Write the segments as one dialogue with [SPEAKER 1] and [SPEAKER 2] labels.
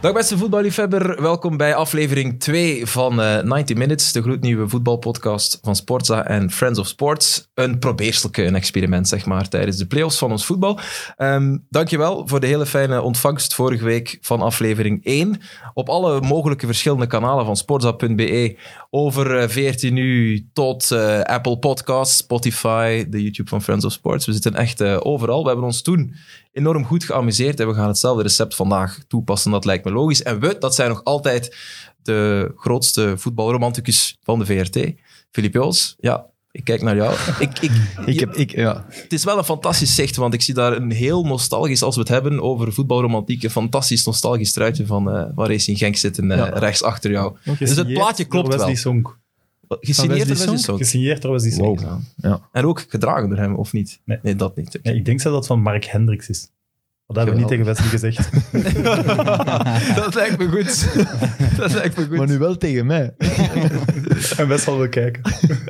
[SPEAKER 1] Dag beste voetballiefhebber, welkom bij aflevering 2 van eh 90 Minutes, de gloednieuwe voetbalpodcast van Sportza en Friends of Sports. Een probeerselijke een experiment, zeg maar, tijdens de play-offs van ons voetbal. Ehm dankjewel voor de hele fijne ontvangst vorige week van aflevering 1. Op alle mogelijke verschillende kanalen van sportza.be, over eh, 14 uur tot eh, Apple Podcasts, Spotify, de YouTube van Friends of Sports. We zitten echt eh, overal. We hebben ons toen enorm goed geamuseerd. En we gaan hetzelfde recept vandaag toepassen. Dat lijkt me logisch. En we, dat zijn nog altijd de grootste voetbalromanticus van de VRT. Filip Joos, ja, ik kijk naar jou. Ik, ik,
[SPEAKER 2] Ik heb, ik, ja.
[SPEAKER 1] het is wel een fantastisch zicht, want ik zie daar een heel nostalgisch, als we het hebben over voetbalromantiek, een fantastisch nostalgisch truitje van, eh, van Racing Genk zitten eh,
[SPEAKER 3] Ja.
[SPEAKER 1] rechts achter jou. Dus het plaatje klopt
[SPEAKER 3] door Wesley
[SPEAKER 1] wel.
[SPEAKER 3] Song.
[SPEAKER 1] Gesigneerd door Wesley Song.
[SPEAKER 3] Gesigneerd door Wesley Song.
[SPEAKER 1] Wow.
[SPEAKER 2] Ja.
[SPEAKER 1] En ook gedragen door hem, of niet?
[SPEAKER 3] Nee.
[SPEAKER 1] dat niet.
[SPEAKER 3] Ja, ik denk zelfs dat het van Mark Hendricks is. Dat hebben we niet tegen
[SPEAKER 1] Geweldig.
[SPEAKER 3] Wesley gezegd.
[SPEAKER 1] dat lijkt me goed. dat lijkt me goed.
[SPEAKER 2] Maar nu wel tegen mij.
[SPEAKER 3] en Wes zal wel kijken.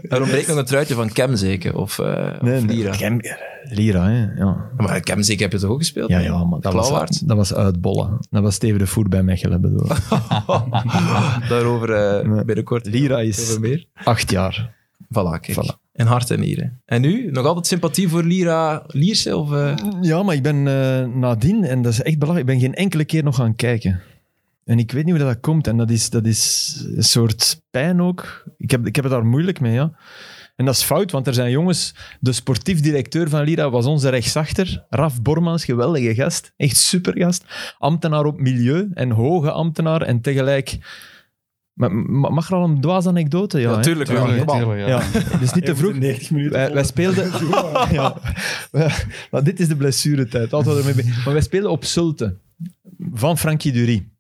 [SPEAKER 1] Er ontbreekt nog een truitje van Cam zeker, of, eh
[SPEAKER 2] Nee,
[SPEAKER 1] of
[SPEAKER 2] nee.
[SPEAKER 1] Lira.
[SPEAKER 2] Gem- Lira, hè. Ja,
[SPEAKER 1] Maar Cam zeker heb je toch ook gespeeld?
[SPEAKER 2] ja, ja maar dat was,
[SPEAKER 1] Klauwaard.
[SPEAKER 2] dat was uitbollen. Dat was Steven de Voer bij Mechelen, bedoel ik.
[SPEAKER 1] Daarover eh,
[SPEAKER 2] Nee.
[SPEAKER 1] binnenkort.
[SPEAKER 2] Lira is
[SPEAKER 1] Over meer.
[SPEAKER 2] acht jaar.
[SPEAKER 1] Voilà, kijk.
[SPEAKER 2] Voilà.
[SPEAKER 1] En hart en nieren. En nu? Nog altijd sympathie voor Lira Lierse? Of, eh?
[SPEAKER 2] Ja, maar ik ben eh, nadien, en dat is echt belangrijk, ik ben geen enkele keer nog gaan kijken. En ik weet niet hoe dat komt. En dat is, dat is een soort pijn ook. Ik heb, ik heb het daar moeilijk mee, ja. En dat is fout, want er zijn jongens... De sportief directeur van Lira was onze rechtsachter. Raf Bormans, geweldige gast. Echt supergast. Ambtenaar op milieu en hoge ambtenaar. En tegelijk... Ma- ma- Mag er al een dwaas anekdote? Ja, hè?
[SPEAKER 1] tuurlijk wel.
[SPEAKER 2] Tuurlijk,
[SPEAKER 1] Kom op.
[SPEAKER 2] hè? Ja, dus niet te vroeg.
[SPEAKER 3] 90 minuten.
[SPEAKER 2] Wij, wij speelden. ja. Wij- maar dit is de blessuretijd. Altijd wat ermee be- Maar wij speelden op Zulte van Frankie Durie.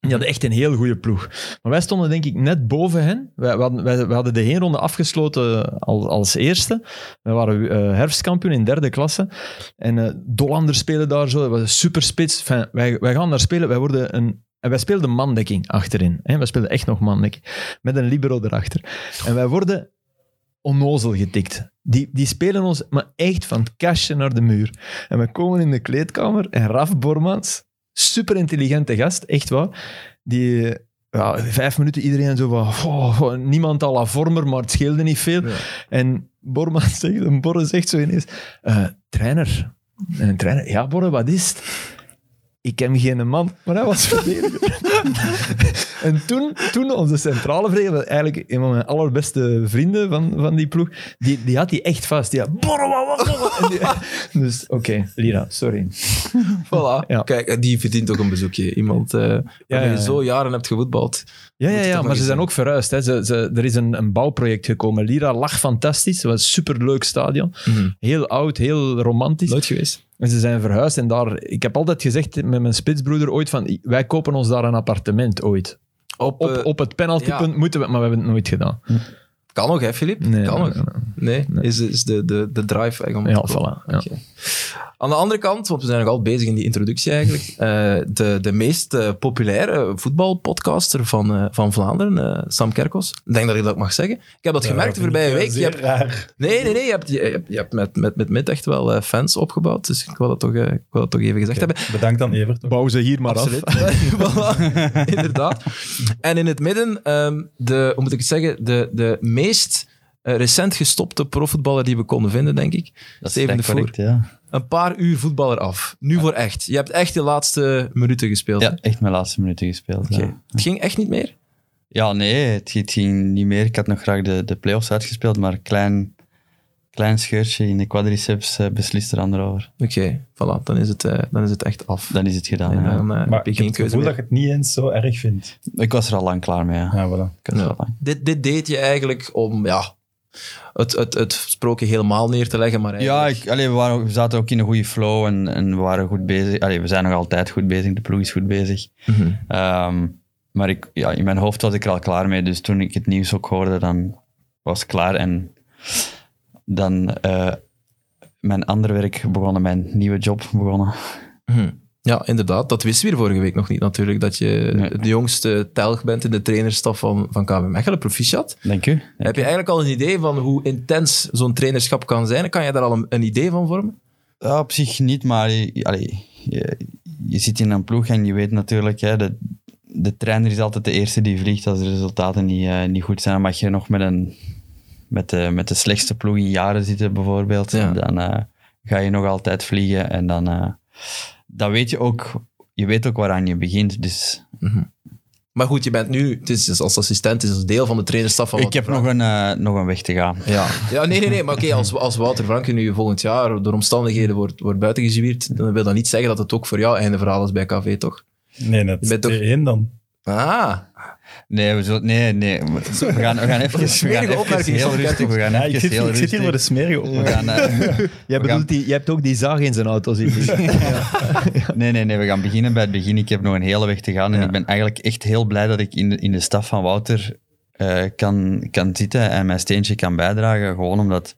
[SPEAKER 2] Die hadden echt een heel goede ploeg. Maar wij stonden denk ik net boven hen. Wij, wij hadden, wij, wij hadden de heenronde afgesloten als, als eerste. We waren eh, herfstkampioen in derde klasse. En eh Dollander spelen daar zo. Dat was een superspits. Enfin, wij, wij gaan daar spelen. Wij worden een... En wij speelden mandekking achterin. Hè? Wij speelden echt nog mandekking. Met een libero erachter. En wij worden onnozel getikt. Die, die spelen ons maar echt van het kastje naar de muur. En we komen in de kleedkamer en Raf Bormans, super intelligente gast, echt waar, die eh, ja, vijf minuten iedereen zo van, "Goh, goh," niemand al la vormer, maar het scheelde niet veel.
[SPEAKER 1] Ja.
[SPEAKER 2] En Bormans zegt, en Borre zegt zo ineens, "Eh, trainer. En een trainer, ja Borre, wat is het? Ik heb geen man, maar hij was verdediger. en toen, toen onze centrale verdediger, eigenlijk een van mijn allerbeste vrienden van, van die ploeg, die, die had die echt vast. Die had, "Borre, wat was dat?" En die- Dus oké, Lira, sorry.
[SPEAKER 1] Voilà.
[SPEAKER 2] Ja.
[SPEAKER 1] Kijk, die verdient ook een bezoekje. Iemand eh waarmee
[SPEAKER 2] ja,
[SPEAKER 1] je
[SPEAKER 2] ja.
[SPEAKER 1] zo jaren hebt gevoetbald.
[SPEAKER 2] Ja,
[SPEAKER 1] Moet het
[SPEAKER 2] ja,
[SPEAKER 1] toch
[SPEAKER 2] ja
[SPEAKER 1] nog
[SPEAKER 2] maar ze
[SPEAKER 1] eens
[SPEAKER 2] zijn
[SPEAKER 1] doen.
[SPEAKER 2] ook verhuisd. Hè. Ze, ze, er is een, een bouwproject gekomen. Lira lag fantastisch. Het was een superleuk stadion. Heel oud, heel romantisch.
[SPEAKER 1] Nooit geweest.
[SPEAKER 2] En ze zijn verhuisd. En daar, ik heb altijd gezegd met mijn spitsbroeder ooit van... Wij kopen ons daar een appartement ooit.
[SPEAKER 1] Op,
[SPEAKER 2] Op,
[SPEAKER 1] eh,
[SPEAKER 2] op het penaltypunt moeten we... Maar we hebben het nooit gedaan.
[SPEAKER 1] Kan nog, hè, Filip?
[SPEAKER 2] Nee,
[SPEAKER 1] kan
[SPEAKER 2] nee,
[SPEAKER 1] nog. Nee, Is, is de, de, de drive eigenlijk om
[SPEAKER 2] Ja,
[SPEAKER 1] te komen.
[SPEAKER 2] voilà. Ja.
[SPEAKER 1] Oké. Aan de andere kant, want we zijn nog al bezig in die introductie eigenlijk, eh, de, de meest eh, populaire voetbalpodcaster van, eh, van Vlaanderen, eh, Sam Kerkos. Ik denk dat ik dat mag zeggen. Ik eh, heb dat gemerkt de voorbije week. Je hebt,
[SPEAKER 3] raar.
[SPEAKER 1] nee, nee, nee. Je hebt, je hebt, je hebt met, met, met Mid echt wel eh, fans opgebouwd, dus ik wil dat toch, eh, ik wil dat toch even gezegd hebben.
[SPEAKER 3] Bedankt aan Evert. toch?
[SPEAKER 2] Bouw ze hier maar af.
[SPEAKER 1] Voilà, inderdaad. En in het midden, ehm, de, hoe moet ik het zeggen, de, de meest eh, recent gestopte profvoetballer die we konden vinden, denk ik.
[SPEAKER 4] Dat
[SPEAKER 1] Steven de
[SPEAKER 4] is
[SPEAKER 1] Voer.
[SPEAKER 4] correct, ja.
[SPEAKER 1] Een paar uur voetballer af. Nu voor echt. Je hebt echt de laatste minuten gespeeld.
[SPEAKER 4] Ja,
[SPEAKER 1] hè?
[SPEAKER 4] echt mijn laatste minuten gespeeld.
[SPEAKER 1] Oké.
[SPEAKER 4] Ja.
[SPEAKER 1] Het ging echt niet meer?
[SPEAKER 4] ja, nee, het, ging- het ging niet meer. Ik had nog graag de, de play-offs uitgespeeld, maar een klein, klein scheurtje in de quadriceps eh, beslist er ander over.
[SPEAKER 1] Oké, voilà. Dan is het, eh, dan is het echt af.
[SPEAKER 4] Dan is het gedaan.
[SPEAKER 1] en
[SPEAKER 4] ja.
[SPEAKER 1] dan, eh,
[SPEAKER 3] Maar
[SPEAKER 1] heb je
[SPEAKER 3] ik heb
[SPEAKER 1] geen
[SPEAKER 3] het
[SPEAKER 1] keuze
[SPEAKER 3] gevoel dat
[SPEAKER 1] meer.
[SPEAKER 3] je het niet eens zo erg vindt.
[SPEAKER 4] Ik was er al lang klaar mee. Ja.
[SPEAKER 3] Ja,
[SPEAKER 1] Ah,
[SPEAKER 3] voilà.
[SPEAKER 4] Ik was er
[SPEAKER 1] Ja.
[SPEAKER 4] al lang.
[SPEAKER 1] Dit, dit deed je eigenlijk om ja, het, het, het sprookje helemaal neer te leggen, maar
[SPEAKER 4] Ja,
[SPEAKER 1] eigenlijk-
[SPEAKER 4] ik, allee, we, waren, ook- we zaten ook in een goede flow en, en we waren goed bezig. Allee, we zijn nog altijd goed bezig, de ploeg is goed bezig.
[SPEAKER 1] Mhm.
[SPEAKER 4] Ehm, maar ik, ja, in mijn hoofd was ik er al klaar mee, dus toen ik het nieuws ook hoorde, dan was het klaar. En dan eh, mijn ander werk begonnen, mijn nieuwe job begonnen.
[SPEAKER 1] Mhm. Ja, inderdaad. Dat wisten we hier vorige week nog niet natuurlijk, dat je
[SPEAKER 4] Nee.
[SPEAKER 1] de jongste telg bent in de trainerstaf van, van KV Mechelen, proficiat.
[SPEAKER 4] Dank u.
[SPEAKER 1] Heb je eigenlijk al een idee van hoe intens zo'n trainerschap kan zijn? Kan je daar al een, een idee van vormen?
[SPEAKER 4] Ja, op zich niet, maar je, allee, je, je zit in een ploeg en je weet natuurlijk, hè, dat de trainer is altijd de eerste die vliegt als de resultaten niet, eh, niet goed zijn. Dan mag je nog met, een, met, de, met de slechtste ploeg in jaren zitten, bijvoorbeeld.
[SPEAKER 1] Ja.
[SPEAKER 4] Dan eh, ga je nog altijd vliegen. En dan, eh, dan weet je ook, je weet ook waaraan je begint. Dus
[SPEAKER 1] Maar goed, je bent nu, het is, dus als assistent, is als deel van de trainerstaf van
[SPEAKER 4] ik
[SPEAKER 1] Wouter
[SPEAKER 4] heb nog een, eh, nog een weg te gaan.
[SPEAKER 1] Ja. ja, nee, nee, nee. Maar oké, als, als Wouter Franke nu volgend jaar door omstandigheden wordt, wordt buitengezwierd, dan wil dat niet zeggen dat het ook voor jou einde verhaal is bij KV, toch?
[SPEAKER 3] Nee, net.
[SPEAKER 1] Je bent toch-
[SPEAKER 3] T1 dan.
[SPEAKER 1] Ah,
[SPEAKER 4] Nee, we zullen, nee, nee. We we gaan, we gaan even, we gaan
[SPEAKER 1] smerige
[SPEAKER 4] even
[SPEAKER 1] opmerking,
[SPEAKER 4] heel
[SPEAKER 1] soms
[SPEAKER 4] rustig. We gaan
[SPEAKER 3] Ja, ik
[SPEAKER 4] even
[SPEAKER 3] zit,
[SPEAKER 4] heel
[SPEAKER 3] ik zit hier voor de
[SPEAKER 4] rustig.
[SPEAKER 3] smerige
[SPEAKER 4] We
[SPEAKER 3] opmerking.
[SPEAKER 4] gaan, eh,
[SPEAKER 2] Jij,
[SPEAKER 4] We gaan-
[SPEAKER 2] bedoelt die, jij hebt ook die zaag in zijn auto Dus- zitten.
[SPEAKER 4] nee, nee, nee, we gaan beginnen bij het begin. Ik heb nog een hele weg te gaan en ik ben eigenlijk echt heel blij dat ik in de, in de staf van Wouter eh, kan, kan zitten en mijn steentje kan bijdragen. Gewoon omdat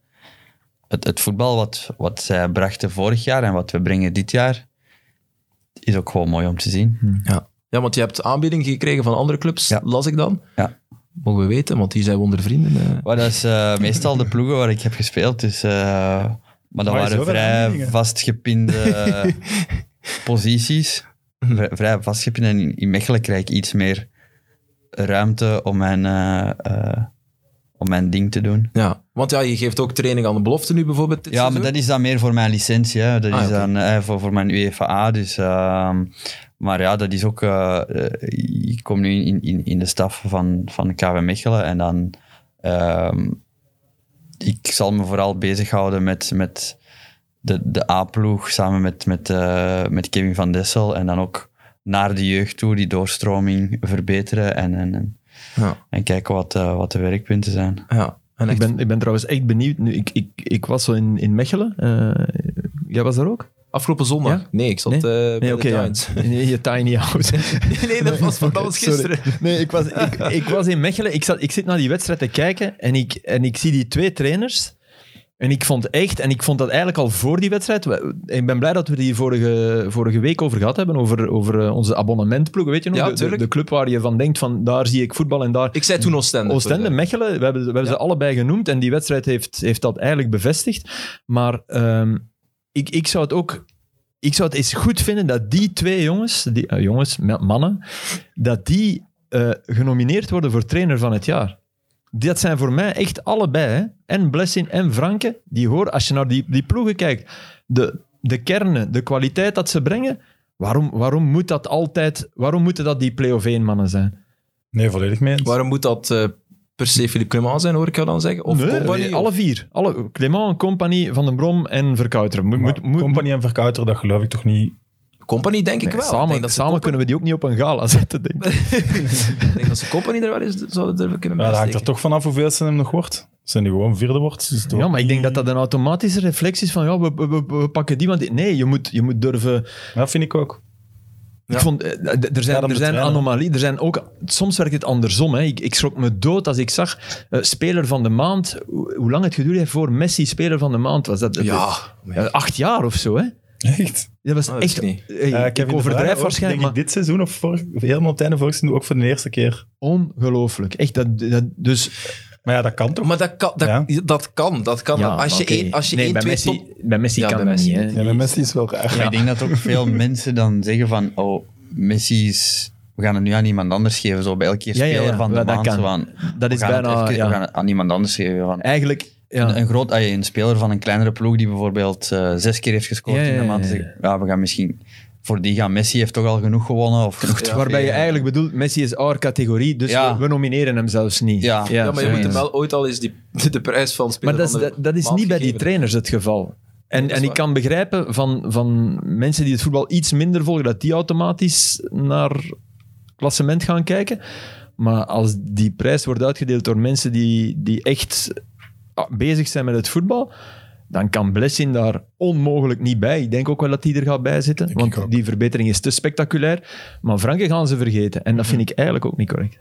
[SPEAKER 4] het, het voetbal wat, wat zij brachten vorig jaar en wat we brengen dit jaar, is ook gewoon mooi om te zien.
[SPEAKER 1] ja. Ja, want je hebt aanbiedingen gekregen van andere clubs,
[SPEAKER 4] Ja.
[SPEAKER 1] las ik dan.
[SPEAKER 4] Ja.
[SPEAKER 1] Mogen we weten, want die zijn wondervrienden. eh.
[SPEAKER 4] Maar dat is eh, meestal de ploegen waar ik heb gespeeld. Dus, eh, maar dat
[SPEAKER 3] Maar
[SPEAKER 4] waren
[SPEAKER 3] zoveel
[SPEAKER 4] vrij
[SPEAKER 3] aanbiedingen.
[SPEAKER 4] vastgepinde eh, posities. Vrij, vrij vastgepinde. En in- in Mechelen krijg ik iets meer ruimte om mijn, eh, eh, om mijn ding te doen.
[SPEAKER 1] Ja, want ja, je geeft ook training aan de belofte nu bijvoorbeeld. dit
[SPEAKER 4] Ja, maar
[SPEAKER 1] seizoen.
[SPEAKER 4] dat is dan meer voor mijn licentie. Hè. Dat
[SPEAKER 1] Ah,
[SPEAKER 4] is
[SPEAKER 1] oké.
[SPEAKER 4] dan eh, voor, voor mijn UEFA. Dus, ehm, maar ja, dat is ook. eh, eh, ik kom nu in, in, in de staf van, van KW Mechelen. En dan. ehm, ik zal me vooral bezighouden met, met de, de A-ploeg samen met, met, eh, met Kevin van Dessel. En dan ook naar de jeugd toe die doorstroming verbeteren. En, en, en,
[SPEAKER 1] Ja.
[SPEAKER 4] en kijken wat, eh, wat de werkpunten zijn.
[SPEAKER 1] Ja, en
[SPEAKER 2] ik,
[SPEAKER 1] echt,
[SPEAKER 2] ben, ik ben trouwens echt benieuwd. Nu, ik, ik, ik was zo in, in Mechelen. Eh, jij was daar ook?
[SPEAKER 1] afgelopen zondag?
[SPEAKER 2] Ja?
[SPEAKER 1] Nee, ik zat
[SPEAKER 2] Nee?
[SPEAKER 1] eh, bij
[SPEAKER 2] Nee,
[SPEAKER 1] de
[SPEAKER 2] oké. ja.
[SPEAKER 1] Giants.
[SPEAKER 2] Nee, je tiny house.
[SPEAKER 1] Nee, nee, dat was, dat was
[SPEAKER 2] Sorry.
[SPEAKER 1] gisteren.
[SPEAKER 2] Nee, ik was, ik, ik was in Mechelen. Ik, zat, ik zit naar die wedstrijd te kijken en ik, en ik zie die twee trainers. En ik vond echt, en ik vond dat eigenlijk al voor die wedstrijd. we- Ik ben blij dat we het hier vorige, vorige week over gehad hebben. Over, over eh, onze abonnementploegen. Weet je nog?
[SPEAKER 1] Ja,
[SPEAKER 2] De- de, de,
[SPEAKER 1] tuurlijk.
[SPEAKER 2] club waar je van denkt: van daar zie ik voetbal en daar.
[SPEAKER 1] Ik zei toen Oostende.
[SPEAKER 2] Oostende, Mechelen, we hebben, we hebben
[SPEAKER 1] Ja.
[SPEAKER 2] ze allebei genoemd en die wedstrijd heeft, heeft dat eigenlijk bevestigd. Maar ehm, ik, ik zou het ook... Ik zou het eens goed vinden dat die twee jongens, die, eh, jongens, ma- mannen, dat die eh, genomineerd worden voor trainer van het jaar. Dat zijn voor mij echt allebei, hè. en Blessing en Franke, die horen, als je naar die, die ploegen kijkt, de, de kernen, de kwaliteit dat ze brengen, waarom, waarom moet dat altijd, waarom moeten dat die play-off 1 mannen zijn?
[SPEAKER 3] Nee, volledig mee. eens.
[SPEAKER 1] Waarom moet dat eh, per se Philippe Clement zijn, hoor ik jou dan zeggen? Of
[SPEAKER 2] Nee,
[SPEAKER 1] Company?
[SPEAKER 2] nee,
[SPEAKER 1] of-
[SPEAKER 2] alle vier. Alle, Clement, Compagnie, Van den Brom en Verkouteren. Moet,
[SPEAKER 3] Maar
[SPEAKER 2] moet, moet,
[SPEAKER 3] Company en Verkouter, dat geloof ik toch niet.
[SPEAKER 1] Company denk ik
[SPEAKER 2] Nee,
[SPEAKER 1] wel. ik
[SPEAKER 2] samen
[SPEAKER 1] denk dat ze
[SPEAKER 2] samen kunnen we die ook niet op een gala zetten, denk ik.
[SPEAKER 1] Ik denk dat ze Company er wel eens zouden durven kunnen
[SPEAKER 3] Ja, dat hangt er
[SPEAKER 1] bijsteken.
[SPEAKER 3] toch vanaf hoeveel ze hem nog wordt. Als hij nu gewoon vierde wordt. dus Is het
[SPEAKER 2] Ja,
[SPEAKER 3] ook
[SPEAKER 2] maar ik denk
[SPEAKER 3] niet-
[SPEAKER 2] dat dat een automatische reflex is van ja, we, we, we- we pakken die, want die- nee, je moet, je moet durven...
[SPEAKER 3] Dat vind ik ook.
[SPEAKER 1] Ja.
[SPEAKER 2] Ik vond, eh, d- er
[SPEAKER 3] gaat
[SPEAKER 2] zijn,
[SPEAKER 3] om
[SPEAKER 2] er
[SPEAKER 3] de
[SPEAKER 2] zijn
[SPEAKER 3] trainer.
[SPEAKER 2] anomalieën, er zijn ook... Soms werkt het andersom, hè. Ik, ik schrok me dood als ik zag eh, speler van de maand, hoe, hoe lang het geduurd heeft voor Messi speler van de maand was. Dat,
[SPEAKER 1] Ja, maar
[SPEAKER 2] eh, acht jaar of zo, hè.
[SPEAKER 3] Echt.
[SPEAKER 2] Dat was
[SPEAKER 1] Ah, dat
[SPEAKER 2] echt...
[SPEAKER 1] wist ik niet.
[SPEAKER 2] eh,
[SPEAKER 3] Eh,
[SPEAKER 2] ik
[SPEAKER 3] Kevin De Bruyne
[SPEAKER 2] overdrijf
[SPEAKER 3] ook,
[SPEAKER 2] waarschijnlijk,
[SPEAKER 3] Denk
[SPEAKER 2] maar
[SPEAKER 3] ik dit seizoen of vorig, of helemaal op het einde vorig seizoen ook voor de eerste keer.
[SPEAKER 2] ongelooflijk. Echt, dat, dat, dus
[SPEAKER 3] Maar ja, dat kan toch?
[SPEAKER 1] Maar dat kan. Dat,
[SPEAKER 3] Ja.
[SPEAKER 1] dat kan, dat kan.
[SPEAKER 2] Ja,
[SPEAKER 1] Ah, als je
[SPEAKER 2] oké.
[SPEAKER 1] één, als je
[SPEAKER 2] Nee,
[SPEAKER 1] één
[SPEAKER 2] bij
[SPEAKER 1] twee
[SPEAKER 2] Messi,
[SPEAKER 1] top-
[SPEAKER 2] bij Messi
[SPEAKER 1] Ja,
[SPEAKER 2] kan
[SPEAKER 1] bij
[SPEAKER 2] dat
[SPEAKER 1] Messi.
[SPEAKER 2] niet. Hè.
[SPEAKER 3] Ja, bij Messi is wel raar.
[SPEAKER 4] Maar ik denk dat ook veel mensen dan zeggen van, oh, Messi is... We gaan het nu aan iemand anders geven, zo bij elke keer
[SPEAKER 2] Ja, ja,
[SPEAKER 4] speler
[SPEAKER 2] ja,
[SPEAKER 4] van de
[SPEAKER 2] dat
[SPEAKER 4] maand.
[SPEAKER 2] kan.
[SPEAKER 4] zo Van,
[SPEAKER 2] Dat
[SPEAKER 4] we
[SPEAKER 2] is
[SPEAKER 4] gaan het
[SPEAKER 2] bijna...
[SPEAKER 4] even-
[SPEAKER 2] ja.
[SPEAKER 4] We gaan het aan iemand anders geven. Van.
[SPEAKER 2] Eigenlijk, ja.
[SPEAKER 4] Een, een groot, ah, een speler van een kleinere ploeg die bijvoorbeeld eh, zes keer heeft gescoord
[SPEAKER 2] Ja, ja,
[SPEAKER 4] in de
[SPEAKER 2] ja,
[SPEAKER 4] maand.
[SPEAKER 2] ja.
[SPEAKER 4] zeggen, ja, we gaan misschien... Voor die gaan Messi heeft toch al genoeg gewonnen. Of genoeg trofeeën.
[SPEAKER 2] waarbij je eigenlijk bedoelt, Messi is our categorie, dus
[SPEAKER 4] Ja.
[SPEAKER 2] we, we nomineren hem zelfs niet.
[SPEAKER 4] Ja.
[SPEAKER 1] ja, maar je moet
[SPEAKER 2] zoiets.
[SPEAKER 1] hem wel ooit al eens die, de, de prijs van spelen.
[SPEAKER 2] Maar dat is, dat, dat is niet bij die trainers het geval. En,
[SPEAKER 1] dat is
[SPEAKER 2] en ik
[SPEAKER 1] waar.
[SPEAKER 2] kan begrijpen van, van mensen die het voetbal iets minder volgen, dat die automatisch naar klassement gaan kijken. Maar als die prijs wordt uitgedeeld door mensen die, die echt ah, bezig zijn met het voetbal, dan kan Blessing daar onmogelijk niet bij. Ik denk ook wel dat die er gaat bij zitten,
[SPEAKER 3] ik ook.
[SPEAKER 2] want die verbetering is te spectaculair. Maar Franke gaan ze vergeten. En dat vind
[SPEAKER 1] Mhm.
[SPEAKER 2] ik eigenlijk ook niet correct.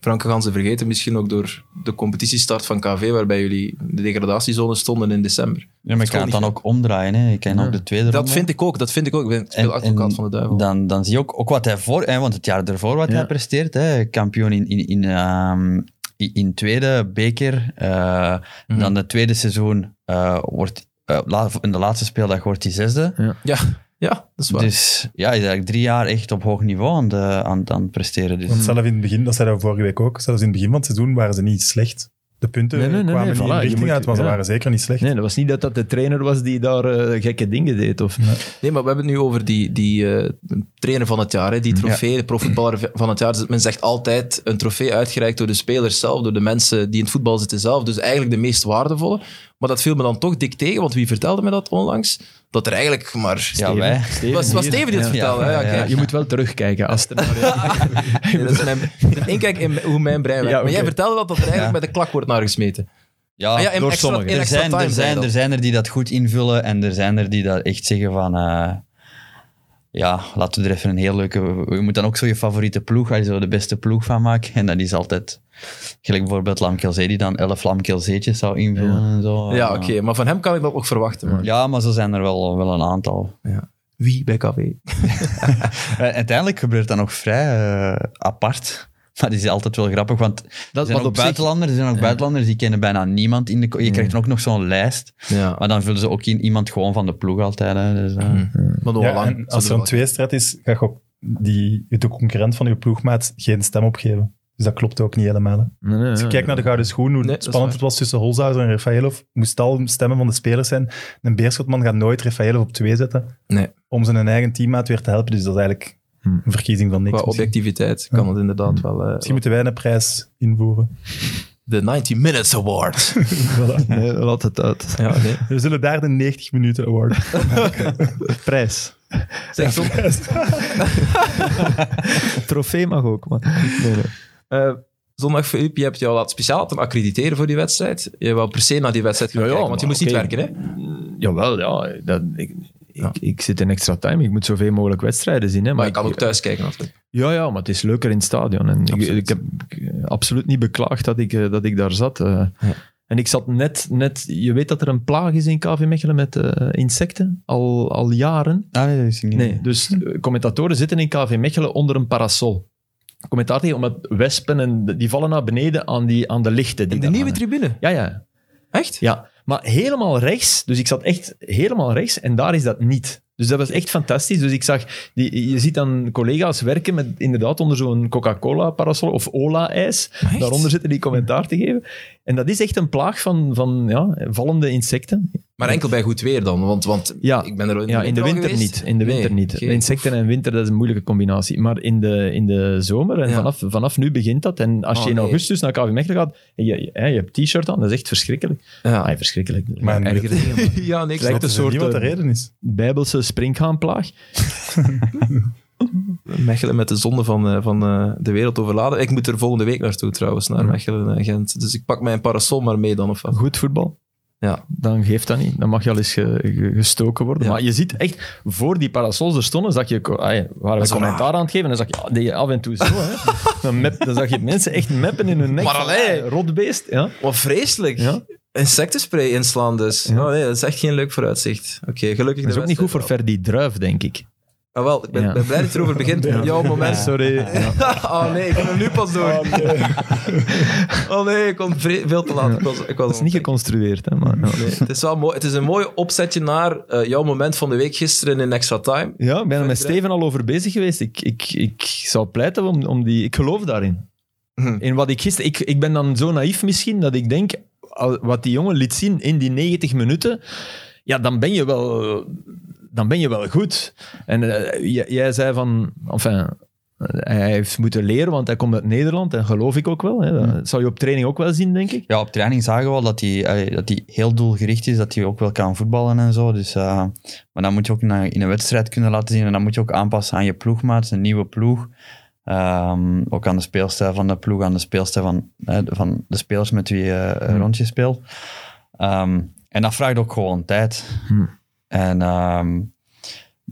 [SPEAKER 1] Franke gaan ze vergeten, misschien ook door de competitiestart van KV, waarbij jullie de degradatiezone stonden in december.
[SPEAKER 4] Ja, maar ik kan het dan ook omdraaien. Hè. Ik kan ook de tweede
[SPEAKER 1] Dat
[SPEAKER 4] ronde.
[SPEAKER 1] vind ik ook, dat vind ik ook. Ik ben
[SPEAKER 4] En-
[SPEAKER 1] veel advocaat
[SPEAKER 4] en
[SPEAKER 1] van de duivel.
[SPEAKER 4] Dan, dan zie je ook, ook wat hij voor... Hè, want het jaar ervoor wat
[SPEAKER 2] Ja.
[SPEAKER 4] hij presteert. Hè, kampioen in, in, in, ehm, in, in tweede beker. eh,
[SPEAKER 1] Mhm.
[SPEAKER 4] Dan het tweede seizoen eh, wordt... eh, la- in de laatste speeldag wordt hij zesde.
[SPEAKER 1] ja, Ja, dat is waar.
[SPEAKER 4] Dus ja, hij is eigenlijk drie jaar echt op hoog niveau aan, de, aan, aan het presteren. Dus.
[SPEAKER 3] Want zelf in het begin, dat zei dat vorige week ook, zelfs in het begin van het seizoen waren ze niet slecht. De punten
[SPEAKER 2] Nee, nee, nee,
[SPEAKER 3] kwamen
[SPEAKER 2] nee,
[SPEAKER 3] niet in
[SPEAKER 2] voilà,
[SPEAKER 3] de
[SPEAKER 2] je
[SPEAKER 3] richting
[SPEAKER 2] moet-
[SPEAKER 3] uit, maar ze
[SPEAKER 2] ja.
[SPEAKER 3] waren zeker niet slecht.
[SPEAKER 2] Nee, dat was niet dat dat de trainer was die daar eh, gekke dingen deed. Of...
[SPEAKER 1] Nee, maar we hebben het nu over die, die eh, trainer van het jaar, hè, die trofee, de profvoetballer van het jaar. Dus Men zegt altijd een trofee uitgereikt door de spelers zelf, door de mensen die in het voetbal zitten zelf. Dus eigenlijk de meest waardevolle. Maar dat viel me dan toch dik tegen, want wie vertelde me dat onlangs? Dat er eigenlijk maar...
[SPEAKER 4] ja, wij.
[SPEAKER 1] Het was, het was
[SPEAKER 2] hier.
[SPEAKER 1] Steven die het
[SPEAKER 2] Ja.
[SPEAKER 1] vertelde. hè? Ah, Ja,
[SPEAKER 4] Ja,
[SPEAKER 1] kijk.
[SPEAKER 2] Je moet wel terugkijken. Als er maar-
[SPEAKER 1] Nee, dat is mijn inkijk in hoe mijn brein werkt.
[SPEAKER 2] Ja,
[SPEAKER 1] Maar jij
[SPEAKER 2] oké.
[SPEAKER 1] vertelde dat dat er eigenlijk
[SPEAKER 4] Ja.
[SPEAKER 1] met de klak wordt nagesmeten.
[SPEAKER 4] Ja,
[SPEAKER 1] Ah ja, in
[SPEAKER 2] door
[SPEAKER 1] extra,
[SPEAKER 2] sommigen.
[SPEAKER 1] in
[SPEAKER 4] er,
[SPEAKER 1] extra
[SPEAKER 4] zijn,
[SPEAKER 1] time
[SPEAKER 4] er,
[SPEAKER 1] zei
[SPEAKER 4] zijn,
[SPEAKER 1] dat.
[SPEAKER 4] er zijn er die dat goed invullen en er zijn er die dat echt zeggen van... eh, ja, laten we er even een heel leuke... Je moet dan ook zo je favoriete ploeg, waar je zo de beste ploeg van maakt. En dat is altijd... Gelijk bijvoorbeeld Lamkelzee, die dan elf Lamkelzeetjes zou invullen en zo.
[SPEAKER 1] Ja, oké. Maar van hem kan ik dat ook verwachten. Maar.
[SPEAKER 4] Ja, maar zo zijn er wel, wel een aantal.
[SPEAKER 1] Wie bij KV?
[SPEAKER 4] Eh, Uiteindelijk gebeurt dat nog vrij eh, apart. Maar dat is altijd wel grappig, want er
[SPEAKER 2] Dat,
[SPEAKER 4] zijn
[SPEAKER 2] wat
[SPEAKER 4] ook
[SPEAKER 2] op zich
[SPEAKER 4] buitenlanders, er zijn ook buitenlanders die kennen bijna niemand. In de, ko- je krijgt dan ook nog zo'n lijst,
[SPEAKER 1] Ja,
[SPEAKER 4] maar dan vullen ze ook in, iemand gewoon van de ploeg altijd. Hè, dus, eh.
[SPEAKER 1] maar nog
[SPEAKER 3] Ja,
[SPEAKER 1] wel lang.
[SPEAKER 3] en als er een tweestrijd is, ga je ook die, de concurrent van je ploegmaat geen stem opgeven. Dus dat klopt ook niet helemaal. hè.
[SPEAKER 2] Nee, nee,
[SPEAKER 3] Als je
[SPEAKER 2] nee.
[SPEAKER 3] kijkt naar de Gouden Schoen, hoe
[SPEAKER 1] Nee, dat is
[SPEAKER 3] spannend het was tussen Holzhauser en Rafaelov, moest al stemmen van de spelers zijn. Een Beerschotman gaat nooit Rafaelov op twee zetten
[SPEAKER 1] Nee.
[SPEAKER 3] om zijn eigen teammaat weer te helpen. Dus dat is eigenlijk een verkiezing van niks.
[SPEAKER 1] Qua
[SPEAKER 3] misschien.
[SPEAKER 1] objectiviteit kan dat inderdaad wel... eh,
[SPEAKER 3] Misschien moeten wij een prijs invoeren.
[SPEAKER 1] De 90 Minutes Award.
[SPEAKER 3] Voilà.
[SPEAKER 2] Nee, laat het uit.
[SPEAKER 1] ja, nee.
[SPEAKER 3] We zullen daar de 90 minuten award van maken.
[SPEAKER 2] Prijs.
[SPEAKER 1] Zeg, soms-
[SPEAKER 2] Trofee mag ook, man. Nee, nee.
[SPEAKER 1] eh, zondag, Filip, je hebt jou laten speciaal laten accrediteren voor die wedstrijd. Je wou per se naar die wedstrijd gaan
[SPEAKER 2] Ja, ja,
[SPEAKER 1] kijken, want je
[SPEAKER 2] maar
[SPEAKER 1] moest
[SPEAKER 2] oké.
[SPEAKER 1] niet werken, hè?
[SPEAKER 2] Jawel, ja. Dat, ik,
[SPEAKER 1] Ja.
[SPEAKER 2] Ik, ik zit in extra time. Ik moet zoveel mogelijk wedstrijden zien. Hè,
[SPEAKER 1] Maar je
[SPEAKER 2] ik-
[SPEAKER 1] kan ook thuis kijken, natuurlijk.
[SPEAKER 2] Ja, ja, maar het is leuker in het stadion. En ik,
[SPEAKER 1] Absoluut.
[SPEAKER 2] ik heb eh, absoluut niet beklaagd dat ik, eh, dat ik daar zat. eh. En ik zat net, net... Je weet dat er een plaag is in KV Mechelen met eh, insecten, al, al jaren.
[SPEAKER 4] Ah, nee, dat is niet.
[SPEAKER 2] Nee, dus eh, commentatoren zitten in KV Mechelen onder een parasol. Commentaar tegen, omdat wespen, en, de- die vallen naar beneden aan, die, aan de lichten.
[SPEAKER 1] In
[SPEAKER 2] Die
[SPEAKER 1] de
[SPEAKER 2] daar
[SPEAKER 1] nieuwe
[SPEAKER 2] hangen.
[SPEAKER 1] tribune.
[SPEAKER 2] Ja, ja.
[SPEAKER 1] Echt?
[SPEAKER 2] Ja, maar helemaal rechts. Dus ik zat echt helemaal rechts en daar is dat niet. Dus dat was echt fantastisch. Dus ik zag, die, je ziet dan collega's werken met inderdaad onder zo'n Coca-Cola-parasol of Ola-ijs.
[SPEAKER 1] Echt?
[SPEAKER 2] Daaronder zitten die commentaar te geven. En dat is echt een plaag van, van ja, vallende insecten.
[SPEAKER 1] Maar enkel bij goed weer dan, want, want
[SPEAKER 2] Ja,
[SPEAKER 1] ik ben er
[SPEAKER 2] ja, in de
[SPEAKER 1] al
[SPEAKER 2] winter
[SPEAKER 1] geweest.
[SPEAKER 2] niet. In de winter
[SPEAKER 1] Nee,
[SPEAKER 2] niet.
[SPEAKER 1] oké.
[SPEAKER 2] Insecten en winter, dat is een moeilijke combinatie. Maar in de, in de zomer, en
[SPEAKER 1] Ja.
[SPEAKER 2] vanaf, vanaf nu begint dat. En als
[SPEAKER 1] Oh,
[SPEAKER 2] je in
[SPEAKER 1] nee.
[SPEAKER 2] augustus naar KV Mechelen gaat, je, je, hè, je hebt t-shirt aan, dat is echt verschrikkelijk.
[SPEAKER 1] Ja,
[SPEAKER 2] Ah, verschrikkelijk.
[SPEAKER 3] Maar
[SPEAKER 2] Erger
[SPEAKER 3] het
[SPEAKER 2] dingen, maar-
[SPEAKER 1] ja niks.
[SPEAKER 2] Lijkt
[SPEAKER 3] lijkt een
[SPEAKER 2] een soort,
[SPEAKER 3] soort... Niet wat de
[SPEAKER 2] eh,
[SPEAKER 3] reden is.
[SPEAKER 2] Bijbelse springhaanplaag.
[SPEAKER 1] Mechelen met de zonde van, eh, van eh, de wereld overladen. Ik moet er volgende week naartoe trouwens, naar Mechelen en Gent. Dus ik pak mijn parasol maar mee dan, of wat?
[SPEAKER 2] Goed voetbal.
[SPEAKER 1] Ja.
[SPEAKER 2] Dan geeft dat niet. Dan mag je al eens ge- ge- gestoken worden.
[SPEAKER 1] Ja.
[SPEAKER 2] Maar je ziet echt, voor die parasols er stonden, zag je, ah ja, waren we
[SPEAKER 1] is
[SPEAKER 2] commentaar aan het geven, dan zag je, ah, deed je af en toe zo. Hè. Dan, mep- dan zag je mensen echt meppen in hun nek.
[SPEAKER 1] Maar
[SPEAKER 2] van,
[SPEAKER 1] allee.
[SPEAKER 2] ah, Rotbeest. Ja.
[SPEAKER 1] Wat vreselijk.
[SPEAKER 2] Ja.
[SPEAKER 1] Insectenspray inslaan dus.
[SPEAKER 2] Ja.
[SPEAKER 1] Oh nee, dat is echt geen leuk vooruitzicht. Oké, gelukkig.
[SPEAKER 2] Dat is
[SPEAKER 1] de
[SPEAKER 2] ook niet goed voor
[SPEAKER 1] wedstrijd
[SPEAKER 2] Ferdi Druif, denk ik.
[SPEAKER 1] wel. Ah, wel, ik ben,
[SPEAKER 2] Ja.
[SPEAKER 1] ben blij dat je erover begint. Ja. Jouw moment.
[SPEAKER 2] Sorry.
[SPEAKER 1] oh nee, ik kom er nu pas door. Oh nee, ik kom vre- veel te laat. Ik was, ik was
[SPEAKER 2] Dat is niet geconstrueerd, hè, maar... ja.
[SPEAKER 1] Nee, het is wel mooi. Het is een mooi opzetje naar eh, jouw moment van de week gisteren in Extra Time.
[SPEAKER 2] Ja, ik ben er met
[SPEAKER 1] Verder-
[SPEAKER 2] Steven al over bezig geweest. Ik, ik, ik zou pleiten om, om die... Ik geloof daarin.
[SPEAKER 1] Mhm.
[SPEAKER 2] In wat ik gisteren... Ik, ik ben dan zo naïef misschien, dat ik denk... al- Wat die jongen liet zien in die 90 minuten... Ja, dan ben je wel... Dan ben je wel goed. En eh, j- jij zei van... Enfin, eh, hij heeft moeten leren, want hij komt uit Nederland. En geloof ik ook wel. Hè. Dat zou je op training ook wel zien, denk ik.
[SPEAKER 4] Ja, op training zagen we al dat hij, allee, dat hij heel doelgericht is, dat hij ook wel kan voetballen en zo. Dus, eh, maar dan moet je ook in een, in een wedstrijd kunnen laten zien en dan moet je ook aanpassen aan je ploegmaat, een nieuwe ploeg. Ehm, ook aan de speelstijl van de ploeg, aan de speelstijl van, eh, van de spelers met wie je eh, een rondje speelt. Ehm, en dat vraagt ook gewoon tijd.
[SPEAKER 2] Hm.
[SPEAKER 4] En ehm,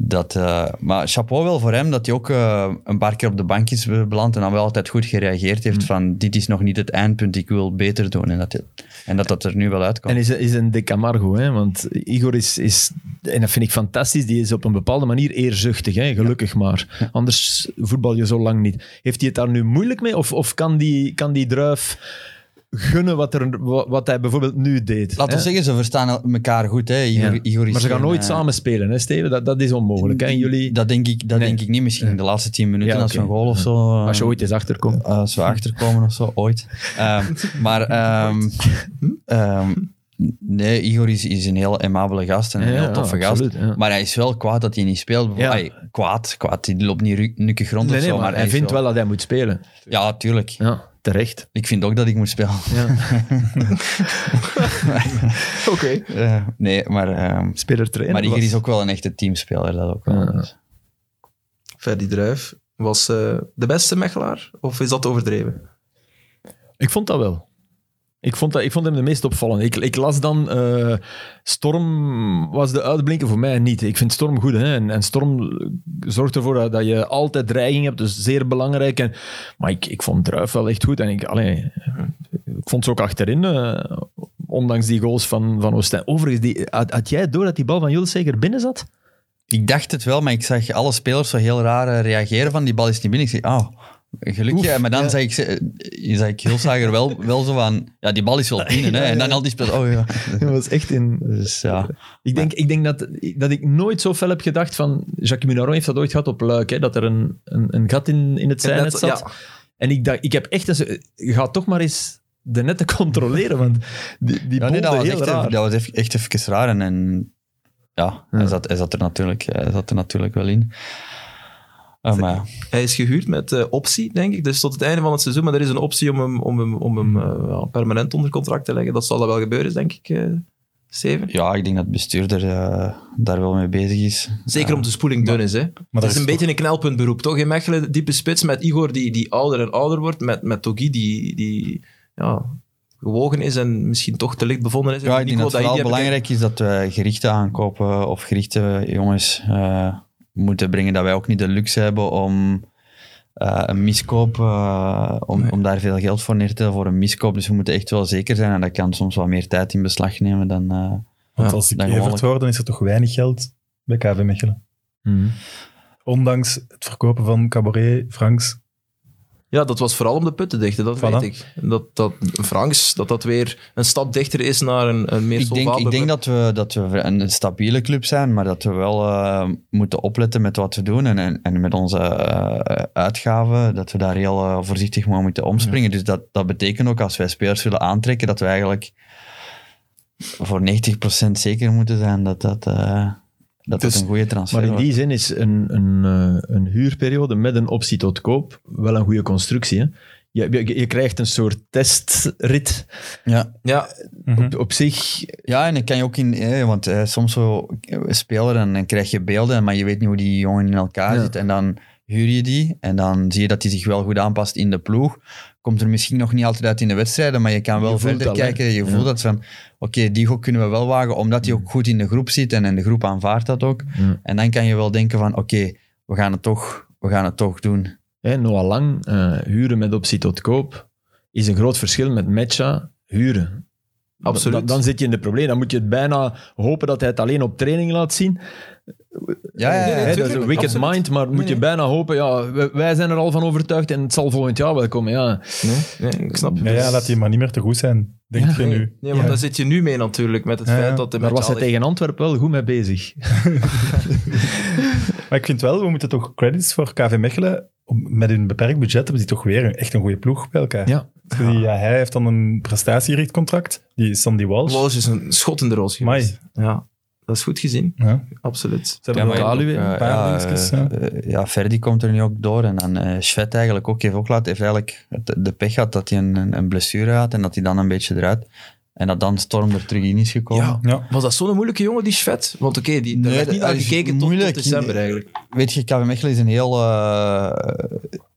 [SPEAKER 4] dat, eh, maar chapeau wel voor hem dat hij ook eh, een paar keer op de bank is eh, beland en dan wel altijd goed gereageerd heeft van dit is nog niet het eindpunt, ik wil beter doen. En dat hij- en dat, dat er nu wel uitkomt.
[SPEAKER 2] En is, is een de Camargo, hè? want Igor is, is, en dat vind ik fantastisch, die is op een bepaalde manier eerzuchtig, hè? gelukkig maar. Anders voetbal je zo lang niet. Heeft hij het daar nu moeilijk mee of, of kan, die, kan die druif gunnen wat, er, wa- wat hij bijvoorbeeld nu deed.
[SPEAKER 4] Laten we
[SPEAKER 2] hè.
[SPEAKER 4] zeggen, ze verstaan elkaar goed. Hè? Igor,
[SPEAKER 2] Ja.
[SPEAKER 4] Igor is
[SPEAKER 2] Maar ze gaan
[SPEAKER 4] geen,
[SPEAKER 2] nooit
[SPEAKER 4] eh,
[SPEAKER 2] samen spelen, hè, Steven? Dat, dat is onmogelijk. Hè? En jullie,
[SPEAKER 4] Dat denk ik, dat
[SPEAKER 2] Nee.
[SPEAKER 4] denk ik niet. Misschien in de laatste tien minuten
[SPEAKER 2] Ja,
[SPEAKER 4] als we
[SPEAKER 2] oké.
[SPEAKER 4] een goal of zo. eh,
[SPEAKER 2] als je ooit eens achterkomt.
[SPEAKER 4] eh, als we achterkomen of zo, ooit. Ehm, maar ehm, ehm, nee, Igor is, is een heel amabele gast en een heel toffe gast. Maar hij is wel kwaad dat hij niet speelt.
[SPEAKER 2] Ja.
[SPEAKER 4] Ay, kwaad, kwaad. Die loopt niet ru- nukkig rond
[SPEAKER 2] nee,
[SPEAKER 4] of
[SPEAKER 2] nee,
[SPEAKER 4] zo.
[SPEAKER 2] maar hij
[SPEAKER 4] is
[SPEAKER 2] vindt
[SPEAKER 4] wel-
[SPEAKER 2] wel dat hij moet spelen.
[SPEAKER 4] Ja, tuurlijk.
[SPEAKER 2] Ja, terecht.
[SPEAKER 4] Ik vind ook dat ik moet spelen.
[SPEAKER 1] Oké.
[SPEAKER 4] Eh, nee, maar, ehm,
[SPEAKER 2] Speler trainen.
[SPEAKER 4] maar Igor is ook wel een echte teamspeler. Dat ook wel.
[SPEAKER 2] Ja.
[SPEAKER 4] Dus-
[SPEAKER 1] Ferdi Druif was eh, de beste mechelaar? Of is dat overdreven?
[SPEAKER 2] Ik vond dat wel. Ik vond, dat, ik vond hem de meest opvallende. Ik, ik las dan... eh, Storm was de uitblinker voor mij niet. Ik vind Storm goed. Hè? En, en Storm zorgt ervoor dat, dat je altijd dreiging hebt. Dus zeer belangrijk. En, maar ik, ik vond Druif wel echt goed. En ik, allee, ik vond ze ook achterin. eh, ondanks die goals van, van Oostijn. Overigens, die, had, had jij door dat die bal van Jules zeker binnen zat?
[SPEAKER 4] Ik dacht het wel, maar ik zag alle spelers zo heel raar eh, reageren van die bal is niet binnen. Ik zei, oh, gelukkig.
[SPEAKER 2] Oef,
[SPEAKER 4] maar dan
[SPEAKER 2] ja.
[SPEAKER 4] zei ik, ze- eh, zag ik Hulsager wel, wel zo van, ja, die bal is wel binnen. hè. En dan al die spelers, oh ja.
[SPEAKER 2] Dat was echt in...
[SPEAKER 4] Dus ja,
[SPEAKER 2] Ik denk, ik denk dat, dat ik nooit zo fel heb gedacht van... Jacques Munaron heeft dat ooit gehad op Luik, hè, dat er een, een, een gat in, in het zijnet
[SPEAKER 1] Net-
[SPEAKER 2] zat. En ik dacht, ik heb echt... eens- eh, Ga toch maar eens de netten controleren, want die, die
[SPEAKER 4] ja nee, dat,
[SPEAKER 2] bolde
[SPEAKER 4] was
[SPEAKER 2] heel
[SPEAKER 4] echt,
[SPEAKER 2] raar.
[SPEAKER 4] even- dat was echt, echt even raar. En, en ja, Hij, zat, hij, zat er natuurlijk, eh, hij zat er natuurlijk wel in. Eh, maar ja.
[SPEAKER 1] Hij is gehuurd met eh, optie, denk ik. Dus tot het einde van het seizoen. Maar er is een optie om hem, om hem, om hem eh, ja, permanent onder contract te leggen. Dat zal dat wel gebeuren, denk ik, eh, Steven.
[SPEAKER 4] ja, ik denk dat de bestuurder eh, daar wel mee bezig is.
[SPEAKER 1] Zeker om de spoeling dun is, hè.
[SPEAKER 3] Maar
[SPEAKER 1] dat is een
[SPEAKER 3] toch-
[SPEAKER 1] beetje een knelpuntberoep, toch? In Mechelen, diepe spits met Igor die, die ouder en ouder wordt. Met, met Togi die, die ja, gewogen is en misschien toch te licht bevonden is. En
[SPEAKER 4] Ja, ik denk
[SPEAKER 1] Nico,
[SPEAKER 4] dat het
[SPEAKER 1] je
[SPEAKER 4] vooral
[SPEAKER 1] die hebt-
[SPEAKER 4] belangrijk is dat we gerichten aankopen of gerichte jongens eh, moeten brengen. Dat wij ook niet de luxe hebben om eh, een miskoop, eh, om, om daar veel geld voor neer te tellen voor een miskoop. Dus we moeten echt wel zeker zijn en dat kan soms wat meer tijd in beslag nemen dan... eh,
[SPEAKER 3] Want als ik
[SPEAKER 4] dan gewoon-
[SPEAKER 3] Evert hoor, dan is er toch weinig geld bij KV Mechelen.
[SPEAKER 2] Mhm.
[SPEAKER 3] Ondanks het verkopen van Cabaret, Franks.
[SPEAKER 1] Ja, dat was vooral om de put te dichten, dat
[SPEAKER 3] Voilà.
[SPEAKER 1] weet ik. Dat, dat Franks, dat dat weer een stap dichter is naar een, een meer
[SPEAKER 4] ik denk,
[SPEAKER 1] solvabele
[SPEAKER 4] ik denk
[SPEAKER 1] club.
[SPEAKER 4] dat we, dat we een een stabiele club zijn, maar dat we wel eh, moeten opletten met wat we doen en, en, en met onze eh, uitgaven, dat we daar heel eh, voorzichtig mee moeten omspringen. Dus dat, dat betekent ook als wij spelers willen aantrekken, dat we eigenlijk voor 90% zeker moeten zijn dat dat, eh, dat,
[SPEAKER 2] Dus-
[SPEAKER 4] dat een goede transfer
[SPEAKER 2] Maar
[SPEAKER 4] is.
[SPEAKER 2] in die zin is een, een, eh, een huurperiode met een optie tot koop wel een goede constructie. Hè? Je, je, je krijgt een soort testrit
[SPEAKER 4] Ja.
[SPEAKER 1] Ja,
[SPEAKER 4] Mhm.
[SPEAKER 2] op, op zich.
[SPEAKER 4] ja, en dan kan je ook in, eh, want eh, soms zo eh, spelen en dan krijg je beelden, maar je weet niet hoe die jongen in elkaar
[SPEAKER 2] Ja.
[SPEAKER 4] zit. En dan huur je die en dan zie je dat hij zich wel goed aanpast in de ploeg. Komt er misschien nog niet altijd uit in de wedstrijden, maar je kan wel
[SPEAKER 2] voelt
[SPEAKER 4] verder
[SPEAKER 2] dat, hè?
[SPEAKER 4] kijken. Je voelt dat van, oké, die gok kunnen we wel wagen, omdat hij ook goed in de groep zit en, en de groep aanvaardt dat ook.
[SPEAKER 2] Ja.
[SPEAKER 4] En dan kan je wel denken van, oké, we gaan het toch, we gaan het toch doen.
[SPEAKER 2] Hè, Noah Lang, eh, huren met optie tot koop, is een groot verschil met Mecha huren.
[SPEAKER 1] Absoluut.
[SPEAKER 2] Dan, dan zit je in de probleem. Dan moet je het bijna hopen dat hij het alleen op training laat zien.
[SPEAKER 4] Ja, ja, ja,
[SPEAKER 2] Hè,
[SPEAKER 1] nee,
[SPEAKER 2] dat is
[SPEAKER 1] tuurlijk,
[SPEAKER 2] een wicked
[SPEAKER 1] absoluut.
[SPEAKER 2] mind, maar moet je bijna hopen. Ja, wij, wij zijn er al van overtuigd en het zal volgend jaar wel komen. Ja.
[SPEAKER 1] nee, nee, ik snap het.
[SPEAKER 3] Ja, ja, laat die maar niet meer te goed zijn, denk je
[SPEAKER 1] Nee,
[SPEAKER 3] nu.
[SPEAKER 1] Nee, want daar zit je nu mee natuurlijk, met het
[SPEAKER 3] Ja, ja.
[SPEAKER 1] feit dat... de
[SPEAKER 2] Daar was hij
[SPEAKER 1] mentale-
[SPEAKER 2] tegen Antwerpen wel goed mee bezig.
[SPEAKER 3] Maar ik vind wel, we moeten toch credits voor KV Mechelen. Om- Met hun beperkt budget hebben die toch weer een, echt een goede ploeg bij elkaar.
[SPEAKER 2] Ja.
[SPEAKER 3] Dus die- ja, hij heeft dan een prestatiericht contract, die Sandy Walsh.
[SPEAKER 1] Walsh is een schot in de roos geweest. Ja, dat is goed gezien,
[SPEAKER 3] Ja.
[SPEAKER 1] absoluut.
[SPEAKER 3] Ze
[SPEAKER 4] Ja,
[SPEAKER 3] hebben
[SPEAKER 4] maar
[SPEAKER 3] wel-
[SPEAKER 2] Kalu
[SPEAKER 4] ook,
[SPEAKER 2] weer,
[SPEAKER 4] eh,
[SPEAKER 3] een paar
[SPEAKER 4] ja,
[SPEAKER 3] dingetjes,
[SPEAKER 4] eh,
[SPEAKER 3] ja.
[SPEAKER 4] eh, ja, Ferdi komt er nu ook door. En dan eh Svet eigenlijk ook. Heeft ook laat, heeft eigenlijk de, de pech gehad dat hij een, een, een blessure had en dat hij dan een beetje eruit. En dat dan Storm er terug in is gekomen.
[SPEAKER 1] Ja.
[SPEAKER 3] ja.
[SPEAKER 1] Was dat zo'n moeilijke jongen, die Schvet? Want oké, die daar
[SPEAKER 4] Nee,
[SPEAKER 1] werd niet
[SPEAKER 4] dat
[SPEAKER 1] aan
[SPEAKER 4] is
[SPEAKER 1] gekeken tot, tot
[SPEAKER 4] moeilijk.
[SPEAKER 1] december eigenlijk.
[SPEAKER 4] Weet je, KV Mechelen is een heel... eh,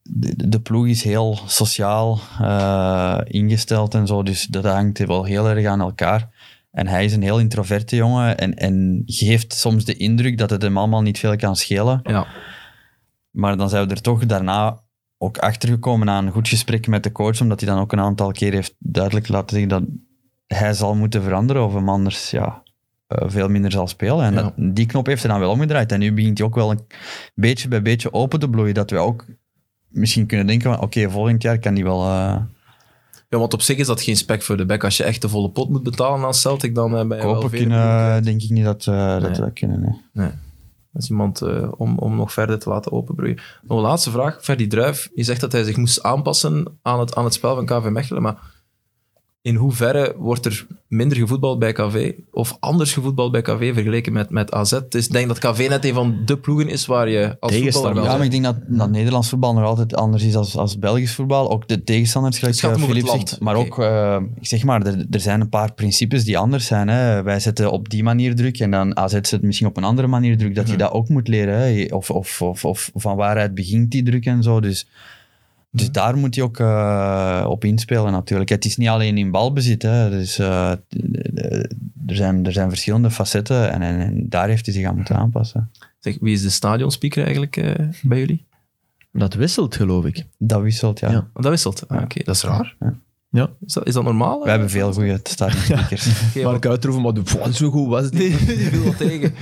[SPEAKER 4] de, de ploeg is heel sociaal eh, ingesteld en zo. Dus dat hangt wel heel erg aan elkaar. En hij is een heel introverte jongen en, en geeft soms de indruk dat het hem allemaal niet veel kan schelen.
[SPEAKER 1] Ja,
[SPEAKER 4] Maar dan zijn we er toch daarna ook achtergekomen na een goed gesprek met de coach, omdat hij dan ook een aantal keer heeft duidelijk laten zien dat hij zal moeten veranderen of hem anders ja, eh, veel minder zal spelen. En
[SPEAKER 1] Ja.
[SPEAKER 4] dat- die knop heeft hij dan wel omgedraaid. En nu begint hij ook wel een beetje bij beetje open te bloeien, dat we ook misschien kunnen denken van oké, volgend jaar kan hij wel... eh,
[SPEAKER 1] Ja, want op zich is dat geen spek voor de bek. Als je echt de volle pot moet betalen aan Celtic, dan eh, ben je wel
[SPEAKER 4] Kopen
[SPEAKER 1] veel
[SPEAKER 4] kunnen, denk ik niet dat eh, dat,
[SPEAKER 1] Nee.
[SPEAKER 4] we dat kunnen. nee.
[SPEAKER 1] Dat is iemand eh, om, om nog verder te laten openbroeien. Nog een laatste vraag. Ferdi Druif, je zegt dat hij zich moest aanpassen aan het, aan het spel van KV Mechelen, maar in hoeverre wordt er minder gevoetbald bij KV of anders gevoetbald bij KV vergeleken met, met AZ? Dus ik denk dat KV net een van de ploegen is waar je als voetballer wel... Mm.
[SPEAKER 4] Ja, maar ik denk dat, dat Nederlands voetbal nog altijd anders is als, als Belgisch voetbal. Ook de tegenstanders, gelijk
[SPEAKER 1] Het gaat
[SPEAKER 4] eh,
[SPEAKER 1] om
[SPEAKER 4] Filip
[SPEAKER 1] het land.
[SPEAKER 4] zegt. Maar
[SPEAKER 1] Oké.
[SPEAKER 4] ook, eh, ik zeg maar, er, er zijn een paar principes die anders zijn. Hè. Wij zetten op die manier druk en dan AZ zet misschien op een andere manier druk. Dat je
[SPEAKER 1] Mhm.
[SPEAKER 4] dat ook moet leren. Hè. Of, of, of, of van waaruit begint die druk en zo. Dus, dus
[SPEAKER 1] Mhm.
[SPEAKER 4] daar moet je ook eh, op inspelen natuurlijk. Het is niet alleen in balbezit. Hè. Dus, eh, er, zijn, er zijn verschillende facetten en, en, en daar heeft hij zich aan
[SPEAKER 1] Mhm.
[SPEAKER 4] moeten aanpassen.
[SPEAKER 1] Zeg, wie is de stadionspeaker eigenlijk eh, bij jullie?
[SPEAKER 4] eh,
[SPEAKER 2] Dat wisselt, geloof ik.
[SPEAKER 4] Dat wisselt, ja.
[SPEAKER 2] Ja.
[SPEAKER 1] Oh, dat wisselt. Ah, Oké, dat is raar.
[SPEAKER 4] Ja.
[SPEAKER 2] Ja.
[SPEAKER 1] Is, dat, is dat normaal?
[SPEAKER 4] We hebben veel goede stadionspeakers.
[SPEAKER 1] Oké,
[SPEAKER 2] Mark Uitroeven, maar de, pff, zo goed was het niet.
[SPEAKER 1] Nee, die viel wat tegen.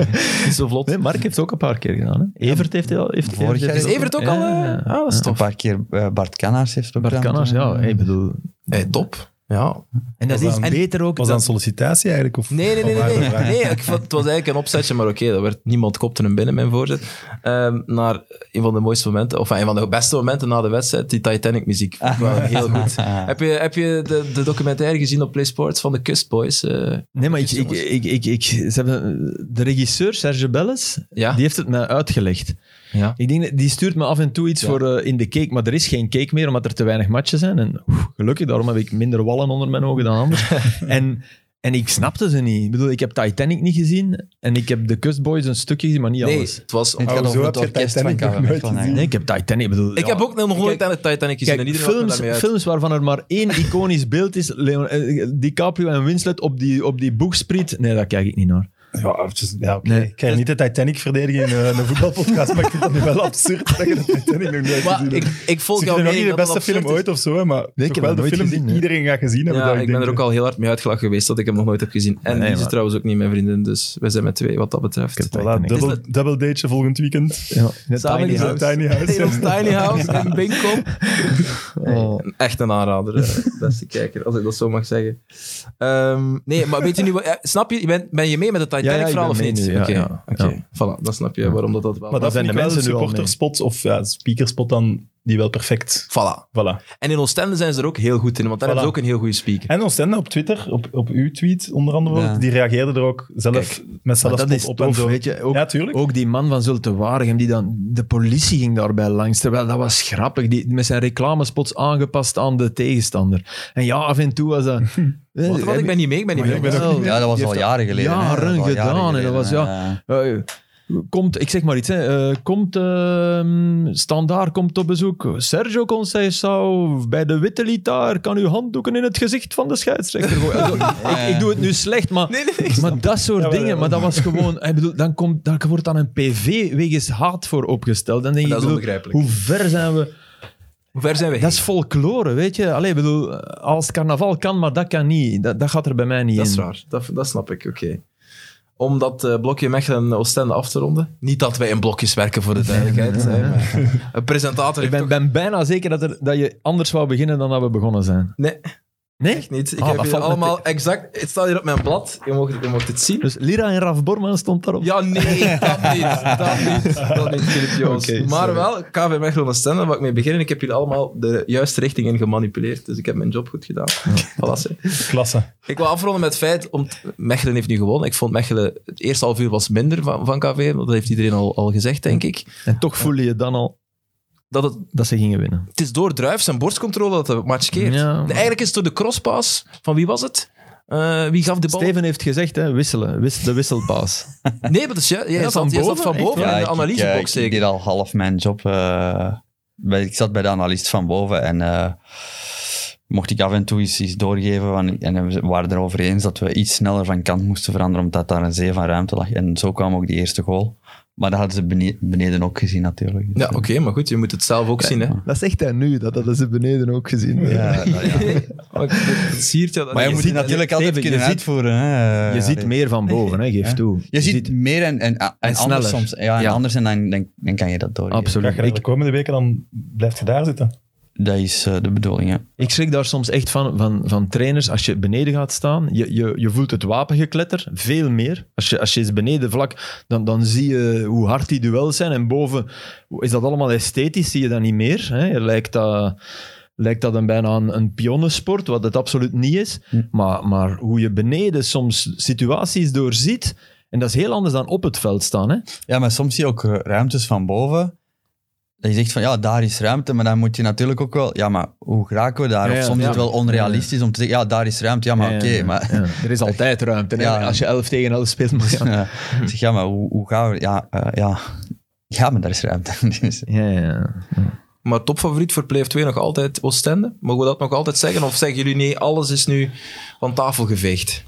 [SPEAKER 1] Niet zo vlot.
[SPEAKER 2] Nee, Mark heeft het ook een paar keer gedaan. Hè? Evert heeft het al. Heeft,
[SPEAKER 4] Vorig jaar
[SPEAKER 1] Is Evert ook al... eh,
[SPEAKER 2] Ja.
[SPEAKER 1] Ah, dat is
[SPEAKER 4] een
[SPEAKER 1] tof.
[SPEAKER 4] paar keer eh, Bart Kannaars heeft het ook
[SPEAKER 2] Bart
[SPEAKER 4] gedaan
[SPEAKER 2] Kanners,
[SPEAKER 4] toen.
[SPEAKER 2] ja. Ik bedoel...
[SPEAKER 1] Hey, top. Ja,
[SPEAKER 2] En dat
[SPEAKER 3] Was
[SPEAKER 2] is
[SPEAKER 3] dat een-
[SPEAKER 2] beter ook...
[SPEAKER 3] Was dat een sollicitatie eigenlijk? Of
[SPEAKER 1] Nee, nee, nee.
[SPEAKER 3] of waren
[SPEAKER 1] nee,
[SPEAKER 3] er
[SPEAKER 1] nee.
[SPEAKER 3] vragen?
[SPEAKER 1] nee ik vond- het was eigenlijk een opzetje, maar oké, dat werd, niemand kopte hem binnen, mijn voorzet. Ehm, naar een van de mooiste momenten, of een van de beste momenten na de wedstrijd, die Titanic-muziek. Vond ik wel heel goed. Heb je, heb je de, de documentaire gezien op PlaySports van de Kustboys? Eh,
[SPEAKER 2] Nee, maar ik, ik, ik, ik, ik- ze hebben, de regisseur, Serge Belles,
[SPEAKER 1] ja?
[SPEAKER 2] die heeft het mij uitgelegd.
[SPEAKER 1] ja.
[SPEAKER 2] Ik denk, dat- die stuurt me af en toe iets
[SPEAKER 1] Ja.
[SPEAKER 2] voor eh, in de cake, maar er is geen cake meer omdat er te weinig matchen zijn. En oeh, gelukkig, daarom heb ik minder wallen onder mijn ogen dan anders. en, en ik snapte ze niet. Ik bedoel, ik heb Titanic niet gezien en ik heb de Kustboys een stukje gezien, maar niet
[SPEAKER 1] Nee,
[SPEAKER 2] alles.
[SPEAKER 1] het was...
[SPEAKER 4] Nee, het
[SPEAKER 3] Oh,
[SPEAKER 4] gaat
[SPEAKER 3] zo
[SPEAKER 4] over het
[SPEAKER 3] heb je
[SPEAKER 4] orkest van
[SPEAKER 3] Titanic nog
[SPEAKER 4] KV
[SPEAKER 3] nooit
[SPEAKER 4] Mechelen
[SPEAKER 3] gezien.
[SPEAKER 2] Nee,
[SPEAKER 4] eigenlijk.
[SPEAKER 2] ik heb Titanic. Ik, bedoel,
[SPEAKER 1] Ik
[SPEAKER 2] ja.
[SPEAKER 1] heb ook nog nooit
[SPEAKER 2] Kijk,
[SPEAKER 1] aan de Titanic gezien. en
[SPEAKER 2] Kijk,
[SPEAKER 1] iedereen lacht me
[SPEAKER 2] films,
[SPEAKER 1] daarmee uit.
[SPEAKER 2] films waarvan er maar één iconisch beeld is, Leon, eh, DiCaprio en Winslet op die, op die boegspriet, nee, daar kijk ik niet naar.
[SPEAKER 3] Ja, het is- ja, oké.
[SPEAKER 2] Nee.
[SPEAKER 3] Ik ga niet de Titanic verdedigen in eh, een voetbalpodcast, maar ik vind het nu wel absurd dat je de Titanic nog nooit
[SPEAKER 1] Maar
[SPEAKER 3] gezien hebt.
[SPEAKER 1] ik, ik volg
[SPEAKER 3] Het is
[SPEAKER 1] jou
[SPEAKER 3] nog
[SPEAKER 1] mee.
[SPEAKER 3] niet de
[SPEAKER 1] dat dat
[SPEAKER 3] beste film
[SPEAKER 1] absurd is.
[SPEAKER 3] ooit of zo, hè, maar
[SPEAKER 2] heb
[SPEAKER 3] toch
[SPEAKER 2] hem
[SPEAKER 3] wel de
[SPEAKER 2] nooit
[SPEAKER 3] film
[SPEAKER 2] gezien,
[SPEAKER 3] die
[SPEAKER 2] hè.
[SPEAKER 3] iedereen gaat gezien hebben.
[SPEAKER 1] Ja,
[SPEAKER 3] dat
[SPEAKER 1] ik ben
[SPEAKER 3] denk,
[SPEAKER 1] er ook al heel hard mee uitgelachen geweest dat ik hem nog nooit heb gezien. En
[SPEAKER 2] Nee,
[SPEAKER 1] die is
[SPEAKER 2] maar-
[SPEAKER 1] trouwens ook niet mijn vriendin, dus we zijn met twee wat dat betreft.
[SPEAKER 2] Ik heb
[SPEAKER 3] Voilà,
[SPEAKER 2] Titanic.
[SPEAKER 3] double,
[SPEAKER 1] Het is
[SPEAKER 3] double dateje volgend weekend.
[SPEAKER 2] Ja, in het
[SPEAKER 1] Samen
[SPEAKER 2] tiny
[SPEAKER 1] gezien.
[SPEAKER 2] house.
[SPEAKER 3] Tiny House.
[SPEAKER 1] In ons tiny house in Binkom.
[SPEAKER 2] Oh.
[SPEAKER 1] Een- Echt een aanrader, eh, beste kijker, als ik dat zo mag zeggen. Ehm, nee, maar weet je nu... wat- eh, Snap je? Ben, ben je mee met het
[SPEAKER 2] Ja, ja, ik
[SPEAKER 1] Titanic-verhaal
[SPEAKER 2] ben
[SPEAKER 1] of
[SPEAKER 2] mee
[SPEAKER 1] niet?
[SPEAKER 2] nu, ja,
[SPEAKER 1] Oké,
[SPEAKER 2] ja,
[SPEAKER 1] oké.
[SPEAKER 2] ja.
[SPEAKER 1] Voilà, dan snap je waarom dat dat wel...
[SPEAKER 3] Maar dat
[SPEAKER 2] zijn
[SPEAKER 3] zijn
[SPEAKER 2] de
[SPEAKER 3] de mensen
[SPEAKER 2] mensen nu al mee.
[SPEAKER 3] supporterspot of ja, speakerspot dan die wel perfect.
[SPEAKER 1] Voilà.
[SPEAKER 3] Voilà.
[SPEAKER 1] En in Oostende zijn ze er ook heel goed in, want daar
[SPEAKER 3] Voilà.
[SPEAKER 1] hebben ze ook een heel goede speaker.
[SPEAKER 3] En ons zender op Twitter, op, op uw tweet onder andere,
[SPEAKER 4] Ja.
[SPEAKER 3] ook, die reageerde er ook zelf met
[SPEAKER 2] Maar
[SPEAKER 3] zelf
[SPEAKER 2] dat
[SPEAKER 3] pop
[SPEAKER 2] is
[SPEAKER 3] op
[SPEAKER 2] tof,
[SPEAKER 3] en zo.
[SPEAKER 2] weet je. Ook,
[SPEAKER 3] ja, tuurlijk.
[SPEAKER 2] ook die man van Zulte Waregem, die dan... De politie ging daarbij langs, terwijl dat was grappig. Die, met zijn reclamespots aangepast aan de tegenstander. En ja, af en toe was dat... Eh,
[SPEAKER 1] Wat, wat, ik ben niet mee, ik ben niet
[SPEAKER 3] Maar
[SPEAKER 1] mee.
[SPEAKER 3] ik ben ook niet
[SPEAKER 2] wel,
[SPEAKER 4] Ja, dat was
[SPEAKER 2] die
[SPEAKER 4] al
[SPEAKER 2] heeft
[SPEAKER 4] jaren geleden. hè.
[SPEAKER 2] Jaren
[SPEAKER 4] Dat was al
[SPEAKER 2] gedaan. en dat
[SPEAKER 4] geleden,
[SPEAKER 2] was, ja,
[SPEAKER 4] eh.
[SPEAKER 2] eh, komt, ik zeg maar iets, hè, eh, komt ehm, Standaard komt op bezoek. Sergio Conceição bij de witte litaar kan uw handdoeken in het gezicht van de scheidsrechter. gooien. Also, ik, ik doe het nu slecht, maar, maar dat soort
[SPEAKER 3] Ja, wel,
[SPEAKER 2] dingen.
[SPEAKER 3] ja.
[SPEAKER 2] Maar dat was gewoon... Ik bedoel, dan komt, daar wordt dan een PV wegens haat voor opgesteld. Dan denk
[SPEAKER 1] Dat
[SPEAKER 2] ik,
[SPEAKER 1] is
[SPEAKER 2] bedoel,
[SPEAKER 1] onbegrijpelijk.
[SPEAKER 2] hoe ver zijn we...
[SPEAKER 1] Hoe ver zijn we
[SPEAKER 2] Dat is folklore, weet je. Allee, ik bedoel, als het carnaval kan, maar dat kan niet. Dat, dat gaat er bij mij niet
[SPEAKER 1] Dat is
[SPEAKER 2] in.
[SPEAKER 1] raar, dat, dat snap ik, oké. Om dat eh, blokje Mechelen-Oostende af te ronden. Niet dat wij in blokjes werken, voor de duidelijkheid. hè, maar een presentator heeft
[SPEAKER 2] Ik ben,
[SPEAKER 1] toch-
[SPEAKER 2] ben bijna zeker dat, er, dat je anders wou beginnen dan dat we begonnen zijn.
[SPEAKER 1] Nee,
[SPEAKER 2] Nee?
[SPEAKER 1] echt niet. Ik
[SPEAKER 2] Ah,
[SPEAKER 1] heb
[SPEAKER 2] dat
[SPEAKER 1] hier
[SPEAKER 2] valt me
[SPEAKER 1] allemaal exact... Het staat hier op mijn blad. Je mocht, je mocht het zien.
[SPEAKER 2] Dus Lira en Raf Borman stond daarop.
[SPEAKER 1] Ja, nee, dat niet. Dat niet, dat niet Filip Joos.
[SPEAKER 2] Oké,
[SPEAKER 1] maar wel, KV Mechelen en Stende, waar ik mee begin. Ik heb jullie allemaal de juiste richting in gemanipuleerd. Dus ik heb mijn job goed gedaan. Voilà, zeg.
[SPEAKER 3] Klasse.
[SPEAKER 1] Ik wil afronden met het feit, om t- Mechelen heeft nu gewonnen. Ik vond Mechelen, het eerste half uur was minder van, van KV. Dat heeft iedereen al, al gezegd, denk ik.
[SPEAKER 2] En toch voelde je dan al
[SPEAKER 1] Dat het,
[SPEAKER 2] dat ze gingen winnen.
[SPEAKER 1] het is door Druif zijn borstcontrole dat de match keert.
[SPEAKER 2] Ja, maar-
[SPEAKER 1] Eigenlijk is het door de crosspass van wie was het? Eh, wie gaf de bal?
[SPEAKER 2] Steven heeft gezegd, hè, wisselen. Wis- de wisselpaas.
[SPEAKER 1] Nee, maar dat is ju- jij
[SPEAKER 2] Ja,
[SPEAKER 1] zat,
[SPEAKER 2] van
[SPEAKER 1] jij zat
[SPEAKER 2] boven,
[SPEAKER 1] van
[SPEAKER 2] echt
[SPEAKER 1] boven
[SPEAKER 4] Ja,
[SPEAKER 1] in de
[SPEAKER 4] ik- ik, eh,
[SPEAKER 1] analysebox
[SPEAKER 4] ik,
[SPEAKER 1] zeker.
[SPEAKER 4] deed al half mijn job. eh, bij, ik zat bij de analist van boven en eh, mocht ik af en toe iets, iets doorgeven. Van, en we waren erover eens dat we iets sneller van kant moesten veranderen, omdat daar een zee van ruimte lag. En zo kwam ook die eerste goal. Maar dat hadden ze bene- beneden ook gezien natuurlijk. Dus,
[SPEAKER 1] Ja,
[SPEAKER 4] eh,
[SPEAKER 1] oké, maar goed, je moet het zelf ook zien. Hè.
[SPEAKER 2] Dat zegt hij nu, dat hadden ze beneden ook gezien.
[SPEAKER 4] ja, nou ja.
[SPEAKER 1] Maar ik- het siert je dat
[SPEAKER 4] Maar je,
[SPEAKER 1] niet.
[SPEAKER 4] moet
[SPEAKER 2] ziet-
[SPEAKER 4] die natuurlijk
[SPEAKER 2] je- Steven,
[SPEAKER 4] altijd
[SPEAKER 2] je
[SPEAKER 4] kunnen
[SPEAKER 2] ziet-
[SPEAKER 4] uitvoeren. Hè.
[SPEAKER 2] Je ziet
[SPEAKER 4] Allee.
[SPEAKER 2] meer van boven, hè, geef
[SPEAKER 4] Ja.
[SPEAKER 2] toe.
[SPEAKER 4] Je ziet meer en, en, en,
[SPEAKER 2] sneller.
[SPEAKER 4] anders soms. Ja, en
[SPEAKER 2] Ja.
[SPEAKER 4] anders en dan, dan, dan kan je dat door.
[SPEAKER 2] Absoluut.
[SPEAKER 3] Ga je dat
[SPEAKER 2] Ik,
[SPEAKER 3] de komende weken dan blijft je daar zitten?
[SPEAKER 4] dat is eh, de bedoeling, ja.
[SPEAKER 2] Ik schrik daar soms echt van, van, van trainers. Als je beneden gaat staan, je, je, je voelt het wapengekletter veel meer. Als je, als je eens beneden vlak, dan, dan zie je hoe hard die duels zijn. En boven is dat allemaal esthetisch, zie je dat niet meer. Hè? Je lijkt dat, lijkt dat een bijna een, een pionnensport, wat het absoluut niet is.
[SPEAKER 4] Hm.
[SPEAKER 2] Maar, maar hoe je beneden soms situaties doorziet. En dat is heel anders dan op het veld staan. Hè?
[SPEAKER 4] Ja, maar soms zie je ook eh, ruimtes van boven. Dat je zegt van ja, daar is ruimte, maar dan moet je natuurlijk ook wel. Ja, maar hoe geraken we daar?
[SPEAKER 2] Ja,
[SPEAKER 4] Of
[SPEAKER 2] ja,
[SPEAKER 4] soms
[SPEAKER 2] ja.
[SPEAKER 4] is het wel onrealistisch om te zeggen, ja, daar is ruimte. Ja, maar
[SPEAKER 2] Ja,
[SPEAKER 4] oké,
[SPEAKER 2] ja, ja.
[SPEAKER 4] maar.
[SPEAKER 2] Ja. Er is altijd ruimte. hè.
[SPEAKER 4] Ja.
[SPEAKER 2] Als je 11 tegen 11 speelt, maar ja.
[SPEAKER 4] Ja. Ik zeg, ja, maar hoe, hoe gaan we... Ja, eh, ja. ja, maar daar is ruimte. Dus,
[SPEAKER 2] Ja, ja, ja.
[SPEAKER 1] Maar topfavoriet voor Play of 2 nog altijd Oostende? Mogen we dat nog altijd zeggen? Of zeggen jullie nee, alles is nu van tafel geveegd?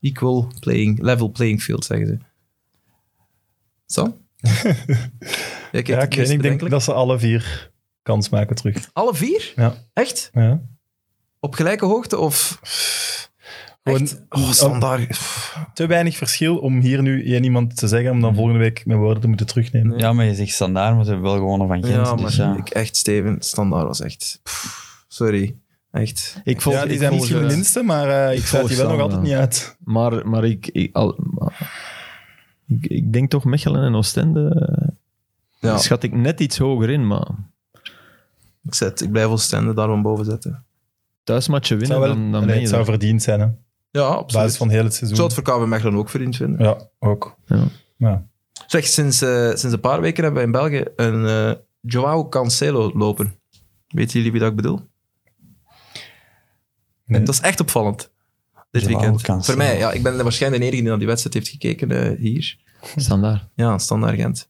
[SPEAKER 1] Equal playing, level playing field, zeggen ze. Sam? Jij kijkt
[SPEAKER 3] Ja,
[SPEAKER 1] het
[SPEAKER 3] ik,
[SPEAKER 1] meest
[SPEAKER 3] weet, ik denk
[SPEAKER 1] bedenkelijk.
[SPEAKER 3] dat ze alle vier kans maken terug.
[SPEAKER 1] Alle vier?
[SPEAKER 3] Ja.
[SPEAKER 1] Echt?
[SPEAKER 3] Ja.
[SPEAKER 1] Op gelijke hoogte? Of...
[SPEAKER 3] Gewoon-
[SPEAKER 1] Echt? Oh, standaard.
[SPEAKER 3] Te weinig verschil om hier nu één iemand te zeggen om dan volgende week mijn woorden te moeten terugnemen.
[SPEAKER 1] Ja.
[SPEAKER 4] ja, maar je zegt standaard, maar ze hebben wel gewonnen van Gent.
[SPEAKER 1] Ja, maar
[SPEAKER 4] dus, ja.
[SPEAKER 1] ik, echt, Steven, standaard was echt... Pff, sorry. Echt.
[SPEAKER 2] Ik volg-
[SPEAKER 3] ja, die
[SPEAKER 2] ik
[SPEAKER 3] zijn
[SPEAKER 2] volg,
[SPEAKER 3] misschien de
[SPEAKER 2] eh,
[SPEAKER 3] minste, maar eh, ik
[SPEAKER 2] ik
[SPEAKER 3] sluit
[SPEAKER 2] volg
[SPEAKER 3] die wel nog
[SPEAKER 2] Sam,
[SPEAKER 3] altijd
[SPEAKER 2] ja.
[SPEAKER 3] niet uit.
[SPEAKER 2] Maar, maar ik, ik, al, ik, ik denk toch Mechelen en Oostende eh,
[SPEAKER 1] Ja,
[SPEAKER 2] schat ik net iets hoger in, maar
[SPEAKER 1] ik, zet, ik blijf Oostende daarom boven zetten.
[SPEAKER 2] thuismatchen
[SPEAKER 3] Het zou,
[SPEAKER 2] winnen,
[SPEAKER 3] wel,
[SPEAKER 2] dan, dan
[SPEAKER 3] allee,
[SPEAKER 2] ben je
[SPEAKER 3] het zou
[SPEAKER 2] daar.
[SPEAKER 3] verdiend zijn, hè. op
[SPEAKER 1] Ja,
[SPEAKER 3] basis
[SPEAKER 1] absoluut.
[SPEAKER 3] van heel het
[SPEAKER 1] Ik zou
[SPEAKER 3] seizoen.
[SPEAKER 1] het voor KV Mechelen ook verdiend vinden.
[SPEAKER 3] Ja, ook.
[SPEAKER 2] Ja.
[SPEAKER 1] Zeg, sinds, eh, sinds een paar weken hebben we in België een eh Joao Cancelo lopen. Weten jullie wie dat ik bedoel?
[SPEAKER 3] Nee.
[SPEAKER 1] Dat is echt opvallend. Dit
[SPEAKER 4] Joao
[SPEAKER 1] weekend.
[SPEAKER 4] Cancelo.
[SPEAKER 1] Voor mij, ja. Ik ben waarschijnlijk de enige die naar die wedstrijd heeft gekeken eh, hier.
[SPEAKER 2] Standaard.
[SPEAKER 1] Ja, standaard Gent.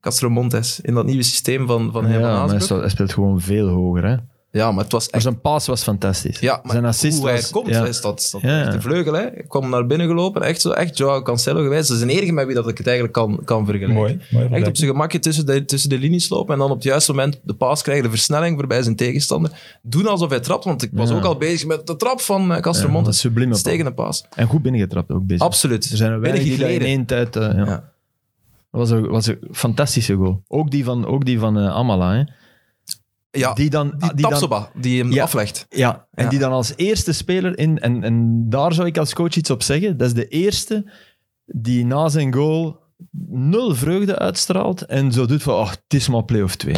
[SPEAKER 1] Castro Montes, in dat nieuwe systeem van, van Herman
[SPEAKER 2] Ja, maar hij
[SPEAKER 1] Haasbroek.
[SPEAKER 2] speelt, hij speelt gewoon veel hoger. Hè? Maar
[SPEAKER 1] Ja, maar het was echt...
[SPEAKER 2] zijn paas was fantastisch.
[SPEAKER 1] Ja, maar
[SPEAKER 2] zijn assist
[SPEAKER 1] hoe hij
[SPEAKER 2] was-
[SPEAKER 1] komt,
[SPEAKER 2] ja.
[SPEAKER 1] is dat, is dat
[SPEAKER 2] Ja.
[SPEAKER 1] echt een vleugel. Hè? Ik kwam naar binnen gelopen, echt zo, echt Joao Cancelo geweest. Dat is de enige met wie dat ik het eigenlijk kan, kan vergelijken.
[SPEAKER 3] Mooi. mooi
[SPEAKER 1] Echt op
[SPEAKER 3] vergelijking.
[SPEAKER 1] zijn gemakje tussen de, tussen de linies lopen en dan op het juiste moment de paas krijgen, de versnelling voorbij zijn tegenstander. Doen alsof hij trapt, want ik was
[SPEAKER 2] Ja.
[SPEAKER 1] ook al bezig met de trap van eh,
[SPEAKER 2] Ja, dat is
[SPEAKER 1] Castromontes.
[SPEAKER 2] sublieme paas.
[SPEAKER 1] Stegende paas.
[SPEAKER 2] En goed binnengetrapt ook bezig.
[SPEAKER 1] Absoluut.
[SPEAKER 2] Er zijn er weinig die
[SPEAKER 1] Weinig
[SPEAKER 2] dat in
[SPEAKER 1] geleden.
[SPEAKER 2] één tijd... eh, ja.
[SPEAKER 1] Ja.
[SPEAKER 2] Dat was een, was een fantastische goal. Ook die van, ook die van eh, Amala. Hè?
[SPEAKER 1] Ja, die,
[SPEAKER 2] die dan,
[SPEAKER 1] die,
[SPEAKER 2] die dan
[SPEAKER 1] Tapsoba, die hem
[SPEAKER 2] Ja.
[SPEAKER 1] aflegt.
[SPEAKER 2] Ja, en
[SPEAKER 1] Ja.
[SPEAKER 2] die dan als eerste speler in, en, en daar zou ik als coach iets op zeggen, dat is de eerste die na zijn goal nul vreugde uitstraalt en zo doet van, oh, het is maar play-off 2.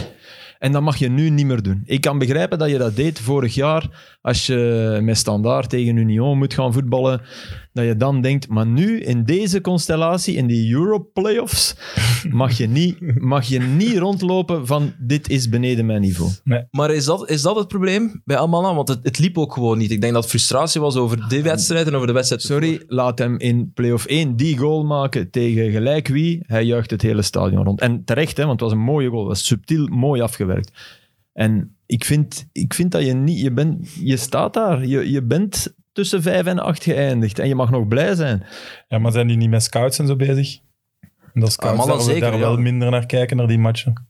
[SPEAKER 2] En dat mag je nu niet meer doen. Ik kan begrijpen dat je dat deed vorig jaar, als je met Standaard tegen Union moet gaan voetballen, dat je dan denkt, maar nu, in deze constellatie, in die Euro-playoffs, mag, je niet- mag je niet rondlopen van, dit is beneden mijn niveau.
[SPEAKER 1] Maar is dat, is dat het probleem bij Almanan? Want het, het liep ook gewoon niet. Ik denk dat het frustratie was over die wedstrijd en over de wedstrijd.
[SPEAKER 2] Ah, Sorry, laat hem in play-off 1 die goal maken tegen gelijk wie. Hij juicht het hele stadion rond. En terecht, hè, want het was een mooie goal. Het was subtiel, mooi afgewerkt. En ik vind, ik vind dat je niet... Je, bent, je staat daar. Je, je bent tussen 5 en 8 geëindigd. En je mag nog blij zijn.
[SPEAKER 3] Ja, maar zijn die niet met scouts en zo bezig? En dat scouts
[SPEAKER 1] Ah, Malle
[SPEAKER 3] daar, we
[SPEAKER 1] zeker,
[SPEAKER 3] daar
[SPEAKER 1] ja.
[SPEAKER 3] wel minder naar kijken, naar die matchen.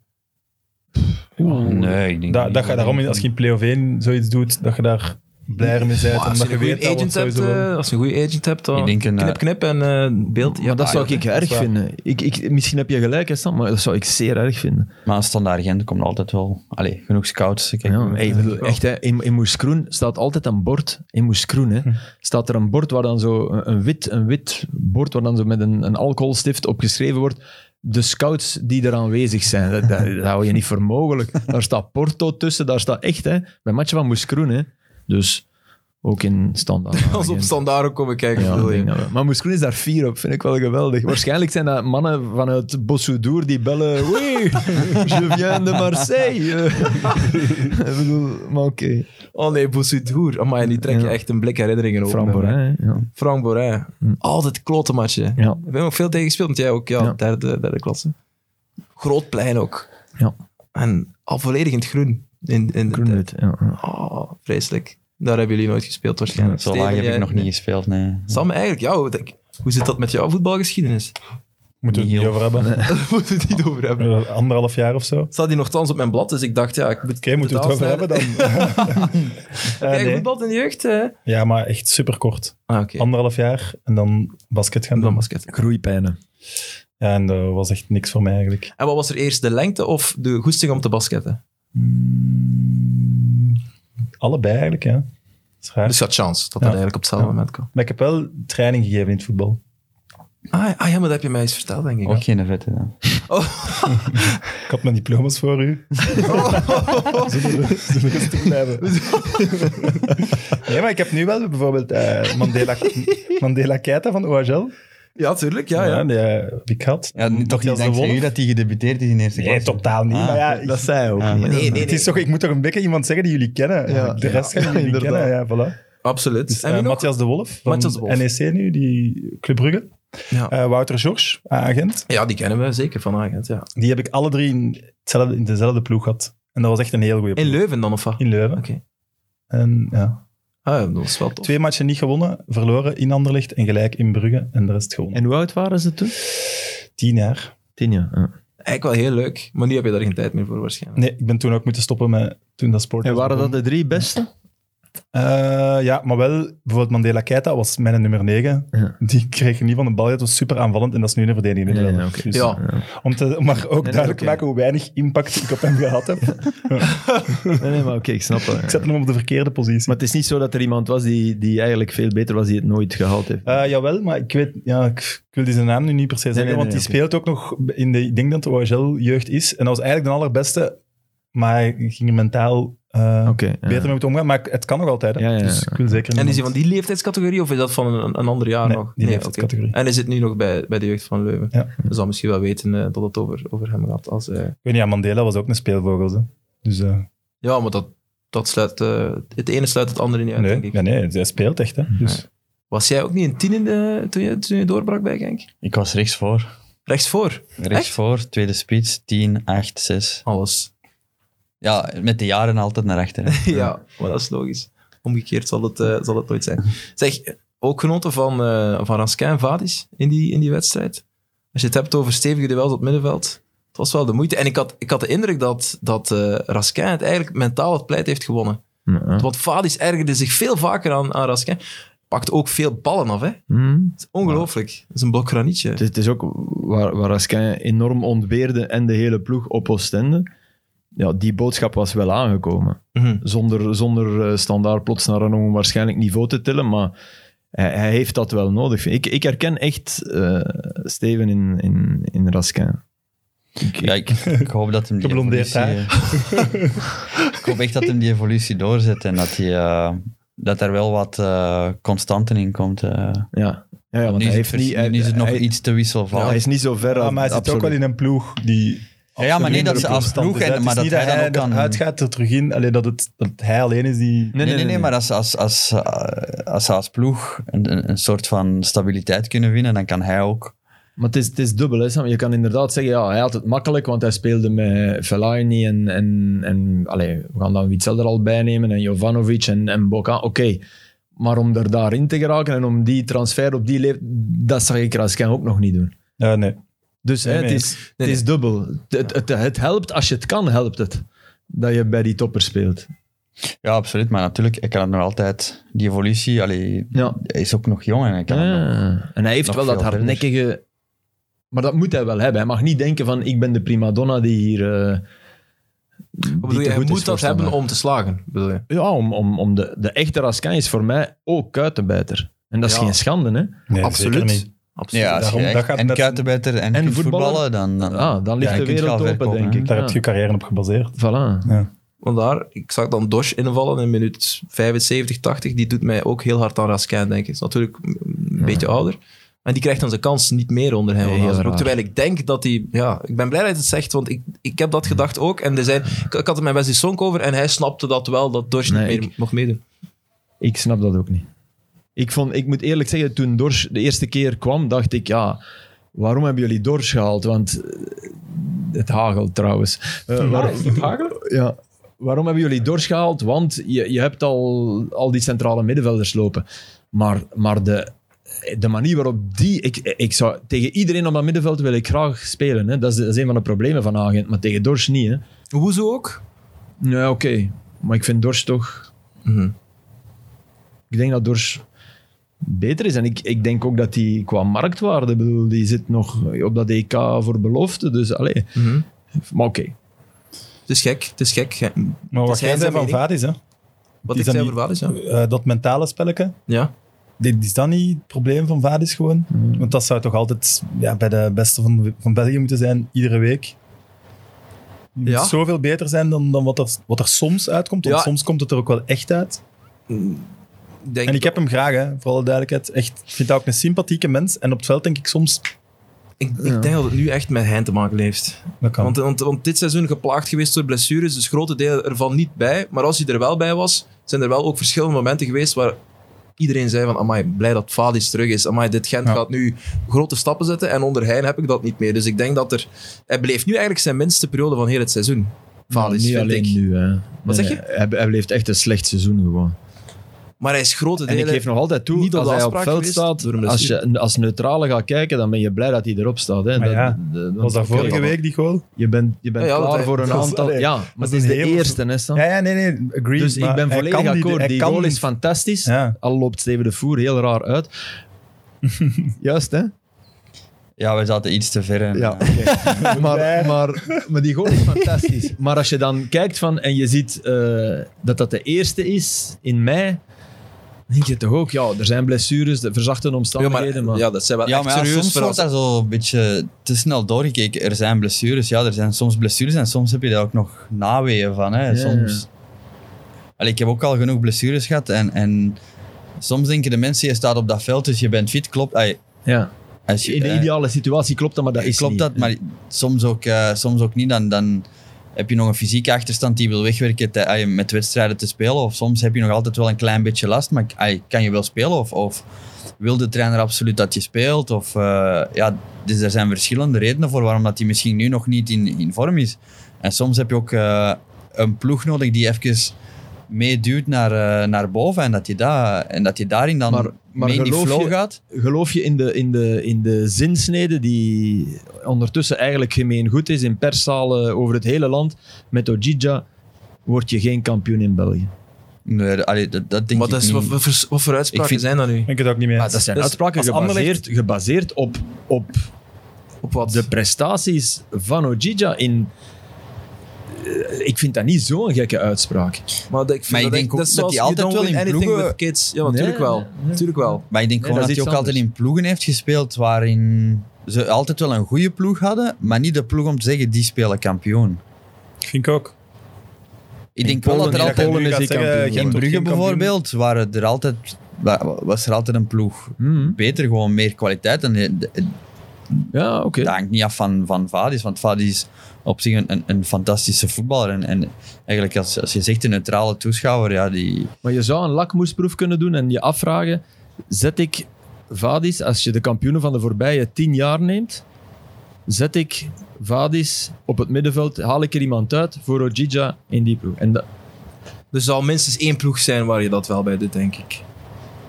[SPEAKER 4] Nee, ik denk
[SPEAKER 3] Da,
[SPEAKER 4] niet.
[SPEAKER 3] dat je daarom, als je
[SPEAKER 1] eh,
[SPEAKER 3] in play-off 1 zoiets doet, dat je daar blijer mee bent.
[SPEAKER 1] Maar als
[SPEAKER 3] omdat
[SPEAKER 1] je
[SPEAKER 3] je
[SPEAKER 1] een
[SPEAKER 3] weet
[SPEAKER 1] goede
[SPEAKER 3] dat
[SPEAKER 1] agent
[SPEAKER 3] we het
[SPEAKER 1] hebt,
[SPEAKER 3] sowieso wel-
[SPEAKER 1] eh, als je een goede agent hebt,
[SPEAKER 4] Ik
[SPEAKER 1] dan
[SPEAKER 4] denk een, eh,
[SPEAKER 1] knip, knip en eh, beeld. Ja,
[SPEAKER 2] maar dat
[SPEAKER 1] ah,
[SPEAKER 2] zou
[SPEAKER 1] ja.
[SPEAKER 2] ik erg
[SPEAKER 3] is waar.
[SPEAKER 2] vinden. Ik, ik, misschien heb je gelijk, hè, Sam, maar dat zou ik zeer erg vinden.
[SPEAKER 4] Maar als standaard Gent komt altijd wel... Allee, genoeg scouts. Kijk,
[SPEAKER 2] Ja, hey, ik bedoel, echt, hè, in, in Moeskroen staat altijd een bord. In Moeskroen
[SPEAKER 1] Hm.
[SPEAKER 2] hè, staat er een bord waar dan zo een, een wit, een wit bord waar dan zo met een, een alcoholstift op geschreven wordt. De scouts die er aanwezig zijn, dat, dat, dat hou je niet voor mogelijk. Daar staat Porto tussen, daar staat echt, hè, bij matchen van Moeskroen. Hè. Dus ook in standaard.
[SPEAKER 1] Als op
[SPEAKER 2] Agent.
[SPEAKER 1] standaard komen kijken,
[SPEAKER 2] Ja,
[SPEAKER 1] bedoel
[SPEAKER 2] ik
[SPEAKER 1] je.
[SPEAKER 2] denk dat wel. Maar Moeskroen is daar fier op, vind ik wel geweldig. Waarschijnlijk zijn dat mannen vanuit Bossoudour die bellen. Oui, je viens de Marseille. ik bedoel, maar oké.
[SPEAKER 1] Oh nee, Boussoudour. Amai, die trek je
[SPEAKER 2] Ja.
[SPEAKER 1] echt een blik herinneringen op.
[SPEAKER 2] Frank Borin, hè, ja.
[SPEAKER 1] Frank Borin. Altijd klote matje. Ik
[SPEAKER 2] ja.
[SPEAKER 1] ben ook veel tegen gespeeld, want jij ook, ja,
[SPEAKER 2] Ja.
[SPEAKER 1] Derde, derde klasse. Groot plein ook.
[SPEAKER 2] Ja.
[SPEAKER 1] En al volledig in het groen. In, in de tijd.
[SPEAKER 2] Groenwit, ja, ja.
[SPEAKER 1] Oh, vreselijk. Daar hebben jullie nooit gespeeld waarschijnlijk.
[SPEAKER 4] Zo laag
[SPEAKER 1] Steven,
[SPEAKER 4] heb ik
[SPEAKER 1] jij-
[SPEAKER 4] nog niet gespeeld, nee.
[SPEAKER 1] Sam, eigenlijk, ja, hoe, denk- hoe zit dat met jouw voetbalgeschiedenis?
[SPEAKER 3] Moeten we het
[SPEAKER 4] Niet
[SPEAKER 3] niet over hebben.
[SPEAKER 1] Daar moeten we het niet over hebben.
[SPEAKER 3] Eh, Anderhalf jaar of zo. Oké,
[SPEAKER 1] Staat die nogthans op mijn blad, dus ik dacht, ja, ik moet
[SPEAKER 3] moeten we het over hebben
[SPEAKER 1] afsnijden.
[SPEAKER 3] dan? Eh,
[SPEAKER 1] Heb jij
[SPEAKER 3] nee.
[SPEAKER 1] voetbald in de jeugd? eh?
[SPEAKER 3] Ja, maar echt super kort.
[SPEAKER 1] Ah, oké.
[SPEAKER 3] Anderhalf jaar en dan basket gaan
[SPEAKER 1] Dan
[SPEAKER 3] doen.
[SPEAKER 1] basket.
[SPEAKER 2] Groeipijnen.
[SPEAKER 3] Ja, en dat was echt niks voor mij eigenlijk.
[SPEAKER 1] En wat was er eerst, de lengte of de goesting om te basketten?
[SPEAKER 3] Allebei eigenlijk, ja. Dat is raar.
[SPEAKER 1] Dus je had chance dat dat
[SPEAKER 3] Ja.
[SPEAKER 1] eigenlijk op hetzelfde
[SPEAKER 3] Ja.
[SPEAKER 1] moment kwam.
[SPEAKER 3] Maar ik heb wel training gegeven in het voetbal.
[SPEAKER 1] Ah, ja, ah ja, maar dat heb je mij eens verteld, denk
[SPEAKER 3] Oh.
[SPEAKER 1] ik.
[SPEAKER 4] Ook geen vette dan.
[SPEAKER 3] Ik had mijn diploma's voor u. Zullen we- zullen we rustig blijven? nee, maar ik heb nu wel bijvoorbeeld eh, Mandela, Mandela Keita van OHL.
[SPEAKER 1] Ja, tuurlijk. Ah, Ja, ja.
[SPEAKER 3] die eh, heb ik gehad.
[SPEAKER 4] Ja, niet- toch niet
[SPEAKER 3] Matthias de
[SPEAKER 4] dankzij
[SPEAKER 3] Wolf?
[SPEAKER 4] u dat hij gedebuteerd is in eerste
[SPEAKER 3] Nee,
[SPEAKER 4] klasse?
[SPEAKER 3] totaal niet.
[SPEAKER 4] Ah.
[SPEAKER 3] maar ja, ik- Ah,
[SPEAKER 2] Dat zei ook
[SPEAKER 4] Ja.
[SPEAKER 2] niet.
[SPEAKER 1] Nee, nee,
[SPEAKER 3] het is
[SPEAKER 1] nee.
[SPEAKER 3] toch, ik moet toch een beetje iemand zeggen die jullie kennen.
[SPEAKER 2] Ja.
[SPEAKER 3] De rest
[SPEAKER 2] Ja,
[SPEAKER 3] gaan jullie niet
[SPEAKER 2] inderdaad.
[SPEAKER 3] kennen. Ja, voilà.
[SPEAKER 1] Absoluut.
[SPEAKER 3] Dus,
[SPEAKER 1] en
[SPEAKER 3] eh,
[SPEAKER 1] wie nog?
[SPEAKER 3] Matthias de Wolf van
[SPEAKER 1] Matthias de Wolf.
[SPEAKER 3] NEC nu, die Club Brugge.
[SPEAKER 1] Ja.
[SPEAKER 3] Eh, Wouter George, agent.
[SPEAKER 1] ja, die kennen we zeker van Agent, ja.
[SPEAKER 3] Die heb ik alle drie in, hetzelfde, in dezelfde ploeg gehad. En dat was echt een heel
[SPEAKER 1] In
[SPEAKER 3] goede ploeg.
[SPEAKER 1] Leuven dan, of wat?
[SPEAKER 3] In Leuven.
[SPEAKER 1] Oké.
[SPEAKER 3] En ja,
[SPEAKER 1] Ah, ja, dat is wel tof.
[SPEAKER 3] Twee matchen niet gewonnen, verloren in Anderlecht en gelijk in Brugge en de rest gewonnen.
[SPEAKER 2] En hoe oud waren ze toen?
[SPEAKER 3] Tien jaar.
[SPEAKER 2] Tien jaar. ja.
[SPEAKER 1] Eigenlijk wel heel leuk, maar nu heb je daar geen tijd meer voor waarschijnlijk.
[SPEAKER 3] Nee, ik ben toen ook moeten stoppen met toen dat sport.
[SPEAKER 2] En waren dat de drie beste?
[SPEAKER 3] Eh, ja, maar wel, bijvoorbeeld Mandela Keita was mijn nummer 9.
[SPEAKER 2] Ja.
[SPEAKER 3] Die kreeg niet van de bal. Het was super aanvallend en dat is nu een verdediging.
[SPEAKER 2] Ja, ja, oké.
[SPEAKER 3] Dus,
[SPEAKER 1] Ja.
[SPEAKER 3] om, te, om maar ook
[SPEAKER 2] nee,
[SPEAKER 3] duidelijk
[SPEAKER 2] oké.
[SPEAKER 3] te maken hoe weinig impact ik op hem gehad heb.
[SPEAKER 2] Nee, nee, maar oké, ik snap
[SPEAKER 3] Ik
[SPEAKER 2] het.
[SPEAKER 3] zet hem op de verkeerde positie.
[SPEAKER 2] Maar het is niet zo dat er iemand was die, die eigenlijk veel beter was, die het nooit gehaald heeft.
[SPEAKER 3] Eh, jawel, maar ik weet, ja, ik, ik wil die zijn naam nu niet per se zeggen,
[SPEAKER 2] nee,
[SPEAKER 3] want
[SPEAKER 2] nee,
[SPEAKER 3] die
[SPEAKER 2] oké.
[SPEAKER 3] speelt ook nog in de, ik denk dat de OHL-jeugd is. En dat was eigenlijk de allerbeste, maar hij ging er mentaal eh,
[SPEAKER 2] Oké. ja.
[SPEAKER 3] beter mee moeten omgaan. Maar het kan nog altijd, hè.
[SPEAKER 2] Ja, ja, ja.
[SPEAKER 3] dus ik wil zeker
[SPEAKER 1] En is
[SPEAKER 3] niemand-
[SPEAKER 1] hij van die leeftijdscategorie of is dat van een, een ander jaar
[SPEAKER 3] Nee,
[SPEAKER 1] nog?
[SPEAKER 3] die
[SPEAKER 1] Nee,
[SPEAKER 3] leeftijdscategorie.
[SPEAKER 1] oké. En is het nu nog bij, bij de jeugd van Leuven?
[SPEAKER 3] Ja.
[SPEAKER 1] Je zal misschien wel weten eh, dat het over, over hem gaat. Als, eh,
[SPEAKER 3] Ik weet niet, ja, Mandela was ook een speelvogel, hè. Dus eh,
[SPEAKER 1] Ja, maar dat, dat sluit, eh, het ene sluit het andere niet uit,
[SPEAKER 3] nee,
[SPEAKER 1] denk ik.
[SPEAKER 3] ja, nee, hij speelt echt, hè. Dus,
[SPEAKER 1] Was jij ook niet een tien in de, toen, je, toen je doorbrak bij Genk?
[SPEAKER 4] Ik was rechts voor.
[SPEAKER 1] Rechts voor,
[SPEAKER 4] Rechts
[SPEAKER 1] Echt?
[SPEAKER 4] voor, tweede spits, 10, 8, 6.
[SPEAKER 1] alles.
[SPEAKER 4] Ja, met de jaren altijd naar achteren.
[SPEAKER 1] Ja, maar dat is logisch. Omgekeerd zal het, eh, zal het nooit zijn. Zeg, ook genoten van, eh van Raskin en Vadis in die, in die wedstrijd. Als je het hebt over stevige duels op het middenveld, het was wel de moeite. En ik had, ik had de indruk dat, dat eh, Raskin het eigenlijk mentaal het pleit heeft gewonnen.
[SPEAKER 2] Ja.
[SPEAKER 1] Want Vadis ergerde zich veel vaker aan, aan Raskin. Pakt ook veel ballen af, hè. Het
[SPEAKER 2] Mhm.
[SPEAKER 1] is ongelooflijk. Dat is een blok granietje.
[SPEAKER 2] Het is, het is ook waar, waar Raskin enorm ontbeerde en de hele ploeg op Oostende. Ja, die boodschap was wel aangekomen.
[SPEAKER 1] Mhm.
[SPEAKER 2] Zonder, zonder eh, standaard plots naar een onwaarschijnlijk niveau te tillen, maar hij, hij heeft dat wel nodig. Ik, ik herken echt eh, Steven in, in, in Raskin.
[SPEAKER 4] Ja, ik, ik hoop dat hem die
[SPEAKER 3] Geblondeerd
[SPEAKER 4] evolutie... eh, ik hoop echt dat hem die evolutie doorzet en dat, hij, eh, dat er wel wat eh, constanten in komt. eh.
[SPEAKER 2] Ja, ja, ja want
[SPEAKER 4] nu
[SPEAKER 2] hij
[SPEAKER 4] is
[SPEAKER 2] heeft
[SPEAKER 4] het,
[SPEAKER 2] niet...
[SPEAKER 4] vers- nu is het nog
[SPEAKER 2] hij,
[SPEAKER 4] iets te
[SPEAKER 2] ja, hij
[SPEAKER 4] wisselvallig.
[SPEAKER 2] is niet zo ver.
[SPEAKER 3] ja,
[SPEAKER 2] als-
[SPEAKER 3] Ah, maar hij zit
[SPEAKER 2] absoluut.
[SPEAKER 3] ook wel in een ploeg die...
[SPEAKER 4] Ja, ja, maar niet dat ze
[SPEAKER 3] absoluut
[SPEAKER 4] als ploeg
[SPEAKER 3] constant is, hè.
[SPEAKER 4] en-
[SPEAKER 3] Het is
[SPEAKER 4] maar
[SPEAKER 3] niet
[SPEAKER 4] dat hij dan ook
[SPEAKER 3] dat
[SPEAKER 4] kan...
[SPEAKER 3] eruit gaat er terug in, alleen dat, het, dat hij alleen is die...
[SPEAKER 4] Nee, nee, nee, maar als, als, als, eh, als ze als ploeg een, een- een soort van stabiliteit kunnen winnen, dan kan hij ook.
[SPEAKER 2] Maar het is, het is dubbel. Hè, Sam. Je kan inderdaad zeggen, ja, hij had het makkelijk, want hij speelde met Fellaini en... en, en allee, we gaan dan Witzel er al bij nemen en Jovanovic en, en Boca. Oké. Maar om er daarin te geraken en om die transfer op die leeftijd, dat zag ik Raskin ook nog niet doen.
[SPEAKER 3] Ja, nee.
[SPEAKER 2] Dus hè,
[SPEAKER 3] Nee,
[SPEAKER 2] het,
[SPEAKER 3] nee.
[SPEAKER 2] is, het is dubbel. Het, het, het, het helpt, als je het kan, helpt het. Dat je bij die toppers speelt.
[SPEAKER 4] Ja, absoluut. Maar natuurlijk, hij kan het nog altijd. Die evolutie, allee,
[SPEAKER 2] Ja.
[SPEAKER 4] hij is ook nog jong en hij kan het nog.
[SPEAKER 2] Ah, En hij heeft
[SPEAKER 4] nog
[SPEAKER 2] wel dat
[SPEAKER 4] veel verder.
[SPEAKER 2] hardnekkige... Maar dat moet hij wel hebben. Hij mag niet denken van, ik ben de primadonna die hier... eh, die
[SPEAKER 1] Wat bedoel
[SPEAKER 2] te
[SPEAKER 1] je, hij
[SPEAKER 2] goed is
[SPEAKER 1] moet dat
[SPEAKER 2] voor eh,
[SPEAKER 1] hebben
[SPEAKER 2] standaard.
[SPEAKER 1] om te slagen, bedoel je?
[SPEAKER 2] Ja, om, om, om de, de echte Raskin is voor mij ook kuitenbijter. En dat is
[SPEAKER 1] Ja.
[SPEAKER 2] geen schande, hè?
[SPEAKER 3] Nee,
[SPEAKER 1] Absoluut.
[SPEAKER 3] zeker niet.
[SPEAKER 1] Absoluut.
[SPEAKER 4] Ja, als je
[SPEAKER 3] Daarom, dat
[SPEAKER 4] echt
[SPEAKER 3] gaat
[SPEAKER 4] en
[SPEAKER 3] net-
[SPEAKER 4] kuitenbeter en,
[SPEAKER 2] En
[SPEAKER 4] kunt
[SPEAKER 2] voetballen?
[SPEAKER 4] voetballen, dan, dan,
[SPEAKER 2] Ah, dan ligt
[SPEAKER 4] ja,
[SPEAKER 2] de
[SPEAKER 4] je kunt
[SPEAKER 2] wereld open,
[SPEAKER 4] wel ver komen,
[SPEAKER 2] denk
[SPEAKER 4] hè.
[SPEAKER 2] ik.
[SPEAKER 3] Daar
[SPEAKER 2] Ja.
[SPEAKER 3] heb je je carrière op gebaseerd.
[SPEAKER 2] Voilà.
[SPEAKER 1] Want daar, ik zag dan Dosh invallen in minuut 75, 80. Die doet mij ook heel hard aan Raskin denken. Is natuurlijk een beetje ouder. En die krijgt dan zijn kans niet meer onder hem.
[SPEAKER 2] Nee,
[SPEAKER 1] van
[SPEAKER 2] heel
[SPEAKER 1] Hazenbroek.
[SPEAKER 2] raar.
[SPEAKER 1] terwijl ik denk dat hij... Ja, ik ben blij dat hij het zegt, want ik, ik heb dat gedacht ook. En er zijn, ik, ik had het met Wesley Sonk over en hij snapte dat wel, dat Dosh
[SPEAKER 2] Nee,
[SPEAKER 1] niet meer mocht meedoen.
[SPEAKER 2] Ik snap dat ook niet. Ik, vond, ik moet eerlijk zeggen, toen Dorsch de eerste keer kwam, dacht ik, ja, waarom hebben jullie Dorsch gehaald? Want eh, het hagelt trouwens. Eh, waar- Ja. Waarom hebben jullie Dorsch gehaald? Want je, je hebt al, al die centrale middenvelders lopen. Maar, maar de, de manier waarop die... Ik, ik zou, tegen iedereen op dat middenveld wil ik graag spelen. Hè. Dat, is, dat is een van de problemen van Agent. Maar tegen Dorsch niet. Hè.
[SPEAKER 1] Hoezo ook?
[SPEAKER 2] Nou ja, oké. Maar ik vind Dorsch toch...
[SPEAKER 1] Mhm.
[SPEAKER 2] Ik denk dat Dors beter is. En ik, ik denk ook dat die qua marktwaarde, ik bedoel, die zit nog op dat EK voor belofte. Dus allee,
[SPEAKER 1] Mhm.
[SPEAKER 2] maar oké.
[SPEAKER 1] Het is gek, het is gek. Ja.
[SPEAKER 3] Maar wat
[SPEAKER 1] Dus hij
[SPEAKER 3] jij zei
[SPEAKER 1] zijn
[SPEAKER 3] van
[SPEAKER 1] mening.
[SPEAKER 3] Vadis, hè?
[SPEAKER 1] Wat
[SPEAKER 3] Is
[SPEAKER 1] ik
[SPEAKER 3] dat
[SPEAKER 1] zei
[SPEAKER 3] niet-
[SPEAKER 1] over Vadis, ja.
[SPEAKER 3] Eh, dat mentale spelletje,
[SPEAKER 1] ja.
[SPEAKER 3] dit- is dat niet het probleem van Vadis gewoon? Want dat zou toch altijd ja, bij de beste van, van België moeten zijn, iedere week? Het moet
[SPEAKER 1] Ja.
[SPEAKER 3] zoveel beter zijn dan, dan wat, er, wat er soms uitkomt. Want
[SPEAKER 1] Ja.
[SPEAKER 3] soms komt het er ook wel echt uit.
[SPEAKER 1] Denk
[SPEAKER 3] En ik heb hem graag, hè, voor alle duidelijkheid. Echt, ik vind dat ook een sympathieke mens. En op het veld denk ik soms...
[SPEAKER 1] Ik, ik denk dat het nu echt met hen te maken heeft.
[SPEAKER 3] Dat kan.
[SPEAKER 1] Want, want, want dit seizoen geplaagd geweest door blessures, dus grote delen ervan niet bij. Maar als hij er wel bij was, zijn er wel ook verschillende momenten geweest waar iedereen zei van, amai, blij dat Fadis terug is. Amai, dit Gent
[SPEAKER 3] Ja.
[SPEAKER 1] gaat nu grote stappen zetten en onder Heijn heb ik dat niet meer. Dus ik denk dat er... Hij bleef nu eigenlijk zijn minste periode van heel het seizoen. Fadis,
[SPEAKER 2] niet
[SPEAKER 1] vind
[SPEAKER 2] alleen
[SPEAKER 1] ik.
[SPEAKER 2] nu. Hè.
[SPEAKER 1] Wat zeg je?
[SPEAKER 2] Hij, hij bleef echt een slecht seizoen gewoon.
[SPEAKER 1] Maar hij is grote
[SPEAKER 2] En
[SPEAKER 1] delen...
[SPEAKER 2] ik geef nog altijd toe,
[SPEAKER 1] niet op
[SPEAKER 2] als
[SPEAKER 1] de
[SPEAKER 2] hij op
[SPEAKER 1] afspraak
[SPEAKER 2] veld
[SPEAKER 1] geweest
[SPEAKER 2] staat,
[SPEAKER 1] door een
[SPEAKER 2] als je als neutrale gaat kijken, dan ben je blij dat hij erop staat. Hè.
[SPEAKER 3] Maar
[SPEAKER 2] Dat-
[SPEAKER 3] ja,
[SPEAKER 2] de- want-
[SPEAKER 3] Was dat vorige
[SPEAKER 2] Oké,
[SPEAKER 3] week, die goal?
[SPEAKER 2] Je bent, je bent
[SPEAKER 1] Ja, ja, dat
[SPEAKER 2] klaar
[SPEAKER 1] hij-
[SPEAKER 2] voor een
[SPEAKER 3] dat is-
[SPEAKER 2] aantal...
[SPEAKER 3] allee,
[SPEAKER 2] ja, maar
[SPEAKER 3] dat
[SPEAKER 2] het is
[SPEAKER 3] is
[SPEAKER 2] de
[SPEAKER 3] een heel-
[SPEAKER 2] eerste, hè, Sam?
[SPEAKER 3] Ja, ja, nee, nee. Agreed,
[SPEAKER 2] Dus
[SPEAKER 3] maar
[SPEAKER 2] ik ben
[SPEAKER 3] hij
[SPEAKER 2] volledig
[SPEAKER 3] kan niet-
[SPEAKER 2] akkoord.
[SPEAKER 3] hij
[SPEAKER 2] Die
[SPEAKER 3] kan
[SPEAKER 2] goal is
[SPEAKER 3] niet.
[SPEAKER 2] fantastisch.
[SPEAKER 3] Ja.
[SPEAKER 2] Al loopt Steven de Voer heel raar uit. Juist, hè?
[SPEAKER 4] Ja, we zaten iets te ver. En,
[SPEAKER 2] Ja,
[SPEAKER 4] eh,
[SPEAKER 2] maar, maar, maar die goal is fantastisch. Maar als je dan kijkt van, en je ziet eh, dat dat de eerste is in mei, dan denk je toch ook, ja, er zijn blessures, de verzachte
[SPEAKER 1] ja, maar,
[SPEAKER 2] omstandigheden. maar,
[SPEAKER 1] ja, dat zijn wel
[SPEAKER 4] ja,
[SPEAKER 1] echt
[SPEAKER 4] maar ja,
[SPEAKER 1] serieus
[SPEAKER 4] soms wordt
[SPEAKER 1] verrassingen.
[SPEAKER 4] daar zo een beetje te snel doorgekeken. Er zijn blessures. Ja, er zijn soms blessures en soms heb je daar ook nog naweeën van. Hè.
[SPEAKER 2] Ja,
[SPEAKER 4] soms... Allee, ik heb ook al genoeg blessures gehad. En, en soms denken de mensen, je staat op dat veld, dus je bent fit. Klopt. Allee,
[SPEAKER 2] ja.
[SPEAKER 4] als je,
[SPEAKER 2] In de
[SPEAKER 4] eh,
[SPEAKER 2] ideale situatie klopt dat, maar dat is
[SPEAKER 4] klopt
[SPEAKER 2] niet.
[SPEAKER 4] dat, maar soms ook, eh, soms ook niet. Dan, dan heb je nog een fysieke achterstand die wil wegwerken te- ah, met wedstrijden te spelen. Of soms heb je nog altijd wel een klein beetje last, maar ah, kan je wel spelen? Of, of wil de trainer absoluut dat je speelt? Of, eh, ja, dus er zijn verschillende redenen voor waarom dat hij misschien nu nog niet in, in vorm is. En soms heb je ook eh, een ploeg nodig die even meeduwt naar, eh, naar boven en dat, je daar en dat je daarin dan
[SPEAKER 2] Maar- maar
[SPEAKER 4] mee in die
[SPEAKER 2] geloof
[SPEAKER 4] flow
[SPEAKER 2] je-
[SPEAKER 4] gaat.
[SPEAKER 2] Geloof je in de, in, de, in de zinsnede die ondertussen eigenlijk gemeen goed is in perszalen over het hele land? Met Ojija word je geen kampioen in België.
[SPEAKER 4] Nee, allee, dat, dat denk
[SPEAKER 1] Maar
[SPEAKER 4] ik
[SPEAKER 1] dat is,
[SPEAKER 4] niet.
[SPEAKER 1] wat, wat voor- wat voor uitspraken
[SPEAKER 4] Ik vind-
[SPEAKER 1] zijn dat nu?
[SPEAKER 3] Ik ben het ook niet mee
[SPEAKER 2] Maar
[SPEAKER 3] eens.
[SPEAKER 2] dat zijn
[SPEAKER 1] dat is-
[SPEAKER 2] uitspraken
[SPEAKER 3] als Anderlecht-
[SPEAKER 2] gebaseerd, gebaseerd op, op
[SPEAKER 1] Op wat?
[SPEAKER 2] de prestaties van Ojija in... Eh, Ik vind dat niet zo'n gekke uitspraak.
[SPEAKER 1] Maar dat- ik, vind
[SPEAKER 4] Maar
[SPEAKER 1] dat
[SPEAKER 4] ik denk
[SPEAKER 1] echt-
[SPEAKER 4] ook
[SPEAKER 1] dat is
[SPEAKER 4] dat
[SPEAKER 1] zoals
[SPEAKER 4] die altijd
[SPEAKER 1] you don't
[SPEAKER 4] wel in
[SPEAKER 1] win anything
[SPEAKER 4] ploegen-
[SPEAKER 1] with kids. Ja,
[SPEAKER 2] Nee,
[SPEAKER 1] natuurlijk wel.
[SPEAKER 2] nee, nee.
[SPEAKER 1] Natuurlijk wel.
[SPEAKER 4] Maar ik denk
[SPEAKER 2] Nee,
[SPEAKER 4] gewoon
[SPEAKER 2] dat is
[SPEAKER 4] dat, hij ook
[SPEAKER 2] iets
[SPEAKER 4] altijd in ploegen heeft gespeeld waarin ze altijd wel een goede ploeg hadden, maar niet de ploeg om te zeggen die spelen kampioen.
[SPEAKER 3] Vind ik ook.
[SPEAKER 4] Ik denk
[SPEAKER 2] Polen-
[SPEAKER 4] wel dat
[SPEAKER 2] in
[SPEAKER 4] er
[SPEAKER 3] Dat je
[SPEAKER 4] altijd
[SPEAKER 2] Polen
[SPEAKER 3] nu
[SPEAKER 2] is
[SPEAKER 3] gaat
[SPEAKER 2] hij
[SPEAKER 3] zeggen,
[SPEAKER 2] kampioen.
[SPEAKER 3] Gent
[SPEAKER 4] in
[SPEAKER 2] wordt
[SPEAKER 3] wordt
[SPEAKER 4] Brugge
[SPEAKER 3] geen kampioen.
[SPEAKER 4] bijvoorbeeld waren er altijd, wa- was er altijd een ploeg
[SPEAKER 2] Hmm.
[SPEAKER 4] beter, gewoon meer kwaliteit. En eh, de- de-
[SPEAKER 2] Ja, oké.
[SPEAKER 4] dat hangt niet af van, van Vadis, want Vadis is op zich een, een, een fantastische voetballer. En, en eigenlijk als, als je zegt een neutrale toeschouwer, ja, die,
[SPEAKER 2] Maar je zou een lakmoesproef kunnen doen en je afvragen: zet ik Vadis, als je de kampioenen van de voorbije tien jaar neemt, zet ik Vadis op het middenveld, haal ik er iemand uit voor Ojija in die ploeg? En dat,
[SPEAKER 1] Er zal minstens één ploeg zijn waar je dat wel bij doet, denk ik.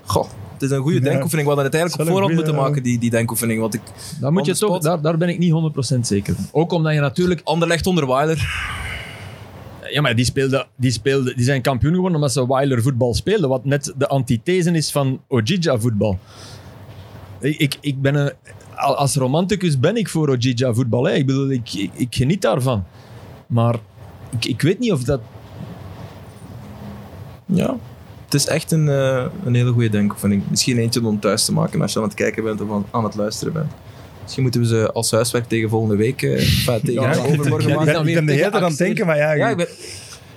[SPEAKER 1] Goh, het is een goede
[SPEAKER 3] Ja.
[SPEAKER 1] denkoefening. We hadden het
[SPEAKER 3] Het is wel
[SPEAKER 1] eigenlijk op
[SPEAKER 3] een
[SPEAKER 1] voorhand
[SPEAKER 3] goeie-
[SPEAKER 1] moeten maken, die, die denkoefening. Want ik,
[SPEAKER 2] daar, moet je
[SPEAKER 1] On the
[SPEAKER 2] toch,
[SPEAKER 1] spot.
[SPEAKER 2] daar, daar ben ik niet 100% zeker van. Ook omdat je natuurlijk.
[SPEAKER 1] Anderlecht onder Weiler.
[SPEAKER 2] Ja, maar die, speelden, die, speelden, die zijn kampioen geworden omdat ze Weiler voetbal speelden. Wat net de antithese is van Ojija voetbal. Ik, ik, ik ben een, al- als romanticus ben ik voor Ojija voetbal. Hè. Ik bedoel, ik, ik, ik geniet daarvan. Maar ik, ik weet niet of dat.
[SPEAKER 1] Ja. Het is echt een, eh, een hele goede denkoefening. Misschien eentje om thuis te maken als je aan het kijken bent of aan, aan het luisteren bent. Misschien moeten we ze als huiswerk tegen volgende week, eh, enfin, tegen
[SPEAKER 3] Ja, ik
[SPEAKER 1] overmorgen
[SPEAKER 3] ben- ik
[SPEAKER 1] maken.
[SPEAKER 3] ben ik ben de hele tijd aan het denken, maar ja,
[SPEAKER 1] Ja, ik ben,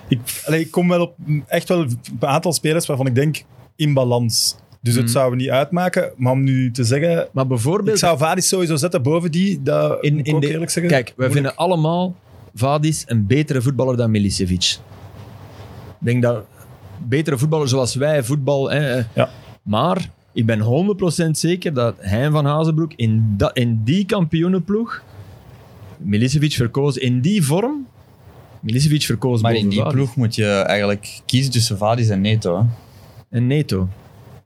[SPEAKER 3] Ik, allee, ik kom wel op echt wel een aantal spelers waarvan ik denk in balans. Dus
[SPEAKER 2] Mhm.
[SPEAKER 3] het zou niet uitmaken. Maar om nu te zeggen,
[SPEAKER 2] Maar
[SPEAKER 3] ik
[SPEAKER 2] bijvoorbeeld.
[SPEAKER 3] zou Vadis sowieso zetten boven die. Dat
[SPEAKER 2] in,
[SPEAKER 3] moet ik
[SPEAKER 2] in
[SPEAKER 3] ook
[SPEAKER 2] de-
[SPEAKER 3] eerlijk zeggen.
[SPEAKER 2] Kijk, wij
[SPEAKER 3] Moeilijk.
[SPEAKER 2] vinden allemaal Vadis een betere voetballer dan Milicevic. Ik denk dat betere voetballers zoals wij voetbal. Hè, eh,
[SPEAKER 3] Ja.
[SPEAKER 2] Maar ik ben 100% zeker dat Hein van Hazenbroek in, da, in die kampioenenploeg. Milicevic verkoos in die vorm. Milicevic verkoos
[SPEAKER 4] maar
[SPEAKER 2] boven
[SPEAKER 4] in die
[SPEAKER 2] Vadis.
[SPEAKER 4] ploeg moet je eigenlijk kiezen tussen Vadis en Neto. Hè.
[SPEAKER 2] En Neto.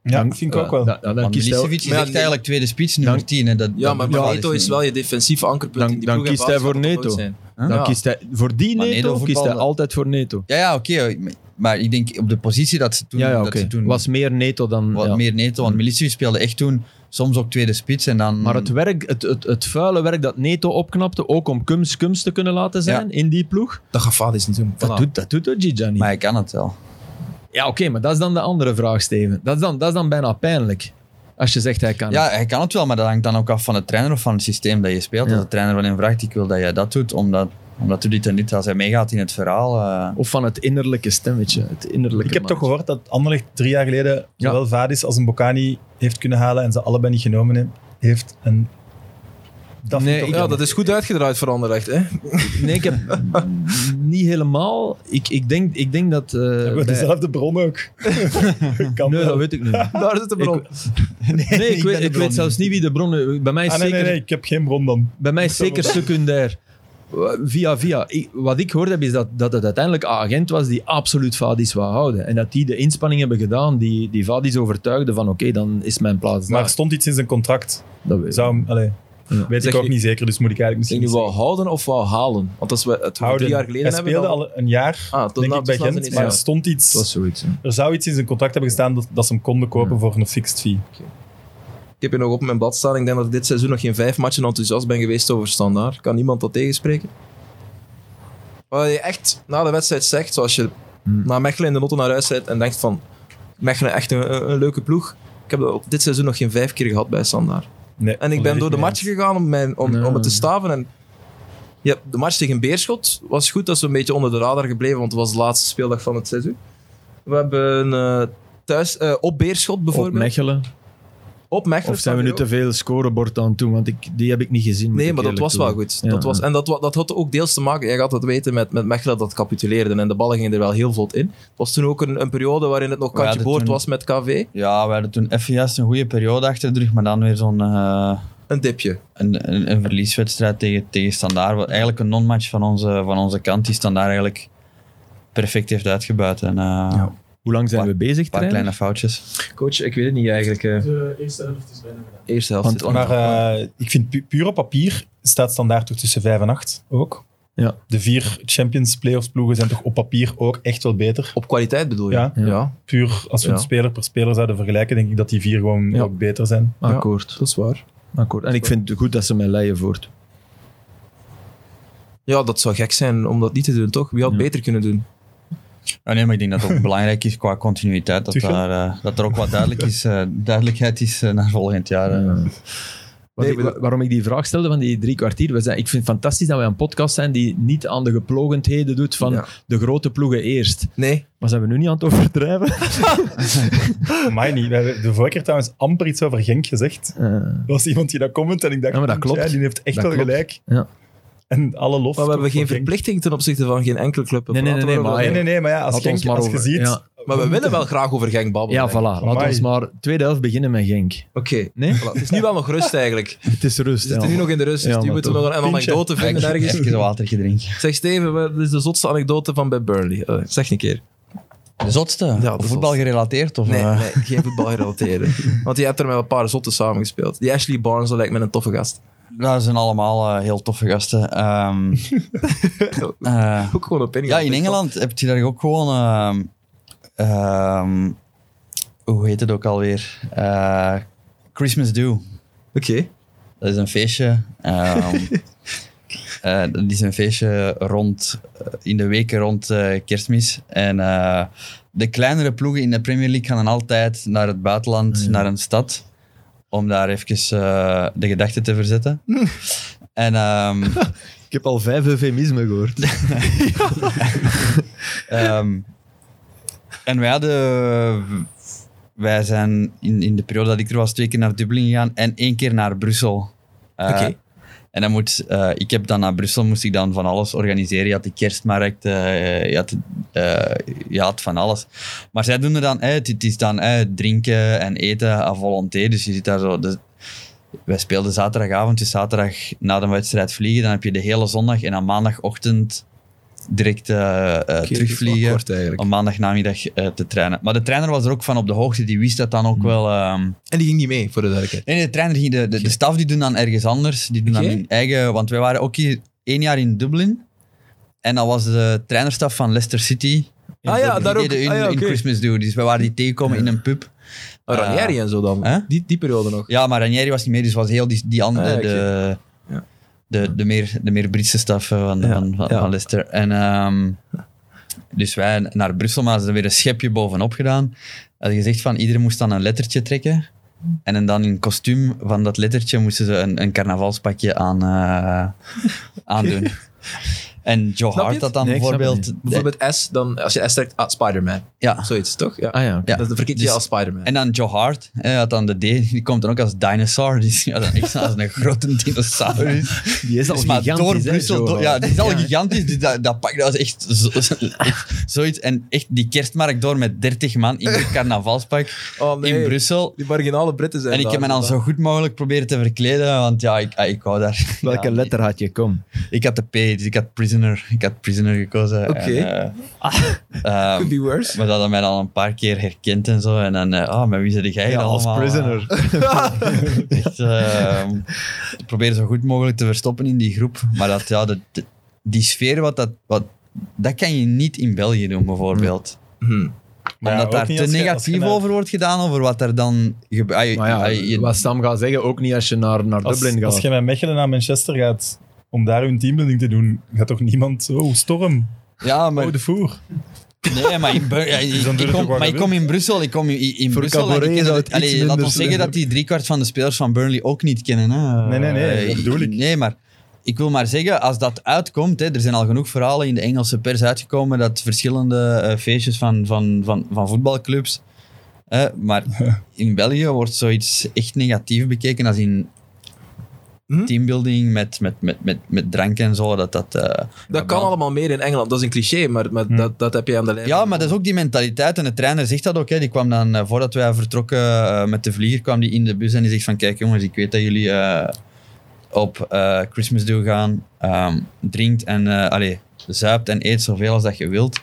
[SPEAKER 3] Ja,
[SPEAKER 2] Dan-
[SPEAKER 3] vind ik ook wel.
[SPEAKER 2] Da- da- dan
[SPEAKER 4] Want
[SPEAKER 2] kiest hij-
[SPEAKER 4] Milicevic is
[SPEAKER 1] maar ja,
[SPEAKER 4] echt
[SPEAKER 1] die-
[SPEAKER 4] eigenlijk tweede spits, nummer
[SPEAKER 2] Dan-
[SPEAKER 4] 10. Hè. Dat,
[SPEAKER 1] ja,
[SPEAKER 4] dat
[SPEAKER 1] maar
[SPEAKER 4] doet Vadis
[SPEAKER 1] Neto is
[SPEAKER 4] niet.
[SPEAKER 1] wel je defensief ankerpunt
[SPEAKER 2] Dan-
[SPEAKER 1] in die
[SPEAKER 2] dan
[SPEAKER 1] ploeg en
[SPEAKER 2] kiest hij
[SPEAKER 1] Vadis
[SPEAKER 2] voor
[SPEAKER 1] zal dat
[SPEAKER 2] Neto.
[SPEAKER 1] nooit zijn.
[SPEAKER 2] dan
[SPEAKER 1] Ja.
[SPEAKER 2] kiest hij, voor die
[SPEAKER 4] Maar
[SPEAKER 2] Neto
[SPEAKER 4] Neto
[SPEAKER 2] kiest hij
[SPEAKER 4] voetbalde-
[SPEAKER 2] altijd voor Neto.
[SPEAKER 4] Ja, ja oké. maar- maar ik denk op de positie dat ze toen...
[SPEAKER 2] ja, ja
[SPEAKER 4] dat
[SPEAKER 2] oké.
[SPEAKER 4] ze toen
[SPEAKER 2] Was meer neto dan...
[SPEAKER 4] wat
[SPEAKER 2] ja.
[SPEAKER 4] meer Neto, want Milicevic speelde echt toen soms ook tweede spits en dan...
[SPEAKER 2] Maar het, werk, het, het, het vuile werk dat Neto opknapte, ook om Kums Kums te kunnen laten zijn in die ploeg,
[SPEAKER 1] Dat gaat Fadis niet doen.
[SPEAKER 2] dat,
[SPEAKER 1] Voilà.
[SPEAKER 2] doet, dat doet Ojija niet.
[SPEAKER 4] Maar hij kan het wel.
[SPEAKER 2] Ja, oké, maar dat is dan de andere vraag, Steven. Dat is dan, dat is dan bijna pijnlijk. Als je zegt hij kan.
[SPEAKER 4] Ja, hij kan het wel, maar dat hangt dan ook af van de trainer of van het systeem dat je speelt.
[SPEAKER 2] Ja.
[SPEAKER 4] Als de trainer van hem vraagt, ik wil dat jij dat doet, omdat, omdat doe dit en dit, als hij meegaat in het verhaal... eh,
[SPEAKER 2] Of van het innerlijke stemmetje. Het innerlijke
[SPEAKER 3] Ik heb toch
[SPEAKER 2] mannetje.
[SPEAKER 3] gehoord dat Anderlecht drie jaar geleden
[SPEAKER 2] Ja.
[SPEAKER 3] zowel Vadis als een Bocani heeft kunnen halen en ze allebei niet genomen he- heeft. En dat vind
[SPEAKER 1] Nee,
[SPEAKER 3] ik ook
[SPEAKER 1] ja,
[SPEAKER 3] jammer.
[SPEAKER 1] dat is goed uitgedraaid voor Anderlecht. Hè?
[SPEAKER 2] Nee, ik heb niet helemaal. Ik, ik, denk, ik denk dat. eh,
[SPEAKER 3] Hebben we
[SPEAKER 2] bij-
[SPEAKER 3] dezelfde bron ook. kan
[SPEAKER 2] Nee,
[SPEAKER 3] wel.
[SPEAKER 2] dat weet ik niet.
[SPEAKER 1] Daar zit de bron.
[SPEAKER 2] Nee, ik,
[SPEAKER 4] ik
[SPEAKER 2] weet,
[SPEAKER 4] ben de
[SPEAKER 2] ik
[SPEAKER 4] bron
[SPEAKER 2] weet
[SPEAKER 4] niet.
[SPEAKER 2] zelfs niet wie de bronnen. Bij mij is
[SPEAKER 3] Ah, nee,
[SPEAKER 2] zeker,
[SPEAKER 3] nee, nee, ik heb geen bron dan.
[SPEAKER 2] Bij mij is
[SPEAKER 3] Dat
[SPEAKER 2] zeker
[SPEAKER 3] wel.
[SPEAKER 2] secundair. Eh, Via via. Ik- wat ik gehoord heb is dat, dat het uiteindelijk een agent was die absoluut Vadis wou houden. En dat die de inspanning hebben gedaan die, die Vadis overtuigde van oké, dan is mijn plaats
[SPEAKER 3] Maar
[SPEAKER 2] daar.
[SPEAKER 3] er stond iets in zijn contract.
[SPEAKER 2] dat weet ik.
[SPEAKER 3] Zou hem, allee, weet
[SPEAKER 1] Zeg,
[SPEAKER 3] ik ook
[SPEAKER 1] ik-
[SPEAKER 3] niet zeker, dus moet ik eigenlijk
[SPEAKER 1] Ik
[SPEAKER 3] misschien
[SPEAKER 1] nu
[SPEAKER 3] niet
[SPEAKER 1] wou houden of wou halen? Want als we het
[SPEAKER 3] zeggen.
[SPEAKER 1] voor drie jaar geleden
[SPEAKER 3] Hij
[SPEAKER 1] hebben...
[SPEAKER 3] speelde
[SPEAKER 1] dan-
[SPEAKER 3] al een jaar,
[SPEAKER 1] Ah, tot
[SPEAKER 3] denk
[SPEAKER 1] na-
[SPEAKER 3] ik, bij
[SPEAKER 1] tot na
[SPEAKER 3] Gent.
[SPEAKER 1] zijn
[SPEAKER 3] Maar er
[SPEAKER 1] eerste
[SPEAKER 3] stond
[SPEAKER 2] Dat was
[SPEAKER 3] iets...
[SPEAKER 2] zoiets. hè.
[SPEAKER 3] Er zou iets in zijn contract hebben gestaan dat, dat ze hem konden kopen voor een fixed fee.
[SPEAKER 1] Ik heb hier nog op mijn blad staan. Ik denk dat ik dit seizoen nog geen vijf matchen enthousiast ben geweest over standaard. Kan niemand dat tegenspreken? Wat je echt na de wedstrijd zegt, zoals je
[SPEAKER 2] Hmm.
[SPEAKER 1] na Mechelen in de notte naar huis rijdt en denkt van Mechelen echt een, een- een leuke ploeg. Ik heb dat op dit seizoen nog geen vijf keer gehad bij standaard.
[SPEAKER 3] Nee,
[SPEAKER 1] En ik ben
[SPEAKER 3] volledig
[SPEAKER 1] door de
[SPEAKER 3] mee
[SPEAKER 1] match gegaan om, mijn, om,
[SPEAKER 2] Nee.
[SPEAKER 1] om het te staven. En ja, de match tegen Beerschot was goed. Dat is een beetje onder de radar gebleven, want het was de laatste speeldag van het seizoen. We hebben eh, thuis eh, op Beerschot
[SPEAKER 2] Op
[SPEAKER 1] bijvoorbeeld.
[SPEAKER 2] Mechelen.
[SPEAKER 1] Op Mechelen
[SPEAKER 2] Of zijn we
[SPEAKER 1] staat
[SPEAKER 2] nu
[SPEAKER 1] er
[SPEAKER 2] te veel scorebord aan toe? Want ik, die heb ik niet gezien. moet
[SPEAKER 1] Nee,
[SPEAKER 2] ik
[SPEAKER 1] maar dat
[SPEAKER 2] eerlijk
[SPEAKER 1] was wel
[SPEAKER 2] toegeven.
[SPEAKER 1] goed.
[SPEAKER 2] Ja,
[SPEAKER 1] dat was,
[SPEAKER 2] ja.
[SPEAKER 1] en dat, wa- dat had ook deels te maken, jij gaat het weten, met, met Mechelen dat capituleerde. En de ballen gingen er wel heel vlot in. Het was toen ook een, een periode waarin het nog
[SPEAKER 4] We hadden
[SPEAKER 1] kantje boord
[SPEAKER 4] toen-
[SPEAKER 1] was met KV.
[SPEAKER 4] ja, we hadden toen even juist een goede periode achter de rug, maar dan weer zo'n... eh,
[SPEAKER 1] Een dipje.
[SPEAKER 4] een, een, een verlieswedstrijd tegen, tegen Standaard. Wat eigenlijk een non-match van onze, van onze kant die Standaard eigenlijk perfect heeft uitgebuit. En eh, een
[SPEAKER 2] Hoe lang zijn
[SPEAKER 4] Paar-
[SPEAKER 2] we bezig,
[SPEAKER 4] paar
[SPEAKER 2] trainer?
[SPEAKER 4] kleine foutjes.
[SPEAKER 1] Coach, ik weet het niet eigenlijk. eh.
[SPEAKER 5] De eerste helft is bijna gedaan.
[SPEAKER 1] eerste helft.
[SPEAKER 2] Want-
[SPEAKER 1] zit
[SPEAKER 3] Maar
[SPEAKER 1] aan.
[SPEAKER 3] eh, ik vind pu- puur op papier staat standaard toch tussen 5 en 8 ook.
[SPEAKER 2] Ja.
[SPEAKER 3] De vier Champions Playoffs ploegen zijn toch op papier ook echt wel beter.
[SPEAKER 1] op kwaliteit bedoel je?
[SPEAKER 3] Ja.
[SPEAKER 1] ja.
[SPEAKER 3] Puur als we
[SPEAKER 1] Ja.
[SPEAKER 3] het speler per speler zouden vergelijken, denk ik dat die vier gewoon
[SPEAKER 2] Ja.
[SPEAKER 3] ook beter zijn.
[SPEAKER 1] Ja,
[SPEAKER 2] Ah, Akkoord.
[SPEAKER 1] dat is waar.
[SPEAKER 2] Akkoord. En ik vind het goed dat ze met Leien voort.
[SPEAKER 1] Ja, dat zou gek zijn om dat niet te doen, toch? Wie had
[SPEAKER 2] Ja.
[SPEAKER 1] beter kunnen doen?
[SPEAKER 4] Ja, Ah, nee, maar ik denk dat het ook belangrijk is qua continuïteit. Dat,
[SPEAKER 3] Tuchel?
[SPEAKER 4] daar, eh, dat er ook wat duidelijk is, eh, duidelijkheid is eh, naar volgend jaar. eh.
[SPEAKER 2] Wat
[SPEAKER 1] Nee,
[SPEAKER 2] ik-
[SPEAKER 1] maar-
[SPEAKER 2] waarom ik die vraag stelde van die drie kwartier. We zijn, ik vind het fantastisch dat wij een podcast zijn die niet aan de geplogendheden doet van
[SPEAKER 1] Ja.
[SPEAKER 2] de grote ploegen eerst.
[SPEAKER 1] Nee.
[SPEAKER 2] Maar zijn we nu niet aan het overdrijven?
[SPEAKER 3] Maar niet. We hebben de vorige keer trouwens amper iets over Genk gezegd.
[SPEAKER 2] Eh,
[SPEAKER 3] Er was iemand die dat comment en ik dacht,
[SPEAKER 2] Ja, maar dat
[SPEAKER 3] "Tja,
[SPEAKER 2] klopt.
[SPEAKER 3] die heeft echt
[SPEAKER 2] Dat
[SPEAKER 3] wel
[SPEAKER 2] klopt.
[SPEAKER 3] gelijk.
[SPEAKER 2] Ja.
[SPEAKER 3] En alle lof.
[SPEAKER 1] Maar we hebben
[SPEAKER 3] toch
[SPEAKER 1] geen
[SPEAKER 3] voor Genk.
[SPEAKER 1] verplichting ten opzichte van geen enkele club. We
[SPEAKER 2] Nee, nee,
[SPEAKER 1] praten
[SPEAKER 2] nee, nee,
[SPEAKER 1] erover.
[SPEAKER 3] Nee, nee, nee, maar ja, als,
[SPEAKER 2] Had
[SPEAKER 3] Genk,
[SPEAKER 2] ons maar
[SPEAKER 3] als je
[SPEAKER 2] over-
[SPEAKER 3] ziet...
[SPEAKER 2] ja.
[SPEAKER 1] Maar we willen wel graag over Genk babbelen.
[SPEAKER 2] ja, voilà.
[SPEAKER 1] eigenlijk.
[SPEAKER 2] Laat
[SPEAKER 3] Amai.
[SPEAKER 2] ons maar tweede helft beginnen met Genk.
[SPEAKER 1] Oké.
[SPEAKER 2] Nee?
[SPEAKER 1] Voilà. Het is nu wel nog rust eigenlijk.
[SPEAKER 2] Het is rust.
[SPEAKER 1] We zitten nu nog in de rust, dus
[SPEAKER 2] Ja,
[SPEAKER 1] nu
[SPEAKER 2] maar
[SPEAKER 1] moeten we nog een een
[SPEAKER 3] Pintje.
[SPEAKER 1] anekdote vinden ergens.
[SPEAKER 4] Even een watertje drinken.
[SPEAKER 1] Zeg Steven, wat dit is de zotste anekdote van bij Burnley? Eh, zeg een keer.
[SPEAKER 4] De zotste?
[SPEAKER 1] zotste.
[SPEAKER 4] voetbal gerelateyd? Of,
[SPEAKER 1] Nee,
[SPEAKER 4] eh,
[SPEAKER 1] nee geen voetbal gerelateerde. Want je hebt er met een paar zotten samengespeeld. Die Ashley Barnes, dat lijkt me een toffe gast.
[SPEAKER 4] Dat Nou, zijn allemaal eh, heel toffe gasten. Ehm, eh,
[SPEAKER 1] Ook gewoon op Ingeland.
[SPEAKER 4] Ja, in Engeland heb je daar ook gewoon. ehm, ehm, hoe heet het ook alweer? Eh, Christmas Do.
[SPEAKER 1] Oké.
[SPEAKER 4] Dat is een feestje. ehm, eh, dat is een feestje rond, eh, in de weken rond eh, kerstmis. En eh, de kleinere ploegen in de Premier League gaan dan altijd naar het buitenland, naar een stad. Om daar even eh, de gedachten te verzetten. en ehm,
[SPEAKER 2] Ik heb al vijf eufemismen gehoord.
[SPEAKER 4] Ehm, en wij hadden... Wij zijn in, in de periode dat ik er was twee keer naar Dublin gegaan en één keer naar Brussel. Eh,
[SPEAKER 1] Oké.
[SPEAKER 4] En dan moet, eh, ik heb dan naar Brussel moest ik dan van alles organiseren. Je had de kerstmarkt, eh, je, had, eh, je had van alles. Maar zij doen er dan uit. Het is dan eh, drinken en eten à volonté. Dus je zit daar zo. Dus wij speelden zaterdagavond, dus zaterdag na de wedstrijd vliegen. Dan heb je de hele zondag en dan maandagochtend direct eh eh, terugvliegen.
[SPEAKER 1] Kort eigenlijk.
[SPEAKER 4] Om maandag namiddag eh, te trainen. Maar de trainer was er ook van op de hoogte. Die wist dat dan
[SPEAKER 1] Hmm.
[SPEAKER 4] ook wel. ehm,
[SPEAKER 1] En die ging niet mee, voor de duidelijkheid.
[SPEAKER 4] Nee, nee, de trainer ging. De, de, de staf die doen dan ergens anders. Die doen
[SPEAKER 1] Oké.
[SPEAKER 4] dan hun eigen. Want wij waren ook hier één jaar in Dublin. En dat was de trainerstaf van Leicester City.
[SPEAKER 1] Ah ja,
[SPEAKER 4] die
[SPEAKER 1] daar ook.
[SPEAKER 4] deden hun-
[SPEAKER 1] Ah ja,
[SPEAKER 4] hun
[SPEAKER 1] oké.
[SPEAKER 4] Christmas do. Dus we waren die tegenkomen in een pub.
[SPEAKER 1] Ah, Ranieri en zo dan.
[SPEAKER 4] Hè?
[SPEAKER 1] Die, die periode nog.
[SPEAKER 4] Ja, maar Ranieri was niet meer, dus was heel die, die andere,
[SPEAKER 1] Ah, oké.
[SPEAKER 4] de,
[SPEAKER 1] Ja.
[SPEAKER 4] de, de, meer, de meer Britse staf eh, van,
[SPEAKER 1] Ja,
[SPEAKER 4] van, van,
[SPEAKER 1] ja.
[SPEAKER 4] van Leicester. En, ehm, dus wij naar Brussel, maar ze hadden weer een schepje bovenop gedaan. Hadden gezegd van, iedereen moest dan een lettertje trekken. En dan in kostuum van dat lettertje moesten ze een, een carnavalspakje aan, eh, aandoen. En Joe
[SPEAKER 1] je
[SPEAKER 4] Hart
[SPEAKER 1] het?
[SPEAKER 4] had dan
[SPEAKER 2] Nee, ik snap het
[SPEAKER 4] bijvoorbeeld...
[SPEAKER 1] Bijvoorbeeld S, dan, als je S trekt, ah, Spider-Man.
[SPEAKER 4] Ja,
[SPEAKER 1] Zoiets, toch? Ja.
[SPEAKER 2] Ah ja, oké.
[SPEAKER 4] Ja.
[SPEAKER 1] Dat verkeert je
[SPEAKER 4] Dus-
[SPEAKER 1] als Spider-Man.
[SPEAKER 4] En dan Joe Hart, hè, had dan de D, die komt dan ook als dinosaur. Die is ja, dan echt als een grote dinosaurus.
[SPEAKER 2] Die is al
[SPEAKER 4] Dus maar
[SPEAKER 2] gigantisch,
[SPEAKER 4] door
[SPEAKER 2] hè,
[SPEAKER 4] Brussel,
[SPEAKER 2] Joe
[SPEAKER 4] door-
[SPEAKER 2] Hart.
[SPEAKER 4] ja, die is al gigantisch. Die, dat, dat pak, dat is echt, zo- echt zoiets. En echt die kerstmarkt door met 30 man in een carnavalspak
[SPEAKER 1] oh, nee.
[SPEAKER 4] in Brussel.
[SPEAKER 1] Die marginale Britten zijn
[SPEAKER 4] En ik heb me dan zo goed mogelijk proberen te verkleden, want ja, ik, ah, ik hou daar.
[SPEAKER 2] Welke
[SPEAKER 4] ja,
[SPEAKER 2] letter had je? Kom.
[SPEAKER 4] Ik had de P, dus ik had prisoner, ik had prisoner gekozen.
[SPEAKER 1] Oké.
[SPEAKER 4] En, eh,
[SPEAKER 2] Ah.
[SPEAKER 4] ehm,
[SPEAKER 1] Could be worse.
[SPEAKER 4] maar dat hadden mij dan een paar keer herkend en zo. En dan, eh, ah, maar wie zit jij
[SPEAKER 2] Ja,
[SPEAKER 4] dan
[SPEAKER 2] als
[SPEAKER 4] allemaal?
[SPEAKER 2] prisoner.
[SPEAKER 4] Echt, eh, ik probeer zo goed mogelijk te verstoppen in die groep. Maar dat, ja, dat, die sfeer, wat dat, wat, dat kan je niet in België doen, bijvoorbeeld.
[SPEAKER 1] Hm.
[SPEAKER 3] Maar ja,
[SPEAKER 4] Omdat
[SPEAKER 3] ook
[SPEAKER 4] daar
[SPEAKER 3] niet
[SPEAKER 4] te
[SPEAKER 3] als je- als je
[SPEAKER 4] negatief
[SPEAKER 3] naar-
[SPEAKER 4] over wordt gedaan, over wat er dan gebeurt.
[SPEAKER 2] Maar ja, wat Sam gaat zeggen, ook niet als je naar, naar
[SPEAKER 3] Als,
[SPEAKER 2] Dublin gaat.
[SPEAKER 3] als je met Mechelen naar Manchester gaat om daar hun teambuilding te doen, gaat toch niemand zo, oh, storm,
[SPEAKER 4] ja, maar
[SPEAKER 3] oh, de voer.
[SPEAKER 4] Nee, maar, in Bru- ja, ik-
[SPEAKER 3] dan doe je
[SPEAKER 4] ik, kom,
[SPEAKER 3] toch wat
[SPEAKER 4] maar
[SPEAKER 3] je
[SPEAKER 4] ik kom in Brussel. Ik kom in, in
[SPEAKER 2] Voor
[SPEAKER 4] Brussel. en ik
[SPEAKER 2] Cabaret
[SPEAKER 4] ken
[SPEAKER 2] zou
[SPEAKER 4] het-
[SPEAKER 2] het iets
[SPEAKER 4] allee, laat
[SPEAKER 2] minder
[SPEAKER 4] ons zeggen
[SPEAKER 2] zijn.
[SPEAKER 4] dat die driekwart van de spelers van Burnley ook niet kennen. Hè.
[SPEAKER 3] Nee, nee, nee,
[SPEAKER 4] Eh,
[SPEAKER 3] dat bedoel ik.
[SPEAKER 4] Nee, maar ik wil maar zeggen, als dat uitkomt, hè, er zijn al genoeg verhalen in de Engelse pers uitgekomen dat verschillende eh, feestjes van, van, van, van voetbalclubs. hè, maar in België wordt zoiets echt negatief bekeken als in
[SPEAKER 1] Hm?
[SPEAKER 4] teambuilding met, met, met, met, met drank en zo. Dat dat, eh,
[SPEAKER 1] Dat kan allemaal meer in Engeland. Dat is een cliché, maar, maar dat, dat heb je aan de lijn.
[SPEAKER 4] Hm. Ja, maar dat is ook die mentaliteit. En de trainer zegt dat ook. Hè. Die kwam dan, eh, voordat wij vertrokken eh, met de vlieger, kwam die in de bus en die zegt van, kijk jongens, ik weet dat jullie eh, op eh, Christmas do gaan. Ehm, drinkt en, eh allee, zuipt en eet zoveel als dat je wilt.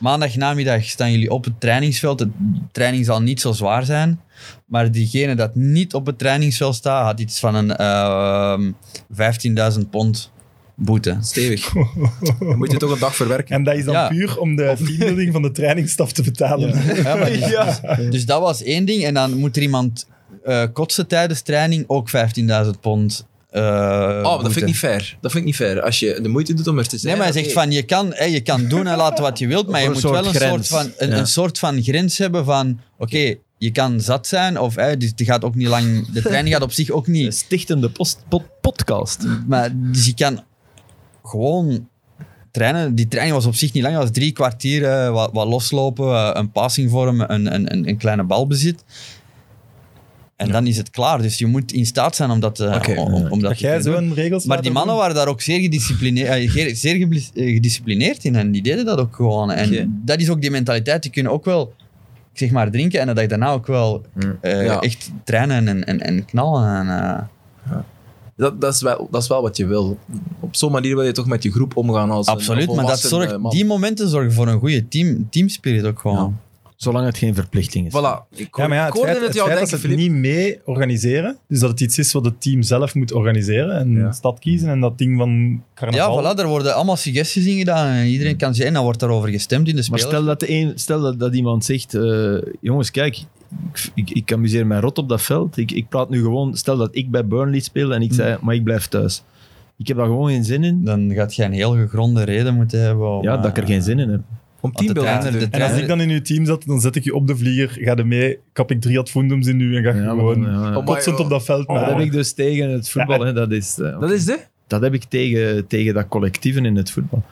[SPEAKER 4] Maandag namiddag staan jullie op het trainingsveld. De training zal niet zo zwaar zijn. Maar diegene dat niet op het trainingsveld staat, had iets van een ehm, 15.000 pond boete.
[SPEAKER 1] Stevig. Dan moet je toch een dag verwerken.
[SPEAKER 3] En dat is dan
[SPEAKER 4] Ja.
[SPEAKER 3] puur om de teambuilding van de trainingsstaf te betalen.
[SPEAKER 4] Ja, maar die- Dus dat was één ding. En dan moet er iemand eh, kotsen tijdens training ook 15.000 pond. eh
[SPEAKER 1] Oh, maar dat vind ik niet fair. Dat vind ik niet fair. Als je de moeite doet om er te zijn.
[SPEAKER 4] Nee, maar hij zegt
[SPEAKER 1] oké.
[SPEAKER 4] van je kan, hè, je kan doen en laten wat je wilt, maar je
[SPEAKER 2] Een
[SPEAKER 4] moet
[SPEAKER 2] soort
[SPEAKER 4] wel een, soort
[SPEAKER 2] grens.
[SPEAKER 4] van, een,
[SPEAKER 2] Ja.
[SPEAKER 4] een soort van grens hebben van oké, je kan zat zijn of hè, dus die gaat ook niet lang, de training gaat op zich ook
[SPEAKER 2] Een
[SPEAKER 4] niet.
[SPEAKER 2] stichtende post, pod- podcast.
[SPEAKER 4] Maar, dus je kan gewoon trainen. Die training was op zich niet lang, dat was drie kwartier, eh, wat, wat loslopen, eh, een passing vormen, een, een, een, een kleine balbezit. En dan is het klaar. Dus je moet in staat zijn om dat, eh,
[SPEAKER 1] Oké.
[SPEAKER 4] om, om- om dat
[SPEAKER 3] Dat
[SPEAKER 4] te kunnen
[SPEAKER 3] jij
[SPEAKER 4] doen.
[SPEAKER 3] zo'n regels
[SPEAKER 4] Maar die
[SPEAKER 3] laat
[SPEAKER 4] mannen
[SPEAKER 3] doen?
[SPEAKER 4] waren daar ook zeer, gedisciplineerd, eh, ge- zeer gebli- eh, gedisciplineerd in en die deden dat ook gewoon. En
[SPEAKER 1] Oké.
[SPEAKER 4] dat is ook die mentaliteit. Die kunnen ook wel, ik zeg maar, drinken en dat je daarna ook wel eh,
[SPEAKER 1] Mm. Ja.
[SPEAKER 4] echt trainen en, en, en knallen. En, eh,
[SPEAKER 1] Dat, dat, is wel, dat is wel wat je wil. Op zo'n manier wil je toch met je groep omgaan als een
[SPEAKER 4] Absoluut, maar dat
[SPEAKER 1] volwassen,
[SPEAKER 4] zorgt,
[SPEAKER 1] eh, man.
[SPEAKER 4] die momenten zorgen voor een goede team, teamspirit ook gewoon.
[SPEAKER 2] Zolang het geen verplichting is.
[SPEAKER 1] Voilà. Ik, hoor-
[SPEAKER 3] Ja, maar ja,
[SPEAKER 1] ik
[SPEAKER 3] het
[SPEAKER 1] hoorde
[SPEAKER 3] feit,
[SPEAKER 1] het
[SPEAKER 3] het
[SPEAKER 1] jou
[SPEAKER 3] feit
[SPEAKER 1] denken,
[SPEAKER 3] dat ze het
[SPEAKER 1] Philippe.
[SPEAKER 3] niet mee organiseren, dus dat het iets is wat het team zelf moet organiseren en
[SPEAKER 1] Ja.
[SPEAKER 3] stad kiezen en dat ding van
[SPEAKER 4] Ja,
[SPEAKER 3] carnaval.
[SPEAKER 4] voilà, er worden allemaal suggesties in gedaan en iedereen kan zijn, dan wordt daarover gestemd in de
[SPEAKER 2] Maar
[SPEAKER 4] spelers.
[SPEAKER 2] stel dat, de een, stel dat, dat iemand zegt, eh, jongens, kijk, ik, ik, ik amuseer mij rot op dat veld. Ik, ik praat nu gewoon, stel dat ik bij Burnley speel
[SPEAKER 3] Mm.
[SPEAKER 2] en ik zei, maar ik blijf thuis. Ik heb daar gewoon geen zin in.
[SPEAKER 4] Dan gaat je een heel gegronde reden moeten hebben.
[SPEAKER 3] Oh,
[SPEAKER 4] Om, eh,
[SPEAKER 2] Ja, dat ik er geen zin in heb.
[SPEAKER 1] Om
[SPEAKER 4] Want de
[SPEAKER 1] teambuilding te
[SPEAKER 4] trainer-
[SPEAKER 1] doen.
[SPEAKER 4] de
[SPEAKER 3] En als ik dan in uw team zat, dan zet ik je op de vlieger, ga er mee, kap ik drie advoendums in u en ga je
[SPEAKER 2] Ja, maar
[SPEAKER 3] gewoon
[SPEAKER 2] dan, ja, ja.
[SPEAKER 1] Om-
[SPEAKER 3] kotsend op dat veld.
[SPEAKER 2] Maar
[SPEAKER 3] naar-
[SPEAKER 2] dat heb ik dus tegen het voetbal.
[SPEAKER 3] Ja,
[SPEAKER 2] hè. Dat, is, eh,
[SPEAKER 1] Dat is de?
[SPEAKER 2] dat heb ik tegen, tegen dat collectieven in het voetbal.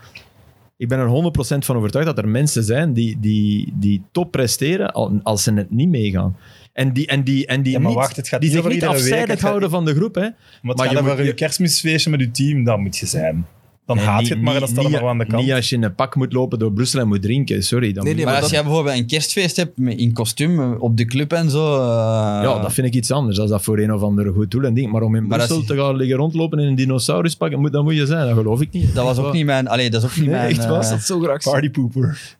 [SPEAKER 2] Ik ben er 100% van overtuigd dat er mensen zijn die, die, die top presteren al- als ze net niet meegaan. En die, en die, en die,
[SPEAKER 3] Ja, maar
[SPEAKER 2] niet,
[SPEAKER 3] wacht, het gaat
[SPEAKER 2] die
[SPEAKER 3] niet
[SPEAKER 2] zich
[SPEAKER 3] over
[SPEAKER 2] niet
[SPEAKER 3] iedere week,
[SPEAKER 2] afzijdig
[SPEAKER 3] het gaat-
[SPEAKER 2] houden van de groep. Hè.
[SPEAKER 3] Maar,
[SPEAKER 2] Maar
[SPEAKER 3] het
[SPEAKER 2] je
[SPEAKER 3] gaat
[SPEAKER 2] moet-
[SPEAKER 3] over je
[SPEAKER 2] je-
[SPEAKER 3] kerstmisfeestje met je team, dat moet je zijn. Dan
[SPEAKER 2] Nee,
[SPEAKER 3] haat
[SPEAKER 2] niet-
[SPEAKER 3] je het maar en dan
[SPEAKER 2] niet-
[SPEAKER 3] staat het
[SPEAKER 2] niet-
[SPEAKER 3] maar aan de kant.
[SPEAKER 2] Niet als je in een pak moet lopen door Brussel en moet drinken. Sorry. Dan
[SPEAKER 1] Nee,
[SPEAKER 2] moet-
[SPEAKER 1] nee,
[SPEAKER 4] maar als
[SPEAKER 1] dat-
[SPEAKER 4] jij bijvoorbeeld een kerstfeest hebt met- in kostuum eh, op de club en zo. eh,
[SPEAKER 2] ja, dat vind ik iets anders. Als dat voor een of ander goed doel en ding. Maar om in
[SPEAKER 4] Maar als
[SPEAKER 2] Brussel
[SPEAKER 4] je-
[SPEAKER 2] te gaan liggen rondlopen in een dinosauruspak, moet, dat moet je zijn. Dat geloof ik niet.
[SPEAKER 4] dat was ook
[SPEAKER 2] Echt
[SPEAKER 4] niet mijn. Allee, dat is ook niet
[SPEAKER 2] Nee,
[SPEAKER 4] mijn.
[SPEAKER 2] echt waar,
[SPEAKER 4] eh,
[SPEAKER 1] Was dat zo graag?
[SPEAKER 3] Partypooper.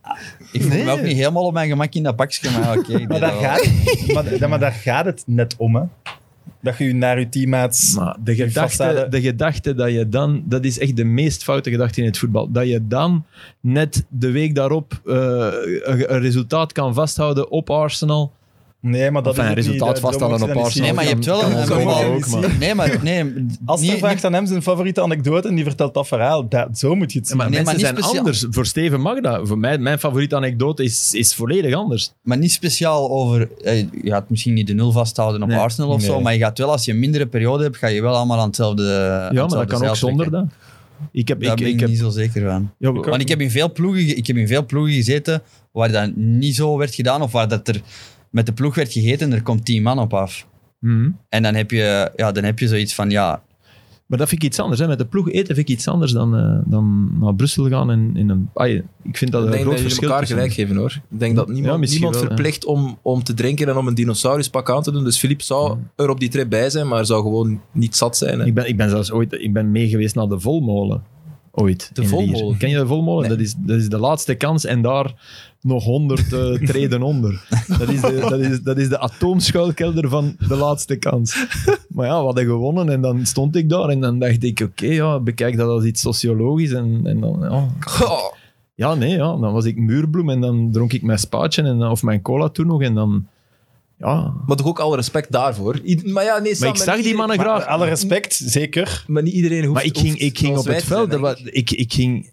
[SPEAKER 4] ik voel me
[SPEAKER 2] Nee.
[SPEAKER 4] ook niet helemaal op mijn gemak in dat pakje, maar oké. ik deed
[SPEAKER 3] Maar
[SPEAKER 4] dat
[SPEAKER 3] daar,
[SPEAKER 4] wel.
[SPEAKER 3] gaat, maar, maar daar gaat het net om, hè. dat je je naar je teammates...
[SPEAKER 2] Maar de gedachte,
[SPEAKER 3] façade.
[SPEAKER 2] de gedachte dat je dan, dat is echt de meest foute gedachte in het voetbal. Dat je dan net de week daarop eh, een, een resultaat kan vasthouden op Arsenal.
[SPEAKER 3] Nee, maar dat
[SPEAKER 2] Enfin,
[SPEAKER 3] is het
[SPEAKER 2] resultaat
[SPEAKER 3] niet, dat-
[SPEAKER 2] vaststellen
[SPEAKER 3] dat moet je
[SPEAKER 2] op
[SPEAKER 3] dan niet
[SPEAKER 2] Arsenal.
[SPEAKER 4] Nee,
[SPEAKER 3] zien.
[SPEAKER 4] maar je hebt wel
[SPEAKER 2] Kan
[SPEAKER 4] een...
[SPEAKER 2] ons
[SPEAKER 4] een-
[SPEAKER 3] allemaal
[SPEAKER 4] een-
[SPEAKER 3] ook, maar-
[SPEAKER 4] Nee, maar... Nee,
[SPEAKER 3] Als er
[SPEAKER 4] niet-
[SPEAKER 3] vraagt aan hem zijn favoriete anekdote en die vertelt dat verhaal, dat, zo moet je het zien.
[SPEAKER 2] maar
[SPEAKER 4] Nee,
[SPEAKER 2] mensen
[SPEAKER 4] maar niet
[SPEAKER 2] zijn
[SPEAKER 4] speciaal.
[SPEAKER 2] anders. Voor Steven mag dat. Voor mij, mijn favoriete anekdote is, is volledig anders.
[SPEAKER 4] Maar niet speciaal over. eh, Je gaat misschien niet de nul vasthouden op
[SPEAKER 2] Nee.
[SPEAKER 4] Arsenal of zo.
[SPEAKER 3] Nee.
[SPEAKER 4] Maar je gaat wel, als je een mindere periode hebt, ga je wel allemaal aan hetzelfde. aan
[SPEAKER 2] Ja, maar
[SPEAKER 4] hetzelfde
[SPEAKER 2] dat kan
[SPEAKER 4] zeil
[SPEAKER 2] ook zonder
[SPEAKER 4] trekken.
[SPEAKER 2] dat. Ik heb,
[SPEAKER 4] Daar
[SPEAKER 2] ik,
[SPEAKER 4] ben ik,
[SPEAKER 2] ik heb,
[SPEAKER 4] niet zo zeker van.
[SPEAKER 2] ja,
[SPEAKER 4] Want ik heb, in veel ploegen, ge- ik heb in veel ploegen gezeten waar dat niet zo werd gedaan. Of waar dat er met de ploeg werd gegeten en er komt tien man op af.
[SPEAKER 2] Mhm.
[SPEAKER 4] En dan heb je, ja, dan heb je zoiets van, ja,
[SPEAKER 2] Maar dat vind ik iets anders. Hè. Met de ploeg eten vind ik iets anders dan, eh, dan naar Brussel gaan. In, in een, ah, je- ik vind dat
[SPEAKER 1] Ik
[SPEAKER 2] een
[SPEAKER 1] denk dat
[SPEAKER 2] groot
[SPEAKER 1] jullie
[SPEAKER 2] verschil.
[SPEAKER 1] elkaar
[SPEAKER 2] tussen-
[SPEAKER 1] gelijk geven hoor. Ik denk dat
[SPEAKER 2] Ja,
[SPEAKER 1] niemand,
[SPEAKER 2] misschien
[SPEAKER 1] niemand
[SPEAKER 2] wel, ja.
[SPEAKER 1] verplicht om, om te drinken en om een dinosauruspak aan te doen. Dus Filip zou er op die trip bij zijn, maar zou gewoon niet zat zijn. hè.
[SPEAKER 2] Ik ben, ik ben zelfs ooit ik ben mee geweest naar de Volmolen. Ooit.
[SPEAKER 1] De
[SPEAKER 2] in Lier.
[SPEAKER 1] Volmolen?
[SPEAKER 2] Ken je de Volmolen?
[SPEAKER 1] Nee.
[SPEAKER 2] Dat, is, dat is de laatste kans en daar nog honderd eh, treden onder. Dat is, de, dat, is, dat is de atoomschuilkelder van de laatste kans. Maar ja, we hadden gewonnen en dan stond ik daar en dan dacht ik, oké, ja, bekijk dat als iets sociologisch. En, en dan, ja.
[SPEAKER 1] Goh.
[SPEAKER 2] ja, nee, ja, dan was ik muurbloem en dan dronk ik mijn spaatje en, dan- of mijn cola toen nog en dan... Ja,
[SPEAKER 1] Maar toch ook alle respect daarvoor. Ied- maar ja, nee, Sam,
[SPEAKER 2] maar ik
[SPEAKER 1] maar
[SPEAKER 2] zag
[SPEAKER 1] niet
[SPEAKER 2] die
[SPEAKER 1] iedereen-
[SPEAKER 2] mannen
[SPEAKER 3] Maar
[SPEAKER 2] graag.
[SPEAKER 3] alle respect, zeker.
[SPEAKER 1] Maar niet iedereen hoeft
[SPEAKER 2] Maar ik ging,
[SPEAKER 1] hoeft
[SPEAKER 2] ik ging op
[SPEAKER 1] zoals wij
[SPEAKER 2] het
[SPEAKER 1] te zijn,
[SPEAKER 2] veld. dat
[SPEAKER 1] denk
[SPEAKER 2] wa- Ik, ik, ging,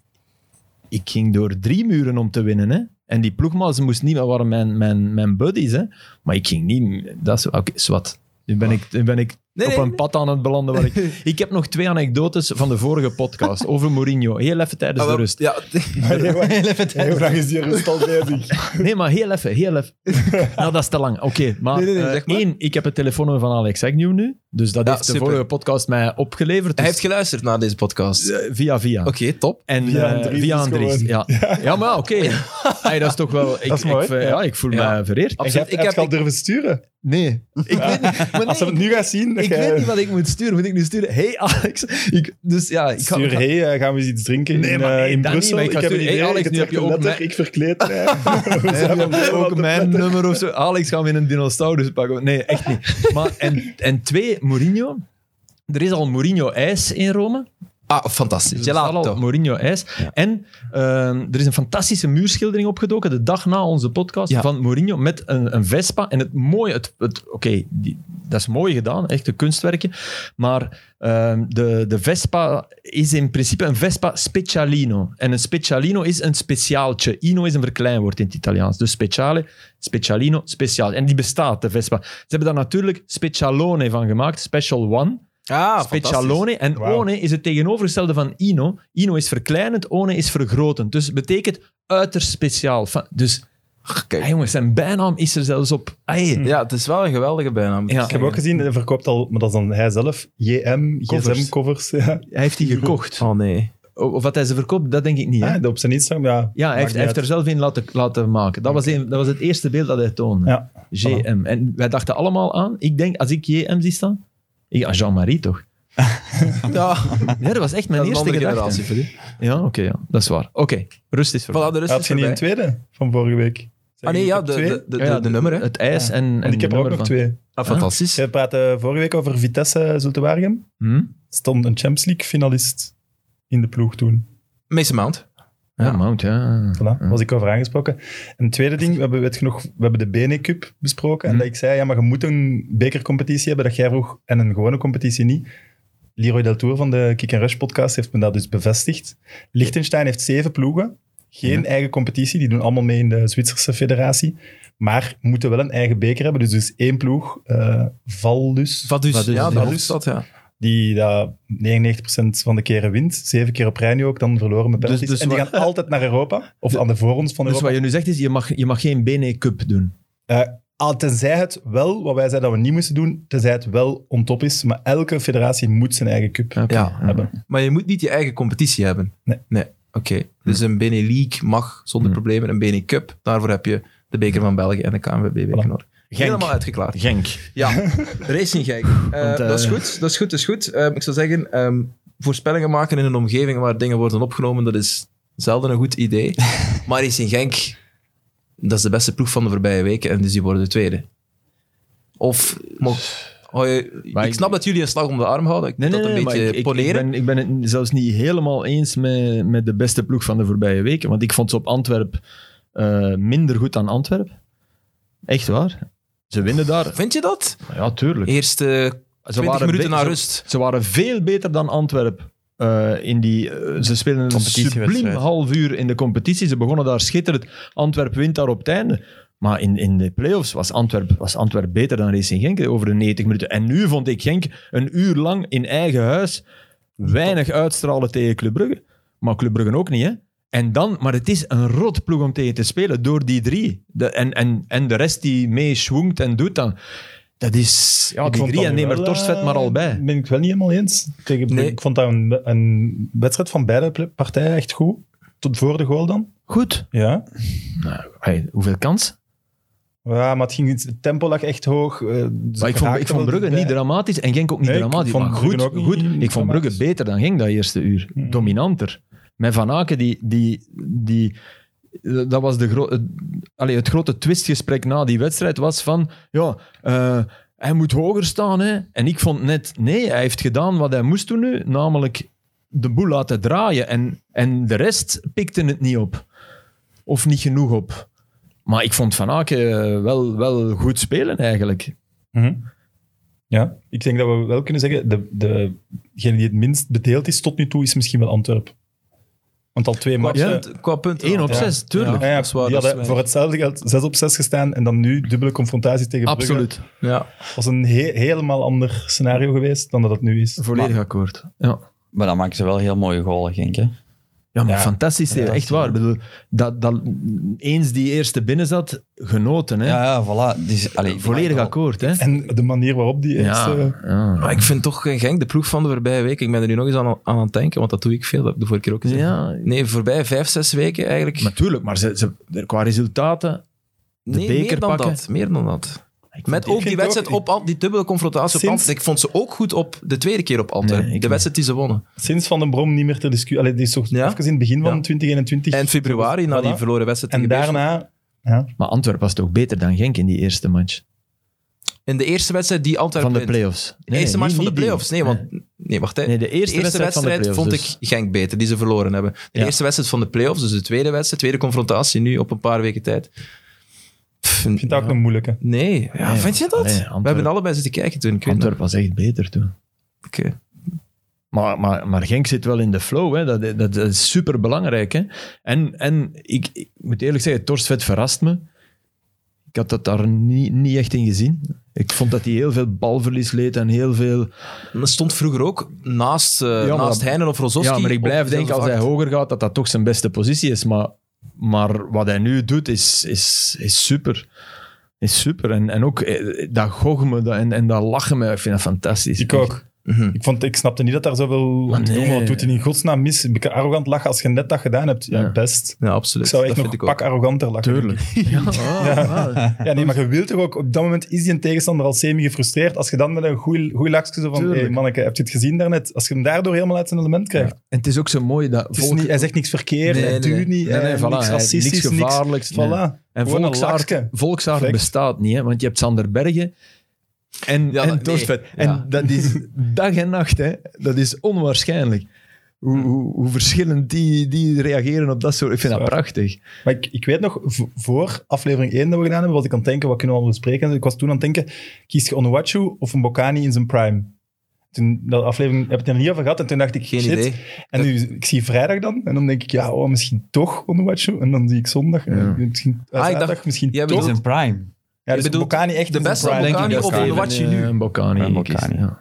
[SPEAKER 2] ik ging door drie muren om te winnen. Hè? En die ploegmaals moest niet meer waren mijn, mijn, mijn buddies. Hè? Maar ik ging niet. Dat is, oké, zwart. Nu ben ik, nu ben ik
[SPEAKER 1] Nee,
[SPEAKER 2] op
[SPEAKER 1] nee,
[SPEAKER 2] een
[SPEAKER 1] nee.
[SPEAKER 2] pad aan het belanden. Waar ik, ik heb nog twee anekdotes van de vorige podcast over Mourinho. Heel even tijdens
[SPEAKER 1] Ah,
[SPEAKER 2] de
[SPEAKER 1] wel,
[SPEAKER 2] rust.
[SPEAKER 1] Ja,
[SPEAKER 3] Heel lang is die rust al bezig.
[SPEAKER 2] Nee, maar heel even, heel even. nou, dat is te lang. Oké, maar,
[SPEAKER 1] Nee, nee, nee,
[SPEAKER 2] eh,
[SPEAKER 1] zeg maar.
[SPEAKER 2] één, ik heb het telefoonnummer van Alex Agnew nu. Dus dat
[SPEAKER 1] Ja,
[SPEAKER 2] heeft de
[SPEAKER 1] super.
[SPEAKER 2] vorige podcast mij opgeleverd.
[SPEAKER 1] hij
[SPEAKER 2] Dus
[SPEAKER 1] heeft geluisterd naar deze podcast. Oké,
[SPEAKER 2] eh, via via.
[SPEAKER 1] top.
[SPEAKER 2] En
[SPEAKER 3] Via
[SPEAKER 2] eh,
[SPEAKER 3] Andries
[SPEAKER 2] via
[SPEAKER 3] is
[SPEAKER 2] Andries. Ja.
[SPEAKER 3] gewoon-
[SPEAKER 2] Ja. maar ja, oké. Hey, dat is toch wel. Ik,
[SPEAKER 3] Dat is mooi,
[SPEAKER 2] Ik, ver- ja.
[SPEAKER 3] ja.
[SPEAKER 2] ik voel
[SPEAKER 1] Ja.
[SPEAKER 2] me vereerd.
[SPEAKER 1] Absoluut.
[SPEAKER 3] Je hebt,
[SPEAKER 1] Ik
[SPEAKER 3] ik
[SPEAKER 1] heb-
[SPEAKER 3] heb je al durven sturen.
[SPEAKER 2] Nee, ik weet niet. Maar
[SPEAKER 3] Als ze
[SPEAKER 2] nee,
[SPEAKER 3] het nu gaan zien, eh, dan
[SPEAKER 2] ik
[SPEAKER 3] ga je-
[SPEAKER 2] weet niet wat ik moet sturen. Moet ik nu sturen? Hey Alex. Ik, dus ja, ik ga.
[SPEAKER 3] stuur, hé, eh, gaan we eens iets drinken
[SPEAKER 2] Nee,
[SPEAKER 3] in,
[SPEAKER 2] maar
[SPEAKER 3] eh,
[SPEAKER 2] nee,
[SPEAKER 3] in
[SPEAKER 2] dat
[SPEAKER 3] Brussel?
[SPEAKER 2] niet, maar ik ga
[SPEAKER 3] heb
[SPEAKER 2] sturen,
[SPEAKER 3] een
[SPEAKER 2] hé,
[SPEAKER 3] idee,
[SPEAKER 2] Alex,
[SPEAKER 3] ik
[SPEAKER 2] nu heb
[SPEAKER 3] trek
[SPEAKER 2] je
[SPEAKER 3] een
[SPEAKER 2] ook
[SPEAKER 3] letter,
[SPEAKER 2] mij-
[SPEAKER 3] Ik verkleed mij.
[SPEAKER 2] Heb je ook mijn nummer of zo. Alex, gaan we in een dinosaurus pakken? Nee, echt niet. Maar, en, en twee, Mourinho. Er is al Mourinho-ijs in Rome.
[SPEAKER 1] Ah, fantastisch.
[SPEAKER 2] Dus er staat al
[SPEAKER 1] Gelato.
[SPEAKER 2] Mourinho-ijs. En ehm, er is een fantastische muurschildering opgedoken de dag na onze podcast
[SPEAKER 1] Ja.
[SPEAKER 2] van Mourinho met een, een Vespa. En het mooie, het, het, oké, die- dat is mooi gedaan, echt een kunstwerkje. Maar ehm, de, de Vespa is in principe een Vespa Specialino. En een Specialino is een speciaaltje. Ino is een verkleinwoord in het Italiaans. Dus speciale, Specialino, speciaal. En die bestaat, de Vespa. Ze hebben daar natuurlijk Specialone van gemaakt, Special One.
[SPEAKER 1] Ah, fantastisch.
[SPEAKER 2] Specialone. En
[SPEAKER 3] Wauw.
[SPEAKER 2] one is het tegenovergestelde van ino. Ino is verkleinend, one is vergrotend. Dus betekent uiterst speciaal. Fa- Dus, ah,
[SPEAKER 1] Kijk.
[SPEAKER 2] jongens, zijn bijnaam is er zelfs op. Ah, hey.
[SPEAKER 1] Ja, het is wel een geweldige bijnaam.
[SPEAKER 2] Ja.
[SPEAKER 3] Ik heb ook gezien, hij verkoopt al, maar dat is dan hij zelf, JM,
[SPEAKER 2] Covers.
[SPEAKER 3] GSM-covers. Ja.
[SPEAKER 2] Hij heeft die gekocht.
[SPEAKER 1] Oh nee.
[SPEAKER 2] O- Of wat hij ze verkoopt, dat denk ik niet. Hè?
[SPEAKER 3] Ah, op zijn Instagram, ja.
[SPEAKER 2] Ja, hij heeft, hij heeft er zelf in laten, laten maken. Dat was, een, dat was het eerste beeld dat hij toonde.
[SPEAKER 3] Ja,
[SPEAKER 2] GM. En wij dachten allemaal aan, ik denk, als ik JM zie staan, ik, ah, Jean-Marie toch?
[SPEAKER 1] Ja,
[SPEAKER 2] Ja, dat was
[SPEAKER 1] dat is
[SPEAKER 2] echt mijn
[SPEAKER 1] een
[SPEAKER 2] eerste
[SPEAKER 1] andere
[SPEAKER 2] gedachte.
[SPEAKER 1] generatie voor die.
[SPEAKER 2] Ja, oké, ja, dat is waar. Oké, rust is voor.
[SPEAKER 1] Voilà, de rust
[SPEAKER 3] Had
[SPEAKER 1] is
[SPEAKER 3] je niet
[SPEAKER 1] voorbij.
[SPEAKER 3] een tweede van vorige week?
[SPEAKER 1] Ah nee, ja, de,
[SPEAKER 3] twee?
[SPEAKER 1] de, de,
[SPEAKER 2] Ja, ja,
[SPEAKER 1] de, de nummer. Hè.
[SPEAKER 2] Het ijs
[SPEAKER 3] Ja.
[SPEAKER 2] en, en
[SPEAKER 3] Want ik
[SPEAKER 2] de
[SPEAKER 3] heb er ook
[SPEAKER 2] nummer
[SPEAKER 3] nog
[SPEAKER 2] van-
[SPEAKER 3] twee.
[SPEAKER 1] Ah, fantastisch.
[SPEAKER 3] Je praatte vorige week over Vitesse Zulte Waregem.
[SPEAKER 2] Hm?
[SPEAKER 3] Stond een Champions League finalist in de ploeg toen.
[SPEAKER 1] Mason Mount.
[SPEAKER 2] Ja, Dus
[SPEAKER 1] Ja.
[SPEAKER 2] Mount, ja.
[SPEAKER 3] Voilà, was ik over aangesproken. En het tweede ding, we hebben, weet je nog, we hebben de Bene Cup besproken. En
[SPEAKER 2] Mhm.
[SPEAKER 3] dat ik zei, ja, maar je moet een bekercompetitie hebben. Dat jij vroeg, en een gewone competitie niet. Leroy Del Tour van de Kick and Rush podcast heeft me dat dus bevestigd. Liechtenstein heeft zeven ploegen. Geen eigen competitie, die doen allemaal mee in de Zwitserse federatie. Maar moeten wel een eigen beker hebben. Dus, dus één ploeg, eh Valdus,
[SPEAKER 1] Vaduz.
[SPEAKER 2] Vaduz,
[SPEAKER 1] ja,
[SPEAKER 2] ja.
[SPEAKER 1] de
[SPEAKER 3] Vaduz.
[SPEAKER 1] hoofdstad, ja.
[SPEAKER 3] die dat 99% van de keren wint. Zeven keer op rij nu ook, dan verloren met penalties.
[SPEAKER 2] dus
[SPEAKER 3] en die
[SPEAKER 2] wat-
[SPEAKER 3] gaan altijd naar Europa, of aan de voorrondes van
[SPEAKER 2] Dus
[SPEAKER 3] Europa.
[SPEAKER 2] wat je nu zegt is, je mag, je mag geen BNE Cup doen.
[SPEAKER 3] Al tenzij het wel, wat wij zeiden dat we niet moesten doen, tenzij het wel on top is. Maar elke federatie moet zijn eigen cup
[SPEAKER 2] Oké.
[SPEAKER 1] Ja.
[SPEAKER 3] hebben.
[SPEAKER 1] Maar je moet niet je eigen competitie hebben.
[SPEAKER 3] Nee.
[SPEAKER 1] Oké. Dus een Bene League mag zonder
[SPEAKER 2] Hm.
[SPEAKER 1] problemen. Een Bene Cup, daarvoor heb je de Beker van België en de KNVB-beker
[SPEAKER 3] Voilà.
[SPEAKER 1] nodig. Helemaal uitgeklaard.
[SPEAKER 2] Genk.
[SPEAKER 1] Ja, racing gek.
[SPEAKER 2] Want, eh,
[SPEAKER 1] dat is goed, dat is goed, dat is goed. Ehm, ik zou zeggen, ehm, voorspellingen maken in een omgeving waar dingen worden opgenomen, dat is zelden een goed idee. Maar Racing Genk, dat is de beste ploeg van de voorbije weken en dus die worden de tweede. Of, mo- hou je-
[SPEAKER 2] Maar
[SPEAKER 1] ik
[SPEAKER 2] ik-
[SPEAKER 1] snap dat jullie een slag om de arm houden. Ik
[SPEAKER 2] Nee,
[SPEAKER 1] moet
[SPEAKER 2] nee,
[SPEAKER 1] dat
[SPEAKER 2] nee,
[SPEAKER 1] een
[SPEAKER 2] maar
[SPEAKER 1] beetje
[SPEAKER 2] ik- ik, ik,
[SPEAKER 1] poneren.
[SPEAKER 2] ben, ik ben het zelfs niet helemaal eens met, met de beste ploeg van de voorbije weken. Want ik vond ze op Antwerp eh, minder goed dan Antwerp. Echt waar. Ze winnen daar.
[SPEAKER 1] Vind je dat?
[SPEAKER 2] Ja, tuurlijk.
[SPEAKER 1] Eerste
[SPEAKER 2] Ze
[SPEAKER 1] 20 minuten
[SPEAKER 2] be-
[SPEAKER 1] na
[SPEAKER 2] ze-
[SPEAKER 1] rust.
[SPEAKER 2] Ze waren veel beter dan Antwerp. eh, in die, eh, ze spelen een
[SPEAKER 4] Competitiewedstrijd.
[SPEAKER 2] subliem half uur in de competitie. Ze begonnen daar schitterend. Antwerp wint daar op het einde. Maar in, in de play-offs was Antwerp, was Antwerp beter dan Racing Genk eh, over de 90 minuten. En nu vond ik Genk een uur lang in eigen huis weinig uitstralen tegen Club Brugge. Maar Club Brugge ook niet, hè? En dan, maar het is een rot ploeg om tegen te spelen door die drie. De, en, en, en de rest die mee schwungt en doet dan. Dat is... Ja,
[SPEAKER 3] Ik
[SPEAKER 2] die
[SPEAKER 3] vond
[SPEAKER 2] drie
[SPEAKER 3] dat
[SPEAKER 2] en
[SPEAKER 3] nu
[SPEAKER 2] neem er
[SPEAKER 3] wel,
[SPEAKER 2] Torstvet
[SPEAKER 3] eh,
[SPEAKER 2] maar al bij.
[SPEAKER 3] Ben ik wel niet helemaal eens. Tegen,
[SPEAKER 1] Nee.
[SPEAKER 3] Ik vond dat een, een wedstrijd van beide pl- partijen echt goed. Tot voor de goal dan.
[SPEAKER 2] Goed.
[SPEAKER 3] Ja.
[SPEAKER 2] Hey, hoeveel kans?
[SPEAKER 3] Ja, maar het, ging, iets- het tempo lag echt hoog. eh, ze
[SPEAKER 2] Maar ik vond, ik
[SPEAKER 3] geraakten
[SPEAKER 2] vond
[SPEAKER 3] wel
[SPEAKER 2] Brugge
[SPEAKER 3] dichtbij.
[SPEAKER 2] niet dramatisch en Genk ook niet
[SPEAKER 3] Nee, ik
[SPEAKER 2] dramatisch.
[SPEAKER 3] vond
[SPEAKER 2] Maar
[SPEAKER 3] Brugge
[SPEAKER 2] goed,
[SPEAKER 3] ook niet
[SPEAKER 2] goed. ik vond Brugge
[SPEAKER 3] dramatisch.
[SPEAKER 2] beter dan Genk dat eerste uur.
[SPEAKER 3] Hmm.
[SPEAKER 2] Dominanter. Met Van Aken, die, die, die, dat was de gro- het- allee, het grote twistgesprek na die wedstrijd was van... Ja, eh, hij moet hoger staan. Hè? En ik vond net, nee, hij heeft gedaan wat hij moest doen nu. Namelijk de boel laten draaien. En, en de rest pikte het niet op. Of niet genoeg op. Maar ik vond Van Aken eh, wel, wel goed spelen eigenlijk.
[SPEAKER 3] Mhm. Ja, ik denk dat we wel kunnen zeggen, de, de, degene die het minst bedeeld is tot nu toe, is misschien wel Antwerp. Want al twee
[SPEAKER 1] Qua,
[SPEAKER 3] matchen...
[SPEAKER 1] punt, qua punten.
[SPEAKER 2] 1 op
[SPEAKER 3] Ja.
[SPEAKER 2] 6, tuurlijk.
[SPEAKER 3] Ja, ja,
[SPEAKER 1] dat is waar,
[SPEAKER 3] die
[SPEAKER 1] dat is
[SPEAKER 3] hadden voor hetzelfde geld 6 op 6 gestaan en dan nu dubbele confrontatie tegen Brugge.
[SPEAKER 2] Absoluut.
[SPEAKER 1] Ja.
[SPEAKER 3] Dat was een he- helemaal ander scenario geweest dan dat het nu is.
[SPEAKER 2] Volledig akkoord. Ja.
[SPEAKER 4] Maar dan maken ze wel heel mooie golen, Genk. Hè?
[SPEAKER 2] Ja, maar
[SPEAKER 3] Ja,
[SPEAKER 2] fantastisch. hè. echt waar. Ik bedoel, dat, dat, eens die eerste binnen zat, genoten. Hè?
[SPEAKER 4] Ja, ja, voilà. Dus, allee,
[SPEAKER 2] Volledig akkoord. Hè?
[SPEAKER 3] En de manier waarop die is...
[SPEAKER 2] Ja,
[SPEAKER 3] eh,
[SPEAKER 2] ja.
[SPEAKER 1] Maar ik vind toch eh, Genk, de ploeg van de voorbije week. Ik ben er nu nog eens aan aan, aan het denken, want dat doe ik veel. Dat heb ik de vorige keer ook gezegd.
[SPEAKER 2] ja.
[SPEAKER 1] Nee, voorbij vijf, zes weken eigenlijk.
[SPEAKER 2] Natuurlijk, maar ze, ze, qua resultaten...
[SPEAKER 1] nee, meer
[SPEAKER 2] beker
[SPEAKER 1] dan
[SPEAKER 2] pakken.
[SPEAKER 1] dat. Meer dan dat.
[SPEAKER 2] Ik
[SPEAKER 1] Met
[SPEAKER 3] ik
[SPEAKER 1] ook die
[SPEAKER 3] vind
[SPEAKER 1] wedstrijd
[SPEAKER 3] ook-
[SPEAKER 1] op Ant- die dubbele confrontatie op
[SPEAKER 3] Sinds-
[SPEAKER 1] Antwerpen. Ik vond ze ook goed op de tweede keer op Antwerpen.
[SPEAKER 2] Nee, ik
[SPEAKER 1] de
[SPEAKER 2] niet.
[SPEAKER 1] wedstrijd die ze wonnen.
[SPEAKER 3] sinds Van den Brom niet meer ter discussie... Allee, die is toch
[SPEAKER 1] Ja.
[SPEAKER 3] even in het begin van
[SPEAKER 1] Ja.
[SPEAKER 3] 2021.
[SPEAKER 1] Eind februari, na die
[SPEAKER 3] Voilà.
[SPEAKER 1] verloren wedstrijd
[SPEAKER 3] En
[SPEAKER 1] tegen Beerschot.
[SPEAKER 3] daarna...
[SPEAKER 2] Maar Antwerpen was toch beter dan Genk in die eerste match?
[SPEAKER 1] In de eerste wedstrijd die Antwerpen
[SPEAKER 2] Van de
[SPEAKER 1] wint.
[SPEAKER 2] play-offs.
[SPEAKER 1] De eerste match van
[SPEAKER 2] niet-
[SPEAKER 1] de
[SPEAKER 2] niet die.
[SPEAKER 1] play-offs. Nee, want... Nee, wacht hè.
[SPEAKER 2] Nee, de eerste,
[SPEAKER 1] de eerste wedstrijd,
[SPEAKER 2] van de
[SPEAKER 1] vond
[SPEAKER 2] play-offs, dus.
[SPEAKER 1] ik Genk beter, die ze verloren hebben. De
[SPEAKER 3] Ja.
[SPEAKER 1] eerste wedstrijd van de play-offs, dus de tweede wedstrijd, tweede confrontatie nu op een paar weken tijd. Pff,
[SPEAKER 3] Ik vind dat ook een moeilijke.
[SPEAKER 1] Nee, ja,
[SPEAKER 2] Nee,
[SPEAKER 1] vind je dat?
[SPEAKER 2] nee,
[SPEAKER 1] We
[SPEAKER 2] Antwerpen-
[SPEAKER 1] hebben allebei zitten kijken toen. Ik weet nog.
[SPEAKER 2] Antwerpen was echt beter toen.
[SPEAKER 1] Oké.
[SPEAKER 2] Maar, maar, maar Genk zit wel in de flow. Hè. Dat, dat, dat is super belangrijk. Hè. En, en ik, ik moet eerlijk zeggen, Torstvet verrast me. Ik had dat daar niet, niet echt in gezien. Ik vond dat hij heel veel balverlies leed en heel veel.
[SPEAKER 1] En Dat stond vroeger ook naast, eh,
[SPEAKER 2] maar
[SPEAKER 1] naast
[SPEAKER 2] dat-
[SPEAKER 1] Heinen of Rozovski.
[SPEAKER 2] ja, maar ik
[SPEAKER 1] op
[SPEAKER 2] blijf denken
[SPEAKER 1] dezelfde
[SPEAKER 2] als hij
[SPEAKER 1] vlakte.
[SPEAKER 2] hoger gaat, dat dat toch zijn beste positie is. Maar, maar wat hij nu doet is, is, is super. Is super. En, en ook eh, dat gochme dat, en, en dat lachen me, ik vind dat fantastisch.
[SPEAKER 3] Ik ook.
[SPEAKER 1] Mhm.
[SPEAKER 3] Ik, vond, ik snapte niet dat daar zoveel
[SPEAKER 2] Maar
[SPEAKER 3] om te doen,
[SPEAKER 2] nee.
[SPEAKER 3] want Wat doet hij in godsnaam mis? Een beetje arrogant lachen als je net dat gedaan hebt. Ja,
[SPEAKER 2] Ja.
[SPEAKER 3] best.
[SPEAKER 1] Ja, absoluut.
[SPEAKER 3] Ik zou echt
[SPEAKER 1] dat
[SPEAKER 3] nog een
[SPEAKER 1] vind ik ook.
[SPEAKER 3] pak arroganter lachen.
[SPEAKER 2] Tuurlijk. Ja,
[SPEAKER 3] Oh,
[SPEAKER 2] ah, ah.
[SPEAKER 3] Ja, nee, maar je wilt toch ook... Op dat moment is die tegenstander al semi gefrustreerd. Als je dan met een goeie, goeie lachje zo van...
[SPEAKER 2] Tuurlijk.
[SPEAKER 3] hey, manneke, heb je het gezien daarnet? Als je hem daardoor helemaal uit zijn element krijgt.
[SPEAKER 2] En het is ook zo mooi dat
[SPEAKER 3] Het is
[SPEAKER 2] volk-
[SPEAKER 3] niet, hij zegt niks verkeerd,
[SPEAKER 1] Nee,
[SPEAKER 3] hij
[SPEAKER 1] nee,
[SPEAKER 3] duwt
[SPEAKER 1] nee.
[SPEAKER 3] niet,
[SPEAKER 2] Nee, nee,
[SPEAKER 3] hij-
[SPEAKER 2] voilà,
[SPEAKER 3] eh, niks
[SPEAKER 2] hij-
[SPEAKER 3] racistisch,
[SPEAKER 2] niks
[SPEAKER 3] niks
[SPEAKER 2] gevaarlijks,
[SPEAKER 3] Voilà.
[SPEAKER 2] nee. En
[SPEAKER 3] Gewoon een
[SPEAKER 2] volksaard,
[SPEAKER 3] lakske.
[SPEAKER 2] volksaard
[SPEAKER 3] Perfect.
[SPEAKER 2] bestaat niet, hè? want je hebt Sander Bergen en,
[SPEAKER 1] Ja,
[SPEAKER 2] en
[SPEAKER 1] dat-
[SPEAKER 2] Torstvet.
[SPEAKER 1] nee, ja.
[SPEAKER 2] En dat is dag en nacht, hè? dat is onwaarschijnlijk. Hoe, hoe, hoe verschillend die, die reageren op dat soort... Ik vind dat
[SPEAKER 3] Zwaar.
[SPEAKER 2] prachtig.
[SPEAKER 3] Maar ik, ik weet nog, v- voor aflevering 1 dat we gedaan hebben, was ik aan het denken, wat kunnen we al bespreken? Ik was toen aan het denken, kies je Onuachu of een Bocani in zijn prime? Toen, dat aflevering heb ik het er niet over gehad en toen dacht ik,
[SPEAKER 1] Geen
[SPEAKER 3] shit.
[SPEAKER 1] idee.
[SPEAKER 2] Dus-
[SPEAKER 3] En nu, ik zie vrijdag dan en dan denk ik, ja, oh, misschien toch Onuachu. En dan zie ik zondag, en
[SPEAKER 2] Ja.
[SPEAKER 3] misschien eh,
[SPEAKER 1] Ah, ik
[SPEAKER 3] zaterdag,
[SPEAKER 1] dacht-
[SPEAKER 3] misschien
[SPEAKER 1] jij
[SPEAKER 3] toch.
[SPEAKER 4] In zijn prime.
[SPEAKER 3] Ja, dus
[SPEAKER 1] je bedoelt
[SPEAKER 3] Boccani echt
[SPEAKER 1] de
[SPEAKER 3] in zijn
[SPEAKER 1] beste
[SPEAKER 3] prime.
[SPEAKER 1] Bocani
[SPEAKER 2] Denk ik
[SPEAKER 1] of
[SPEAKER 2] dat Steven,
[SPEAKER 1] Onuachi nu?
[SPEAKER 2] eh, Een Bocani.
[SPEAKER 4] Een
[SPEAKER 2] kiest,
[SPEAKER 4] Boccani.
[SPEAKER 2] ja.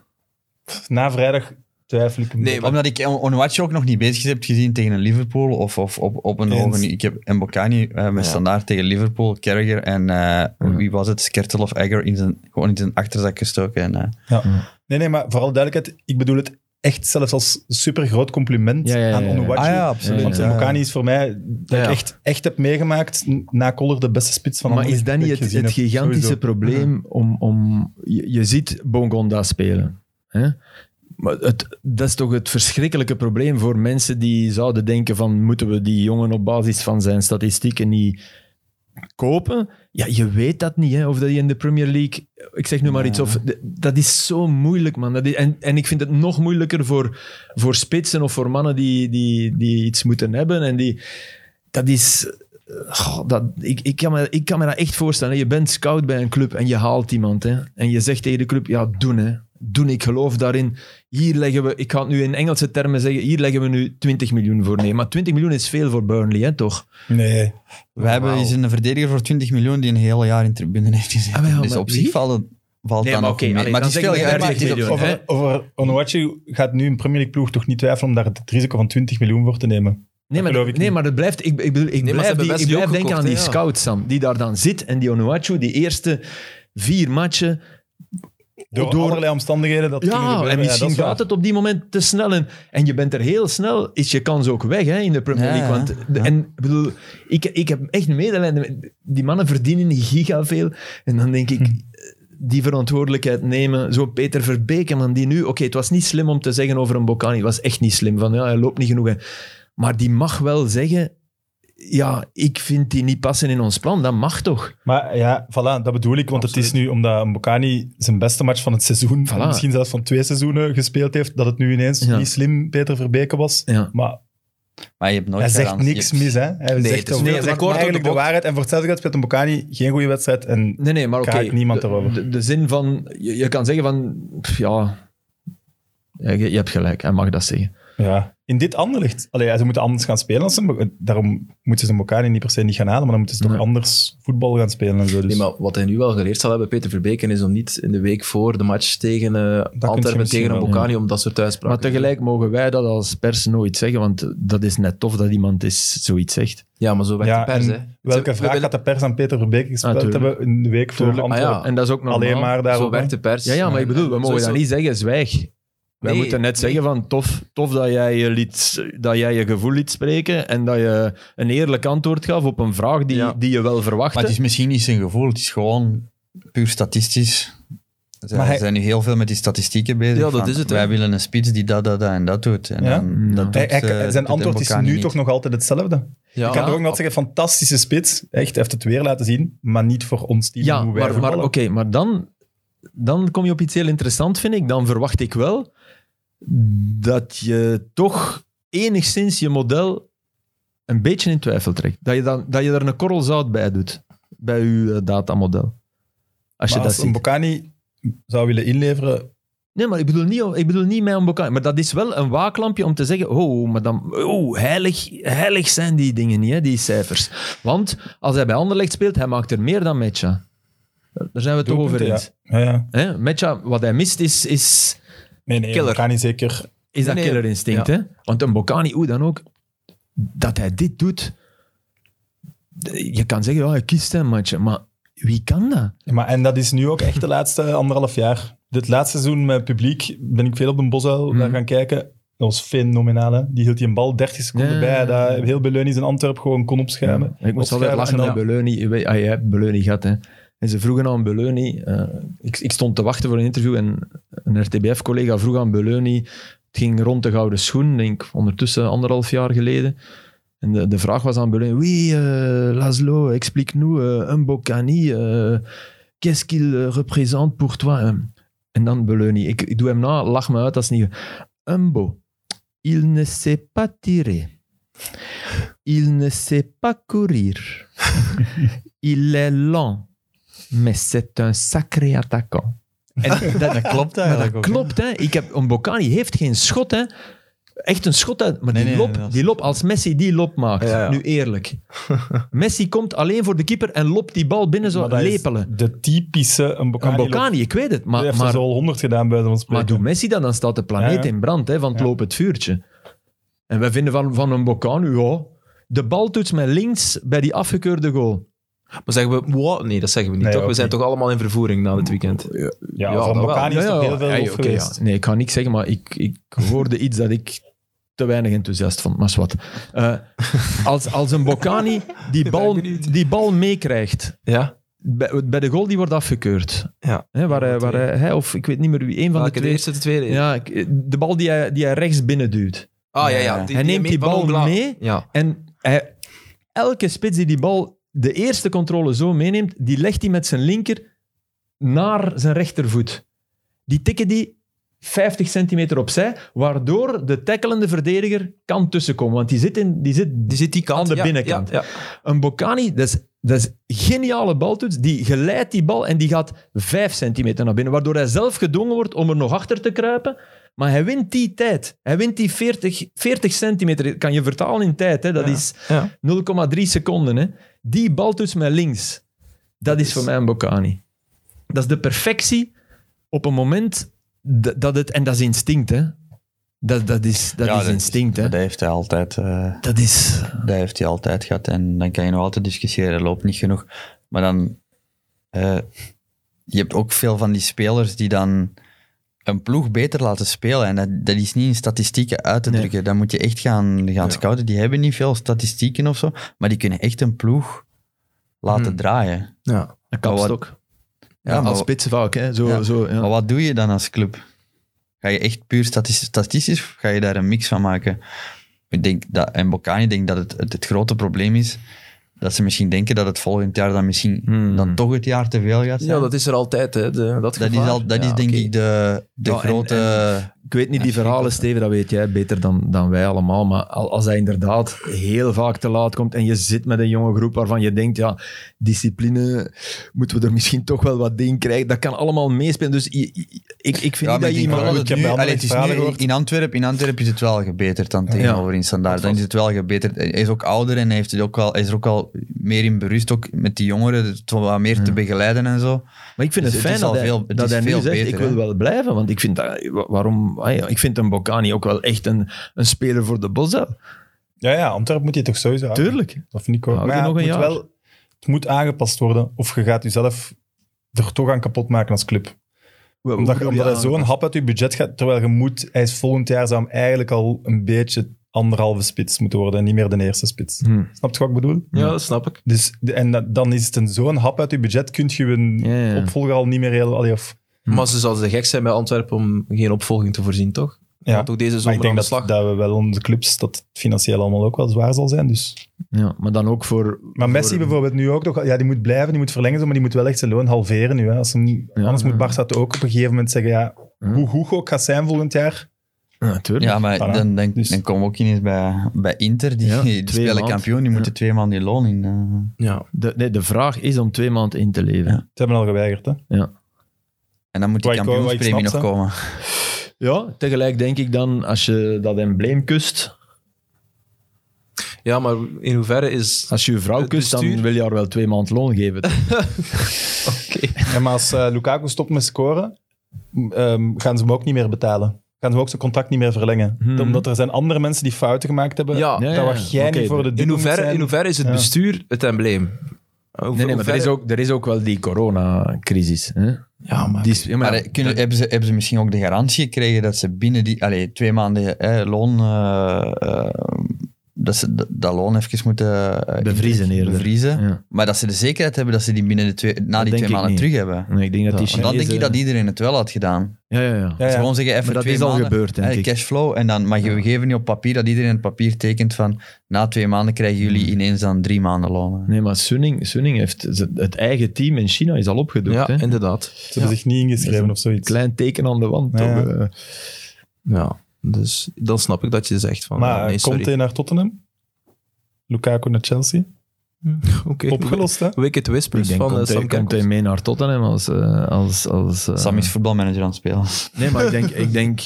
[SPEAKER 3] Na vrijdag twijfel ik een
[SPEAKER 1] Nee,
[SPEAKER 3] beetje.
[SPEAKER 1] maar-
[SPEAKER 4] Omdat ik On- Onuachu ook nog niet bezig heb gezien tegen een Liverpool of, of op, op een
[SPEAKER 3] Eens.
[SPEAKER 4] hoge... Ik heb Mbokani eh met standaard tegen Liverpool, Carragher en eh,
[SPEAKER 2] Mhm.
[SPEAKER 4] wie was het? Skertel of Egger in zijn, gewoon in zijn achterzak gestoken. En, eh,
[SPEAKER 3] Nee, nee, maar vooral duidelijkheid, ik bedoel het echt zelfs als super groot compliment
[SPEAKER 2] Ja, ja, ja,
[SPEAKER 3] aan
[SPEAKER 2] ja.
[SPEAKER 3] Onuwachu.
[SPEAKER 4] Ah ja, absoluut.
[SPEAKER 3] Want
[SPEAKER 2] Ja,
[SPEAKER 3] ja,
[SPEAKER 2] ja.
[SPEAKER 3] is voor mij, dat
[SPEAKER 2] Ja.
[SPEAKER 3] ik echt, echt heb meegemaakt, n- na Koller de beste spits van
[SPEAKER 2] Maar
[SPEAKER 3] Anderlecht
[SPEAKER 2] is dat niet
[SPEAKER 3] ik
[SPEAKER 2] het,
[SPEAKER 3] gezien
[SPEAKER 2] het
[SPEAKER 3] heb,
[SPEAKER 2] gigantische
[SPEAKER 3] sowieso.
[SPEAKER 2] probleem om... om je, je ziet Bongonda spelen. Hè? Maar het, dat is toch het verschrikkelijke probleem voor mensen die zouden denken van moeten we die jongen op basis van zijn statistieken niet kopen. Ja, je weet dat niet. Hè. Of dat je in de Premier League, ik zeg nu maar iets, of, de- dat is zo moeilijk, man. Dat is, en, en ik vind het nog moeilijker voor, voor spitsen of voor mannen die, die, die iets moeten hebben. En die, dat is. Goh, dat, ik, ik, kan me, ik kan me dat echt voorstellen. hè. Je bent scout bij een club en je haalt iemand. Hè. En je zegt tegen de club, ja, doen hè. Doen, ik geloof daarin. Hier leggen we, ik ga het nu in Engelse termen zeggen, hier leggen we nu 20 miljoen voor neer. Maar 20 miljoen is veel voor Burnley, hè, toch?
[SPEAKER 3] Nee.
[SPEAKER 4] We hebben eens een verdediger voor 20 miljoen die een hele jaar in tribune heeft gezeten.
[SPEAKER 2] Ah, wel,
[SPEAKER 4] dus
[SPEAKER 2] maar
[SPEAKER 4] op
[SPEAKER 2] wie?
[SPEAKER 4] zich valt, het, valt
[SPEAKER 2] Nee,
[SPEAKER 4] dan
[SPEAKER 2] maar
[SPEAKER 4] ook
[SPEAKER 2] oké,
[SPEAKER 4] mee.
[SPEAKER 2] allee,
[SPEAKER 4] maar
[SPEAKER 2] dan
[SPEAKER 4] het is
[SPEAKER 2] zeggen we
[SPEAKER 4] veel geld.
[SPEAKER 2] 30
[SPEAKER 4] maar het is op-
[SPEAKER 2] miljoen.
[SPEAKER 3] Over, over Onuachu gaat nu een Premier League ploeg toch niet twijfelen om daar het risico van 20 miljoen voor te nemen.
[SPEAKER 2] Nee, maar,
[SPEAKER 3] geloof ik
[SPEAKER 2] nee,
[SPEAKER 3] niet.
[SPEAKER 2] maar dat blijft. Ik, ik, bedoel, ik
[SPEAKER 1] maar ze
[SPEAKER 2] blijf,
[SPEAKER 1] hebben
[SPEAKER 2] die,
[SPEAKER 1] best
[SPEAKER 2] ik blijf
[SPEAKER 1] Joop
[SPEAKER 2] denken aan
[SPEAKER 1] gekocht,
[SPEAKER 2] die
[SPEAKER 1] hè, ja.
[SPEAKER 2] scout, Sam, die daar dan zit. En die Onuachu, die eerste vier matchen.
[SPEAKER 3] Door,
[SPEAKER 2] Door-
[SPEAKER 3] allerlei omstandigheden dat kunnen
[SPEAKER 2] Ja,
[SPEAKER 3] gebeuren.
[SPEAKER 2] en misschien
[SPEAKER 3] dat is
[SPEAKER 2] gaat
[SPEAKER 3] waar.
[SPEAKER 2] het op die moment te snel. En, en je bent er heel snel, is je kans ook weg hè, in de Premier
[SPEAKER 4] Ja,
[SPEAKER 2] League.
[SPEAKER 4] ja.
[SPEAKER 2] Want de- en, ik bedoel, ik, ik heb echt medelijden. met- Die mannen verdienen giga veel. En dan denk
[SPEAKER 3] Hm.
[SPEAKER 2] ik, eh, die verantwoordelijkheid nemen. Zo Peter Verbeke, man, die nu... Oké, het was niet slim om te zeggen over een Bocani. Het was echt niet slim. Van, ja, hij loopt niet genoeg. hè. Maar die mag wel zeggen... Ja, ik vind die niet passen in ons plan. Dat mag toch?
[SPEAKER 3] Maar ja, voilà, dat bedoel ik. Want het is nu, omdat Mbokani zijn beste match van het seizoen,
[SPEAKER 2] Voilà.
[SPEAKER 3] misschien zelfs van twee seizoenen gespeeld heeft, dat het nu ineens
[SPEAKER 2] Ja.
[SPEAKER 3] niet slim Peter Verbeke was.
[SPEAKER 2] Ja.
[SPEAKER 3] Maar
[SPEAKER 4] Maar je hebt nooit
[SPEAKER 3] hij zegt
[SPEAKER 4] garantie.
[SPEAKER 3] niks
[SPEAKER 4] Je hebt-
[SPEAKER 3] mis, hè. Hij
[SPEAKER 1] Nee,
[SPEAKER 3] zegt
[SPEAKER 1] het is
[SPEAKER 3] over-
[SPEAKER 1] veel
[SPEAKER 3] hij
[SPEAKER 1] te
[SPEAKER 3] zegt
[SPEAKER 1] kort op de
[SPEAKER 3] eigenlijk de
[SPEAKER 1] bocht.
[SPEAKER 3] waarheid. En voor hetzelfde geld speelt Mbokani geen goede wedstrijd. En
[SPEAKER 2] Nee, nee, maar oké.
[SPEAKER 3] Kraakt niemand
[SPEAKER 2] de-
[SPEAKER 3] erover.
[SPEAKER 2] De, de zin van... Je, je kan zeggen van... pff, ja... ja, je, je hebt gelijk. Hij mag dat zeggen.
[SPEAKER 3] Ja. In dit Anderlicht. Allee, ze moeten anders gaan spelen. Als ze, Mbo- daarom moeten ze Mbokani niet per se niet gaan halen, maar dan moeten ze toch
[SPEAKER 2] Nee.
[SPEAKER 3] anders voetbal gaan spelen. En zo, dus.
[SPEAKER 1] Nee, maar wat hij nu wel geleerd zal hebben, Peter Verbeken, is om niet in de week voor de match tegen eh
[SPEAKER 3] je
[SPEAKER 1] Antwerpen,
[SPEAKER 3] misschien
[SPEAKER 1] tegen een
[SPEAKER 3] wel,
[SPEAKER 1] Bocani, om dat soort uitspraken
[SPEAKER 2] Maar tegelijk mogen wij dat als pers nooit zeggen, want dat is net tof dat iemand is, zoiets zegt.
[SPEAKER 1] Ja, maar zo werkt
[SPEAKER 3] Ja,
[SPEAKER 1] de pers,
[SPEAKER 3] en
[SPEAKER 1] hè.
[SPEAKER 3] Welke
[SPEAKER 1] We
[SPEAKER 3] vraag
[SPEAKER 1] willen-
[SPEAKER 3] gaat de pers aan Peter Verbeke gespeeld
[SPEAKER 2] Ah, tuurlijk.
[SPEAKER 3] hebben een week voor
[SPEAKER 2] Tuurlijk.
[SPEAKER 1] Ah,
[SPEAKER 3] Antwerpen?
[SPEAKER 1] ja.
[SPEAKER 2] En dat is ook normaal.
[SPEAKER 3] Alleen maar daarop.
[SPEAKER 1] Zo werkt de pers.
[SPEAKER 2] Ja, ja, maar ik bedoel, we
[SPEAKER 1] En
[SPEAKER 2] mogen
[SPEAKER 1] zo is
[SPEAKER 2] dat
[SPEAKER 1] zo-
[SPEAKER 2] niet zeggen, zwijg. Wij
[SPEAKER 1] Nee,
[SPEAKER 2] moeten net
[SPEAKER 1] nee.
[SPEAKER 2] zeggen van, tof, tof dat, jij je liet, dat jij je gevoel liet spreken en dat je een eerlijk antwoord gaf op een vraag die,
[SPEAKER 1] Ja.
[SPEAKER 2] die je wel verwachtte.
[SPEAKER 4] Maar het is misschien niet zijn gevoel, het is gewoon puur statistisch. Ze
[SPEAKER 3] Maar hij-
[SPEAKER 4] zijn nu heel veel met die statistieken bezig.
[SPEAKER 1] Ja, dat
[SPEAKER 4] van,
[SPEAKER 1] is het, hè.
[SPEAKER 4] Wij willen een spits die dat, dat, dat en dat doet. En
[SPEAKER 3] Ja?
[SPEAKER 4] dan,
[SPEAKER 2] Ja.
[SPEAKER 4] dat
[SPEAKER 3] Hij-
[SPEAKER 4] doet,
[SPEAKER 3] hij-
[SPEAKER 4] eh, doet
[SPEAKER 3] zijn antwoord is
[SPEAKER 4] Mbokani
[SPEAKER 3] nu
[SPEAKER 4] niet.
[SPEAKER 3] toch nog altijd hetzelfde.
[SPEAKER 1] Ja,
[SPEAKER 3] ik kan toch ook nog zeggen, fantastische spits. Echt, hij heeft het weer laten zien, maar niet voor ons team.
[SPEAKER 2] Ja,
[SPEAKER 3] hoe wij
[SPEAKER 2] maar, maar
[SPEAKER 3] voetballen.
[SPEAKER 2] oké, maar dan, dan kom je op iets heel interessants, vind ik. Dan verwacht ik wel dat je toch enigszins je model een beetje in twijfel trekt. Dat je, dan, dat je er een korrel zout bij doet, bij je eh, datamodel. Als je
[SPEAKER 3] Maar
[SPEAKER 2] dat
[SPEAKER 3] als
[SPEAKER 2] ziet.
[SPEAKER 3] Mbokani zou willen inleveren,
[SPEAKER 2] Nee, maar ik bedoel niet, ik bedoel niet mij om Bokani. Maar dat is wel een waaklampje om te zeggen, oh, maar dan, oh heilig, heilig zijn die dingen niet, hè, die cijfers. Want als hij bij Anderlecht speelt, hij maakt er meer dan Mecha. Daar zijn we het toch over
[SPEAKER 3] Doelpunten,
[SPEAKER 2] eens.
[SPEAKER 3] ja, ja.
[SPEAKER 2] Hè? Metja, wat hij mist is, is,
[SPEAKER 3] Nee, nee,
[SPEAKER 1] Killer.
[SPEAKER 3] Mbokani zeker.
[SPEAKER 2] is dat
[SPEAKER 1] Nee, nee.
[SPEAKER 2] killerinstinct.
[SPEAKER 1] Ja.
[SPEAKER 2] Hè? Want een Bocani, hoe dan ook, dat hij dit doet. Je kan zeggen, ja, hij kiest hem, matje. Maar wie kan dat?
[SPEAKER 3] Maar, en dat is nu ook echt de laatste anderhalf jaar. Dit laatste seizoen met publiek ben ik veel op de
[SPEAKER 2] Mhm.
[SPEAKER 3] Bosuil daar gaan kijken. Dat was fenomenaal, hè. Die hield die een bal 30 seconden
[SPEAKER 2] Ja.
[SPEAKER 3] bij. Dat heel Beleunis in Antwerpen gewoon kon opschuimen.
[SPEAKER 2] Ik moest altijd
[SPEAKER 3] Opschuimen
[SPEAKER 2] lachen
[SPEAKER 3] en
[SPEAKER 2] aan Beleuni. Je weet- ah, jij hebt Beleuni gehad, hè. En ze vroegen aan Beleuni... eh, ik, ik stond te wachten voor een interview en een RTBF-collega vroeg aan Beleuni... Het ging rond de Gouden Schoen, denk ik, ondertussen anderhalf jaar geleden. En de, de vraag was aan Beleuni... Oui, eh, Laszlo, explique nous eh, un Bocani. eh, Qu'est-ce qu'il eh, représente pour toi? eh? En dan Beleuni. Ik, ik doe hem na, lach me uit, dat is niet... Umbo, il ne sait pas tirer. Il ne sait pas courir. Il est lent. Mais c'est un sacré attaquant. En dat,
[SPEAKER 4] Dat klopt eigenlijk ook. hè.
[SPEAKER 2] klopt, hè. Ik heb, een Bocani heeft geen schot, hè. Echt een schot uit. Maar
[SPEAKER 4] Nee,
[SPEAKER 2] die,
[SPEAKER 4] nee,
[SPEAKER 2] lop,
[SPEAKER 4] dat is-
[SPEAKER 2] die lop, als Messi die lop maakt,
[SPEAKER 1] Ja, ja.
[SPEAKER 2] nu eerlijk. Messi komt alleen voor de keeper en lopt die bal binnen zo
[SPEAKER 3] Maar dat is
[SPEAKER 2] lepelen.
[SPEAKER 3] De typische Mbokani.
[SPEAKER 2] Een Bocani, ik weet het.
[SPEAKER 3] Die
[SPEAKER 2] Maar,
[SPEAKER 3] heeft
[SPEAKER 2] maar,
[SPEAKER 3] er zo al 100 gedaan bij ons.
[SPEAKER 2] maar doe Messi dan, dan staat de planeet
[SPEAKER 3] Ja, ja.
[SPEAKER 2] in brand hè, van het
[SPEAKER 3] Ja.
[SPEAKER 2] lopend vuurtje. En wij vinden van, van een Bocanu, ja, de bal toets met links bij die afgekeurde goal.
[SPEAKER 1] Maar zeggen we, wow, nee, dat zeggen we niet.
[SPEAKER 3] Nee,
[SPEAKER 1] toch? We
[SPEAKER 3] ook
[SPEAKER 1] zijn toch allemaal in vervoering na dit weekend.
[SPEAKER 3] Ja,
[SPEAKER 1] Ja, dat
[SPEAKER 3] van
[SPEAKER 1] wel.
[SPEAKER 3] Mbokani is
[SPEAKER 2] Ja, ja,
[SPEAKER 3] toch heel
[SPEAKER 2] ja.
[SPEAKER 3] veel
[SPEAKER 2] Ja,
[SPEAKER 3] lof
[SPEAKER 2] oké, ja.
[SPEAKER 3] geweest.
[SPEAKER 2] Nee, ik ga niks zeggen, maar ik, ik hoorde iets dat ik te weinig enthousiast vond, maar wat. als, als een Bocani die bal, die bal meekrijgt,
[SPEAKER 1] Ja?
[SPEAKER 2] bij, bij de goal die wordt afgekeurd,
[SPEAKER 1] Ja.
[SPEAKER 2] hè, waar, hij, waar hij, hij of ik weet niet meer wie, een van
[SPEAKER 1] Welke
[SPEAKER 2] de
[SPEAKER 1] de
[SPEAKER 2] twee...
[SPEAKER 1] eerste, de tweede?
[SPEAKER 2] Ja, ik- de bal die hij, die hij rechts binnen duwt.
[SPEAKER 1] Ah, ja, ja.
[SPEAKER 4] Hij
[SPEAKER 2] neemt
[SPEAKER 1] mee-
[SPEAKER 2] die
[SPEAKER 1] van
[SPEAKER 2] bal
[SPEAKER 1] Ongla.
[SPEAKER 2] mee.
[SPEAKER 1] Ja.
[SPEAKER 2] En hij- elke spits die die bal de eerste controle zo meeneemt, die legt hij met zijn linker naar zijn rechtervoet. Die tikken die 50 centimeter opzij, waardoor de tackelende verdediger kan tussenkomen. Want die zit, in, die zit,
[SPEAKER 1] Die zit die kant.
[SPEAKER 2] Aan de
[SPEAKER 1] ja,
[SPEAKER 2] binnenkant.
[SPEAKER 1] Ja, ja.
[SPEAKER 2] een Bocani, dat is, dat is geniale baltoets, die geleidt die bal en die gaat 5 centimeter naar binnen, waardoor hij zelf gedwongen wordt om er nog achter te kruipen. Maar hij wint die tijd. Hij wint die 40, 40 centimeter. Kan je vertalen in tijd, hè? dat
[SPEAKER 1] Ja.
[SPEAKER 2] is
[SPEAKER 1] Ja.
[SPEAKER 2] 0,3 seconden. Hè? Die bal tussen mij links, dat is voor mij een Bocani. Dat is de perfectie op een moment d- dat het... En dat is instinct, hè. Dat, dat is, dat
[SPEAKER 4] Ja,
[SPEAKER 2] is instinct, hè.
[SPEAKER 4] Dat heeft hij altijd... eh,
[SPEAKER 2] Dat is...
[SPEAKER 4] Dat heeft hij altijd gehad. En dan kan je nog altijd discussiëren, er loopt niet genoeg. Maar dan... eh, je hebt ook veel van die spelers die dan een ploeg beter laten spelen. En dat, dat is niet in statistieken uit te
[SPEAKER 2] Nee.
[SPEAKER 4] drukken. Dan moet je echt gaan, gaan scouten. Die hebben niet veel statistieken of zo. Maar die kunnen echt een ploeg laten
[SPEAKER 1] Hmm.
[SPEAKER 4] draaien.
[SPEAKER 1] Ja.
[SPEAKER 2] Een
[SPEAKER 4] kapstok.
[SPEAKER 2] kapstok.
[SPEAKER 4] Ja,
[SPEAKER 2] Ja,
[SPEAKER 4] maar-
[SPEAKER 2] als spits vaak, hè. Zo,
[SPEAKER 4] Ja.
[SPEAKER 2] zo, ja.
[SPEAKER 4] Maar wat doe je dan als club? Ga je echt puur statistisch, statistisch of ga je daar een mix van maken? Ik denk dat, en Bocani denkt dat het, het, het grote probleem is dat ze misschien denken dat het volgend jaar dan misschien
[SPEAKER 2] Hmm.
[SPEAKER 4] dan toch het jaar te veel gaat zijn.
[SPEAKER 1] ja, dat is er altijd. Hè, de- dat
[SPEAKER 4] dat is,
[SPEAKER 1] gevaar.
[SPEAKER 4] al, dat
[SPEAKER 1] Ja,
[SPEAKER 4] is denk
[SPEAKER 1] oké. Nou,
[SPEAKER 4] ik de, de
[SPEAKER 2] Ja, en-
[SPEAKER 4] grote...
[SPEAKER 2] Ik weet niet, die verhalen, Steven, dat weet jij beter dan, dan wij allemaal. Maar al- als hij inderdaad heel vaak te laat komt en je zit met een jonge groep waarvan je denkt, ja, discipline, moeten we er misschien toch wel wat in krijgen. Dat kan allemaal meespelen. Dus je- je- ik, ik vind
[SPEAKER 4] Ja,
[SPEAKER 2] niet
[SPEAKER 4] maar
[SPEAKER 2] dat je
[SPEAKER 4] ik denk
[SPEAKER 2] iemand...
[SPEAKER 4] wel
[SPEAKER 3] goed,
[SPEAKER 4] dat
[SPEAKER 3] ik heb
[SPEAKER 4] nu-
[SPEAKER 3] bij andere
[SPEAKER 4] allee, het is
[SPEAKER 3] verhalen
[SPEAKER 4] nu-
[SPEAKER 3] gehoord.
[SPEAKER 4] in Antwerpen, in Antwerpen is het wel gebeterd dan tegenover in Standaard. Dan is het wel gebeterd. Hij is ook ouder en heeft het ook wel, is er ook al meer in berust, ook met die jongeren, het wat meer te begeleiden en zo.
[SPEAKER 2] Maar ik vind het
[SPEAKER 4] Dus het
[SPEAKER 2] fijn
[SPEAKER 4] is
[SPEAKER 2] dat
[SPEAKER 4] al
[SPEAKER 2] hij,
[SPEAKER 4] veel- het
[SPEAKER 2] dat
[SPEAKER 4] is
[SPEAKER 2] hij nu
[SPEAKER 4] veel
[SPEAKER 2] zegt, ik
[SPEAKER 4] beter,
[SPEAKER 2] wil
[SPEAKER 4] hè.
[SPEAKER 2] wel blijven. Want ik vind, dat, wa- waarom, ah ja, ik vind een Bocani ook wel echt een, een speler voor de Bosel.
[SPEAKER 3] Ja, ja, Antwerpen moet je toch sowieso houden.
[SPEAKER 2] Tuurlijk.
[SPEAKER 3] Dat vind ik ook.
[SPEAKER 2] Hou
[SPEAKER 3] Maar
[SPEAKER 2] je
[SPEAKER 3] ja,
[SPEAKER 2] nog
[SPEAKER 3] het,
[SPEAKER 2] een
[SPEAKER 3] moet
[SPEAKER 2] jaar?
[SPEAKER 3] wel, het moet aangepast worden. Of je gaat jezelf er toch aan kapot maken als club. Omdat, je- omdat hij zo'n hap uit je budget gaat, terwijl je moet... Hij is volgend jaar zou hem eigenlijk al een beetje anderhalve spits moeten worden en niet meer de eerste spits.
[SPEAKER 2] Hmm.
[SPEAKER 3] Snap je wat ik bedoel?
[SPEAKER 1] Ja, dat snap ik.
[SPEAKER 3] Dus, de- en dat- dan is het een zo'n hap uit je budget, kun je een
[SPEAKER 2] Ja, ja.
[SPEAKER 3] opvolger al niet meer heel... Allee, of,
[SPEAKER 2] Hm.
[SPEAKER 1] Maar ze zouden gek zijn bij Antwerpen om geen opvolging te voorzien, toch?
[SPEAKER 3] Ja.
[SPEAKER 1] Want ook deze
[SPEAKER 3] maar ik
[SPEAKER 1] zomer aan
[SPEAKER 3] denk
[SPEAKER 1] de
[SPEAKER 3] dat,
[SPEAKER 1] slag.
[SPEAKER 3] dat we wel onze clubs, dat het financieel allemaal ook wel zwaar zal zijn. Dus.
[SPEAKER 2] Ja, maar dan ook voor...
[SPEAKER 3] Maar Messi bijvoorbeeld nu ook nog... Ja, die moet blijven, die moet verlengen, zo, maar die moet wel echt zijn loon halveren nu. Hè. Als hem, anders moet Barca het ook op een gegeven moment zeggen, ja, hoe goed ook gaat zijn volgend jaar.
[SPEAKER 2] Natuurlijk.
[SPEAKER 4] Ja, maar
[SPEAKER 3] Voilà.
[SPEAKER 4] dan, dan,
[SPEAKER 3] Dus-
[SPEAKER 4] dan komen we ook ineens bij, bij Inter, die,
[SPEAKER 2] Ja,
[SPEAKER 4] die
[SPEAKER 2] twee
[SPEAKER 4] spelen
[SPEAKER 2] maand.
[SPEAKER 4] kampioen, die moeten twee maanden loon in. eh.
[SPEAKER 1] Ja.
[SPEAKER 2] De, nee, de vraag is om twee maanden in te leven.
[SPEAKER 4] Ja.
[SPEAKER 3] Ze hebben al geweigerd, hè.
[SPEAKER 4] en dan moet die
[SPEAKER 3] Wat ik- wat ik
[SPEAKER 4] kampioenspremie nog
[SPEAKER 3] snap,
[SPEAKER 4] komen.
[SPEAKER 2] Ja, tegelijk denk ik dan, als je dat embleem kust,
[SPEAKER 1] ja, maar in hoeverre is...
[SPEAKER 2] als je je vrouw
[SPEAKER 1] Het
[SPEAKER 2] kust, dan
[SPEAKER 1] bestuur-
[SPEAKER 2] wil je haar wel twee maanden loon geven.
[SPEAKER 3] Ja, maar als eh, Lukaku stopt met scoren, m, ehm, gaan ze hem ook niet meer betalen. Gaan ze hem ook zijn contract niet meer verlengen.
[SPEAKER 2] Hmm.
[SPEAKER 3] Omdat er zijn andere mensen die fouten gemaakt hebben.
[SPEAKER 1] Ja.
[SPEAKER 3] dat
[SPEAKER 2] Ja, ja,
[SPEAKER 3] was jij
[SPEAKER 2] oké.
[SPEAKER 3] niet voor de
[SPEAKER 1] In
[SPEAKER 3] doel moet
[SPEAKER 1] hoeverre,
[SPEAKER 3] zijn.
[SPEAKER 1] in hoeverre is het
[SPEAKER 3] Ja.
[SPEAKER 1] bestuur het embleem? Hoe-
[SPEAKER 2] Nee, nee, maar er
[SPEAKER 1] hoeverre-
[SPEAKER 2] is ook, er is ook wel die coronacrisis. Hè?
[SPEAKER 1] Ja, maar...
[SPEAKER 2] Die is- ja, maar
[SPEAKER 4] Maar
[SPEAKER 2] ja,
[SPEAKER 4] eh, kunnen, hebben, ze, hebben ze misschien ook de garantie gekregen dat ze binnen die allee, twee maanden eh, loon. eh, eh, dat ze d- dat loon even moeten eh,
[SPEAKER 2] Bevriezen eerder.
[SPEAKER 4] bevriezen.
[SPEAKER 2] Ja.
[SPEAKER 4] Maar dat ze de zekerheid hebben dat ze die binnen de twee, na die
[SPEAKER 2] denk
[SPEAKER 4] twee
[SPEAKER 2] ik
[SPEAKER 4] maanden
[SPEAKER 2] niet.
[SPEAKER 4] terug hebben.
[SPEAKER 2] nee, ik denk dat die
[SPEAKER 4] Want dan denk ik
[SPEAKER 2] Chinezen-
[SPEAKER 4] dat iedereen het wel had gedaan.
[SPEAKER 2] Ja, ja, ja.
[SPEAKER 3] Ja,
[SPEAKER 4] Dus
[SPEAKER 3] ja.
[SPEAKER 4] gewoon zeggen even
[SPEAKER 2] Maar dat
[SPEAKER 4] twee
[SPEAKER 2] is al
[SPEAKER 4] maanden,
[SPEAKER 2] gebeurd, denk
[SPEAKER 4] eh,
[SPEAKER 2] ik.
[SPEAKER 4] Cashflow. En dan, maar je- we geven niet op papier dat iedereen het papier tekent van na twee maanden krijgen jullie
[SPEAKER 2] Hmm.
[SPEAKER 4] ineens dan drie maanden loon.
[SPEAKER 2] Nee, maar Sunning, Sunning heeft ze- het eigen team in China is al opgedoekt.
[SPEAKER 1] Ja,
[SPEAKER 2] hè? Een
[SPEAKER 1] inderdaad.
[SPEAKER 3] Ze hebben zich niet ingeschreven of zoiets.
[SPEAKER 2] klein teken aan de wand.
[SPEAKER 3] Ja,
[SPEAKER 2] toch, eh.
[SPEAKER 1] Ja, dus dan snap ik dat je zegt van...
[SPEAKER 3] maar
[SPEAKER 1] ja, nee,
[SPEAKER 3] komt hij
[SPEAKER 1] sorry.
[SPEAKER 3] naar Tottenham? Lukaku naar Chelsea?
[SPEAKER 1] Oké.
[SPEAKER 3] Opgelost, hè?
[SPEAKER 1] Wicked
[SPEAKER 2] Ik
[SPEAKER 1] Whispers
[SPEAKER 2] denk,
[SPEAKER 1] van eh,
[SPEAKER 2] komt hij-
[SPEAKER 1] Sam
[SPEAKER 2] komt hij
[SPEAKER 1] Kerkhoff.
[SPEAKER 2] mee naar Tottenham als... eh, als, als eh,
[SPEAKER 4] Sam is voetbalmanager aan het spelen.
[SPEAKER 2] Nee, maar ik denk... Ik denk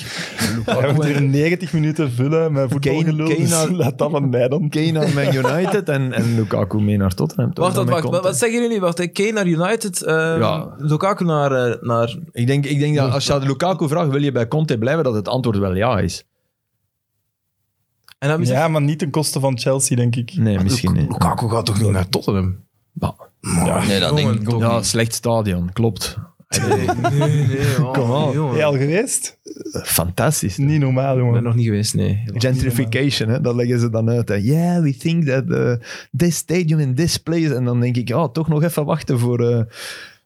[SPEAKER 3] Hij moet hier 90 minuten vullen met voetbalgelul.
[SPEAKER 2] Kane
[SPEAKER 3] Dus
[SPEAKER 2] naar-
[SPEAKER 3] laat dat van mij dan.
[SPEAKER 2] Kane naar Man United en, en Lukaku mee naar Tottenham. toch?
[SPEAKER 1] Wacht,
[SPEAKER 2] Dan
[SPEAKER 1] wacht,
[SPEAKER 2] met
[SPEAKER 1] wacht. Wat,
[SPEAKER 2] Conte.
[SPEAKER 1] wat zeggen jullie? Wacht, hè? Kane naar United, eh
[SPEAKER 2] Ja.
[SPEAKER 1] Lukaku naar, eh, naar...
[SPEAKER 2] Ik denk, ik denk dat als je aan Lukaku vraagt, wil je bij Conte blijven, dat het antwoord wel ja is.
[SPEAKER 1] En dan is
[SPEAKER 3] Ja, maar niet ten koste van Chelsea, denk ik.
[SPEAKER 2] Nee, misschien
[SPEAKER 1] Luk-
[SPEAKER 2] niet.
[SPEAKER 1] Lukaku gaat toch niet naar Tottenham?
[SPEAKER 2] Bah.
[SPEAKER 4] nee, dat
[SPEAKER 1] jongen,
[SPEAKER 4] denk ik ook
[SPEAKER 2] Ja,
[SPEAKER 4] niet.
[SPEAKER 2] slecht stadion, klopt.
[SPEAKER 1] Nee, nee, nee. man.
[SPEAKER 2] Kom op.
[SPEAKER 1] Jongen.
[SPEAKER 3] Ben je al geweest?
[SPEAKER 2] Fantastisch.
[SPEAKER 3] Niet normaal,
[SPEAKER 1] Ik ben
[SPEAKER 3] jongen.
[SPEAKER 1] nog niet geweest, nee.
[SPEAKER 2] Gentrification, hè? dat leggen ze dan uit. Hè. Yeah, we think that eh, this stadium in this place... En dan denk ik, ja, toch nog even wachten voor eh,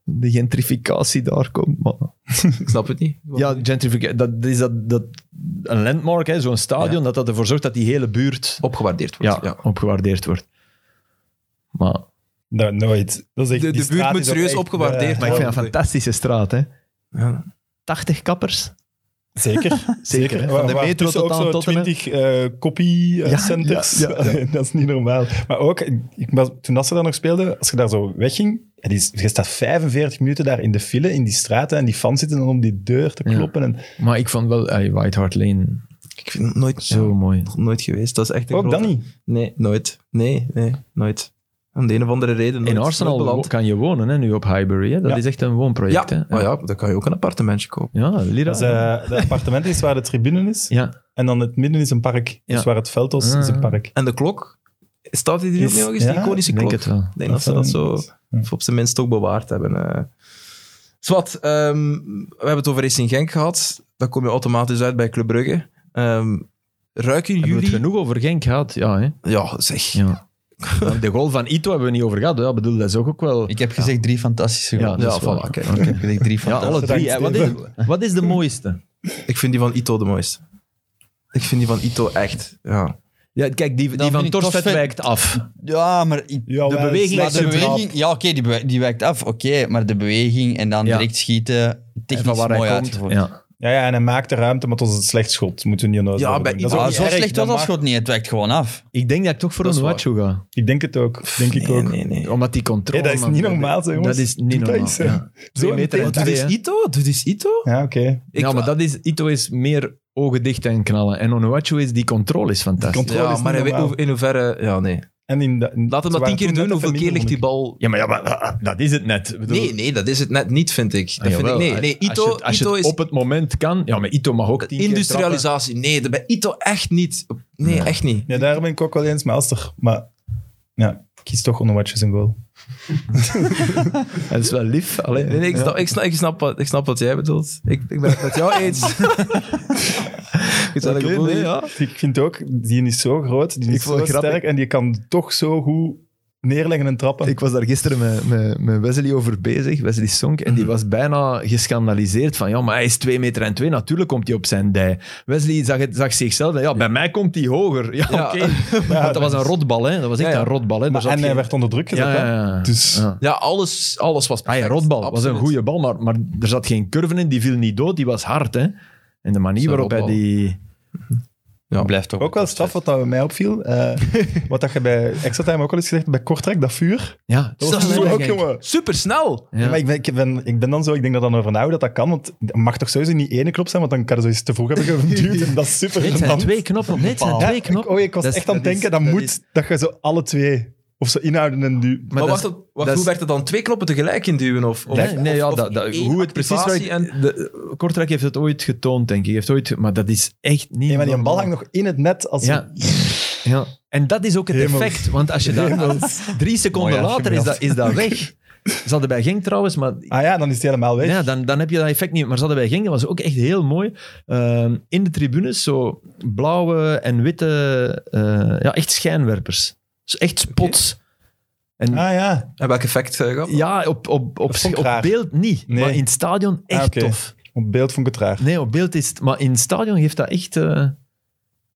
[SPEAKER 2] de gentrificatie daar komt. Maar
[SPEAKER 1] Ik snap het niet.
[SPEAKER 2] Ja, gentrificatie. Dat is dat, dat, een landmark, hè, zo'n stadion, dat dat ervoor zorgt dat die hele buurt
[SPEAKER 1] Opgewaardeerd wordt.
[SPEAKER 2] ja,
[SPEAKER 1] Ja.
[SPEAKER 2] opgewaardeerd wordt. Maar
[SPEAKER 3] Nou, nooit. Dat is echt,
[SPEAKER 1] De-
[SPEAKER 3] die
[SPEAKER 1] de buurt
[SPEAKER 3] straat
[SPEAKER 1] moet
[SPEAKER 3] is ook
[SPEAKER 1] serieus
[SPEAKER 3] echt,
[SPEAKER 1] opgewaardeerd
[SPEAKER 3] eh,
[SPEAKER 2] Maar ik vind dat een fantastische straat, hè.
[SPEAKER 1] Ja.
[SPEAKER 2] 80 kappers.
[SPEAKER 3] Zeker.
[SPEAKER 2] Zeker, hè. Van de
[SPEAKER 3] Waar-
[SPEAKER 2] metro
[SPEAKER 3] waartussen
[SPEAKER 2] tot aan
[SPEAKER 3] ook zo
[SPEAKER 2] Tottenham.
[SPEAKER 3] 20 eh copy eh,
[SPEAKER 2] Ja,
[SPEAKER 3] centers.
[SPEAKER 2] ja, ja,
[SPEAKER 3] dat is niet normaal. Maar ook, ik- ik was, toen dat ze daar nog speelden, als je daar zo wegging, het is, je staat 45 minuten daar in de file, in die straten, en die fans zitten dan om die deur te
[SPEAKER 2] Ja.
[SPEAKER 3] kloppen. En
[SPEAKER 2] Maar ik vond wel eh, White Hart Lane
[SPEAKER 1] Ik vind het nooit,
[SPEAKER 2] zo
[SPEAKER 1] ja,
[SPEAKER 2] mooi.
[SPEAKER 1] nog nooit geweest. Dat is echt een
[SPEAKER 3] ook
[SPEAKER 1] grote-
[SPEAKER 3] dat niet.
[SPEAKER 1] Nee, nooit. Nee, nee, nooit. Om de een of andere reden.
[SPEAKER 2] In
[SPEAKER 1] nooit
[SPEAKER 2] Arsenal
[SPEAKER 1] beland.
[SPEAKER 2] wo- kan je wonen, hè, nu op Highbury. Hè. Dat
[SPEAKER 3] Ja.
[SPEAKER 2] is echt een
[SPEAKER 1] Ja,
[SPEAKER 2] woonproject.
[SPEAKER 1] maar
[SPEAKER 2] Hè.
[SPEAKER 1] ja, dan kan je ook een appartementje kopen.
[SPEAKER 2] ja Lira.
[SPEAKER 3] Dat is, eh, de appartement is waar de tribune is,
[SPEAKER 2] ja.
[SPEAKER 3] en dan het midden is een park.
[SPEAKER 2] Ja.
[SPEAKER 3] Dus waar het veld was, is een
[SPEAKER 2] Ah.
[SPEAKER 3] park.
[SPEAKER 1] En de klok, staat die er ook
[SPEAKER 3] Is-
[SPEAKER 1] nog eens?
[SPEAKER 3] ja,
[SPEAKER 1] die iconische
[SPEAKER 2] Ik denk
[SPEAKER 1] klok.
[SPEAKER 2] het wel.
[SPEAKER 1] Ik denk dat ze dat zo
[SPEAKER 3] Ja.
[SPEAKER 1] op zijn minst ook bewaard hebben. eh. Zwat, ehm, we hebben het over Racing Genk gehad. Dan kom je automatisch uit bij Club Brugge. Ehm, ruiken
[SPEAKER 2] Hebben we het
[SPEAKER 1] jullie...
[SPEAKER 2] genoeg over Genk gehad? Ja, hè.
[SPEAKER 1] Ja, zeg.
[SPEAKER 2] Ja. De goal van Ito hebben we niet over gehad. Ja, bedoel, dat is ook, ook wel...
[SPEAKER 4] Ik heb gezegd drie fantastische
[SPEAKER 2] Ja,
[SPEAKER 4] goals.
[SPEAKER 1] Ja,
[SPEAKER 4] dat is waar.
[SPEAKER 1] voilà, kijk.
[SPEAKER 4] Ik heb gezegd drie
[SPEAKER 2] Ja,
[SPEAKER 4] fantastische
[SPEAKER 2] alle drie. hè.
[SPEAKER 3] Dank,
[SPEAKER 2] Wat is, wat is de mooiste?
[SPEAKER 1] Ik vind die van Ito de mooiste. Ik vind die van Ito echt, ja.
[SPEAKER 2] Ja, kijk, die,
[SPEAKER 4] Dan
[SPEAKER 2] die van
[SPEAKER 4] vind ik
[SPEAKER 2] Torstvet
[SPEAKER 4] Torstvet-
[SPEAKER 2] wijkt af.
[SPEAKER 4] Ja, maar i-
[SPEAKER 3] Ja,
[SPEAKER 2] De
[SPEAKER 3] wel,
[SPEAKER 2] beweging
[SPEAKER 4] Maar
[SPEAKER 3] slechts
[SPEAKER 4] de
[SPEAKER 3] een trap.
[SPEAKER 4] beweging, ja, oké, die, bewe- die wijkt af, oké, maar de beweging en dan
[SPEAKER 2] Ja.
[SPEAKER 4] direct schieten,
[SPEAKER 2] En
[SPEAKER 4] technisch
[SPEAKER 2] van waar
[SPEAKER 4] mooi
[SPEAKER 2] hij komt.
[SPEAKER 4] uitgevoerd.
[SPEAKER 2] Ja.
[SPEAKER 3] Ja, ja, en hij maakt de ruimte, maar het was een slecht schot. Moeten we niet onnozel
[SPEAKER 1] Ja,
[SPEAKER 3] over
[SPEAKER 1] bij
[SPEAKER 3] doen.
[SPEAKER 1] ieder-
[SPEAKER 3] ook
[SPEAKER 4] Ah,
[SPEAKER 3] niet
[SPEAKER 4] zo
[SPEAKER 3] erg,
[SPEAKER 4] slecht was dat
[SPEAKER 3] mag-
[SPEAKER 4] schot niet, het wijkt gewoon af.
[SPEAKER 2] Ik denk dat ik toch voor
[SPEAKER 1] Dat
[SPEAKER 2] een
[SPEAKER 1] is waar.
[SPEAKER 2] Wachu ga.
[SPEAKER 3] Ik denk het ook, denk ik
[SPEAKER 1] nee,
[SPEAKER 3] ook.
[SPEAKER 1] Nee, nee.
[SPEAKER 2] Omdat die controle...
[SPEAKER 3] Nee, dat is
[SPEAKER 2] man,
[SPEAKER 3] niet normaal, zeg, jongens.
[SPEAKER 2] Dat is niet
[SPEAKER 3] Doe dat
[SPEAKER 2] normaal.
[SPEAKER 3] eens, hè.
[SPEAKER 2] ja. Twee
[SPEAKER 3] een
[SPEAKER 2] meter en
[SPEAKER 3] tijd.
[SPEAKER 1] Doe
[SPEAKER 2] twee.
[SPEAKER 1] dit
[SPEAKER 2] hè.
[SPEAKER 1] Ito? Doe dit Ito?
[SPEAKER 3] Ja, oké.
[SPEAKER 1] Ik-
[SPEAKER 2] ja, maar dat is, Ito is meer ogen dicht en knallen. En Onuachu is, die controle is fantastisch.
[SPEAKER 3] Controle
[SPEAKER 1] Ja,
[SPEAKER 3] is
[SPEAKER 1] maar
[SPEAKER 3] niet
[SPEAKER 1] hij weet
[SPEAKER 3] normaal.
[SPEAKER 1] hoe- in hoeverre... Ja, nee.
[SPEAKER 3] En in de, in-
[SPEAKER 1] Laat hem
[SPEAKER 3] ze
[SPEAKER 1] dat tien
[SPEAKER 3] waren
[SPEAKER 1] keer
[SPEAKER 3] toen
[SPEAKER 1] doen,
[SPEAKER 3] net
[SPEAKER 1] hoeveel
[SPEAKER 3] even
[SPEAKER 1] keer ligt die
[SPEAKER 3] minder,
[SPEAKER 1] bal...
[SPEAKER 2] Ja, maar, ja, maar ah, dat is het net. Ik bedoel-
[SPEAKER 1] Nee, nee, dat is het net niet, vind ik. Dat
[SPEAKER 2] Ah,
[SPEAKER 1] vind ik
[SPEAKER 2] jawel.
[SPEAKER 1] nee. nee
[SPEAKER 2] Als je
[SPEAKER 1] Ito,
[SPEAKER 2] het- als je
[SPEAKER 1] Ito
[SPEAKER 2] het
[SPEAKER 1] is
[SPEAKER 2] op het moment kan... Ja, maar Ito mag ook tien keer trappen.
[SPEAKER 1] industrialisatie. Nee, dat bij Ito echt niet. Nee, echt niet.
[SPEAKER 3] Nee, daar ben ik ook wel eens mee lastig. Maar ja, ik kies toch onder watjes een goal.
[SPEAKER 2] Dat is wel lief. Alleen,
[SPEAKER 1] Nee, nee, ik, snap, ik, snap, ik, snap wat, ik snap wat jij bedoelt. Ik, ik ben het met jou eens. Ik zou dat gevoel niet-
[SPEAKER 3] Ik vind ook, die is zo groot, die
[SPEAKER 2] Ik
[SPEAKER 3] is
[SPEAKER 2] vond
[SPEAKER 3] zo
[SPEAKER 2] het grappig.
[SPEAKER 3] sterk en die kan toch zo goed neerleggen en trappen.
[SPEAKER 2] Ik was daar gisteren met, met, met Wesley over bezig, Wesley Sonk, en die
[SPEAKER 3] Mhm.
[SPEAKER 2] was bijna geschandaliseerd van, ja, maar hij is 2 meter en 2, natuurlijk komt hij op zijn dij. Wesley zag, het, zag zichzelf, en, ja, bij mij komt hij hoger. Ja,
[SPEAKER 1] Ja.
[SPEAKER 2] oké.
[SPEAKER 3] Ja, dus-
[SPEAKER 2] Want dat was een rotbal, hè. Dat was echt
[SPEAKER 1] Ja, ja.
[SPEAKER 2] een rotbal, hè. Daar
[SPEAKER 3] maar,
[SPEAKER 2] zat
[SPEAKER 3] en hij
[SPEAKER 2] geen-
[SPEAKER 3] werd onder druk gezet.
[SPEAKER 2] ja, ja,
[SPEAKER 3] hè.
[SPEAKER 2] ja.
[SPEAKER 3] Dus
[SPEAKER 2] Ja.
[SPEAKER 1] Ja, alles, alles was
[SPEAKER 2] Ah ja,
[SPEAKER 1] perfect.
[SPEAKER 2] rotbal. was een
[SPEAKER 1] Absoluut.
[SPEAKER 2] goede bal, maar, maar er zat geen curve in, die viel niet dood, die was hard, hè. En de manier
[SPEAKER 1] Zo'n
[SPEAKER 2] waarop hij
[SPEAKER 1] rotbal.
[SPEAKER 2] die...
[SPEAKER 1] Ja.
[SPEAKER 4] Blijft ook,
[SPEAKER 3] ook wel straf wat dat mij opviel. eh, wat dat je bij extra time ook al eens gezegd hebt, bij Kortrijk, dat vuur.
[SPEAKER 2] Ja,
[SPEAKER 3] Dat was
[SPEAKER 1] is
[SPEAKER 3] toen
[SPEAKER 1] wel
[SPEAKER 3] ook,
[SPEAKER 2] gek.
[SPEAKER 3] jongen.
[SPEAKER 1] Supersnel.
[SPEAKER 2] Ja.
[SPEAKER 3] Ja, maar ik ben, ik, ben, ik ben dan zo, ik denk dat dan over nou dat dat kan, want het mag toch sowieso niet ene knop zijn, want dan kan er zoiets te vroeg hebben geduwd en dat is super
[SPEAKER 2] Nee, het zijn
[SPEAKER 3] gênant.
[SPEAKER 2] twee knoppen. Nee, het zijn
[SPEAKER 3] Ja,
[SPEAKER 2] twee
[SPEAKER 3] ik-
[SPEAKER 2] knoppen.
[SPEAKER 3] oh, ik was
[SPEAKER 2] Dat is-
[SPEAKER 3] echt aan het
[SPEAKER 2] dat
[SPEAKER 3] denken,
[SPEAKER 2] is-
[SPEAKER 3] dat,
[SPEAKER 2] dat
[SPEAKER 3] moet
[SPEAKER 2] is-
[SPEAKER 3] dat je zo alle twee of zo inhouden en nu.
[SPEAKER 1] Maar,
[SPEAKER 2] dat
[SPEAKER 1] wacht,
[SPEAKER 2] is-
[SPEAKER 1] op, wacht,
[SPEAKER 2] dat
[SPEAKER 1] hoe
[SPEAKER 2] is-
[SPEAKER 1] werd het dan? Twee knoppen tegelijk induwen? Of, of,
[SPEAKER 2] Nee, nee,
[SPEAKER 1] of-
[SPEAKER 2] ja,
[SPEAKER 1] of
[SPEAKER 2] dat, dat-
[SPEAKER 1] één
[SPEAKER 2] hoe het precies
[SPEAKER 1] activatie
[SPEAKER 2] werkt.
[SPEAKER 1] en-
[SPEAKER 2] de- Kortrijk heeft het ooit getoond, denk ik. Heeft ooit, maar dat is echt niet.
[SPEAKER 3] Nee, maar die
[SPEAKER 2] normaal.
[SPEAKER 3] bal hangt nog in het net. Als
[SPEAKER 2] Ja. ja. En dat is ook het
[SPEAKER 3] Hemels.
[SPEAKER 2] effect. Want als je dat drie seconden
[SPEAKER 4] Mooi
[SPEAKER 2] later is dat, is dat weg. Ze hadden bij Genk trouwens, maar
[SPEAKER 3] Ah ja, dan is het helemaal weg.
[SPEAKER 2] ja, dan, dan heb je dat effect niet. Maar ze hadden bij Genk, dat was ook echt heel mooi. Ehm, in de tribunes zo blauwe en witte, eh, ja, echt schijnwerpers. Dus echt spots. En
[SPEAKER 3] Ah ja,
[SPEAKER 1] En welk effect eh, gaf?
[SPEAKER 2] ja, op, op, op,
[SPEAKER 3] Dat vond ik
[SPEAKER 2] op
[SPEAKER 3] raar.
[SPEAKER 2] beeld niet,
[SPEAKER 3] Nee.
[SPEAKER 2] maar in het stadion echt
[SPEAKER 3] Ah, oké.
[SPEAKER 2] tof.
[SPEAKER 3] op beeld vond ik het raar.
[SPEAKER 2] Nee, op beeld is het... Maar in het stadion geeft dat echt... eh,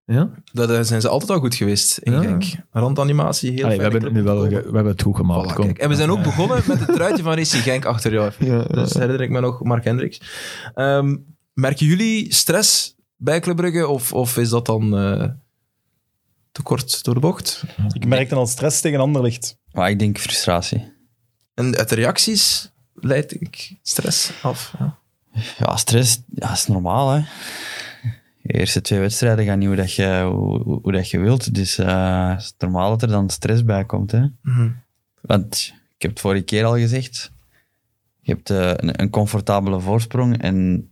[SPEAKER 2] ja?
[SPEAKER 1] Dat eh, zijn ze altijd al goed geweest in
[SPEAKER 2] Ja.
[SPEAKER 1] Genk. Randanimatie, heel
[SPEAKER 2] Allee, we
[SPEAKER 1] fijne
[SPEAKER 2] hebben het nu
[SPEAKER 1] club om te
[SPEAKER 2] wel ge-
[SPEAKER 1] volgen.
[SPEAKER 2] we hebben het goed gemaakt.
[SPEAKER 1] Voilà,
[SPEAKER 2] kom.
[SPEAKER 1] kijk. En we zijn ook begonnen met het truitje van Racing Genk achter jou.
[SPEAKER 2] Ja,
[SPEAKER 1] Dat Dus herinner ik me nog, Mark Hendricks. Ehm, merken jullie stress bij Club Brugge of, of is dat dan eh, te kort door de bocht?
[SPEAKER 3] Ik merkte al stress tegen Anderlicht.
[SPEAKER 4] Maar ik denk frustratie.
[SPEAKER 1] En uit de reacties leid ik stress af. Ja.
[SPEAKER 4] Ja, stress, ja, is normaal, hè. Je eerste twee wedstrijden gaan niet hoe, dat je, hoe, hoe- hoe dat je wilt, dus eh, het is normaal dat er dan stress bij komt, hè.
[SPEAKER 1] Mhm.
[SPEAKER 4] Want ik heb het vorige keer al gezegd. Je hebt eh, een, een comfortabele voorsprong en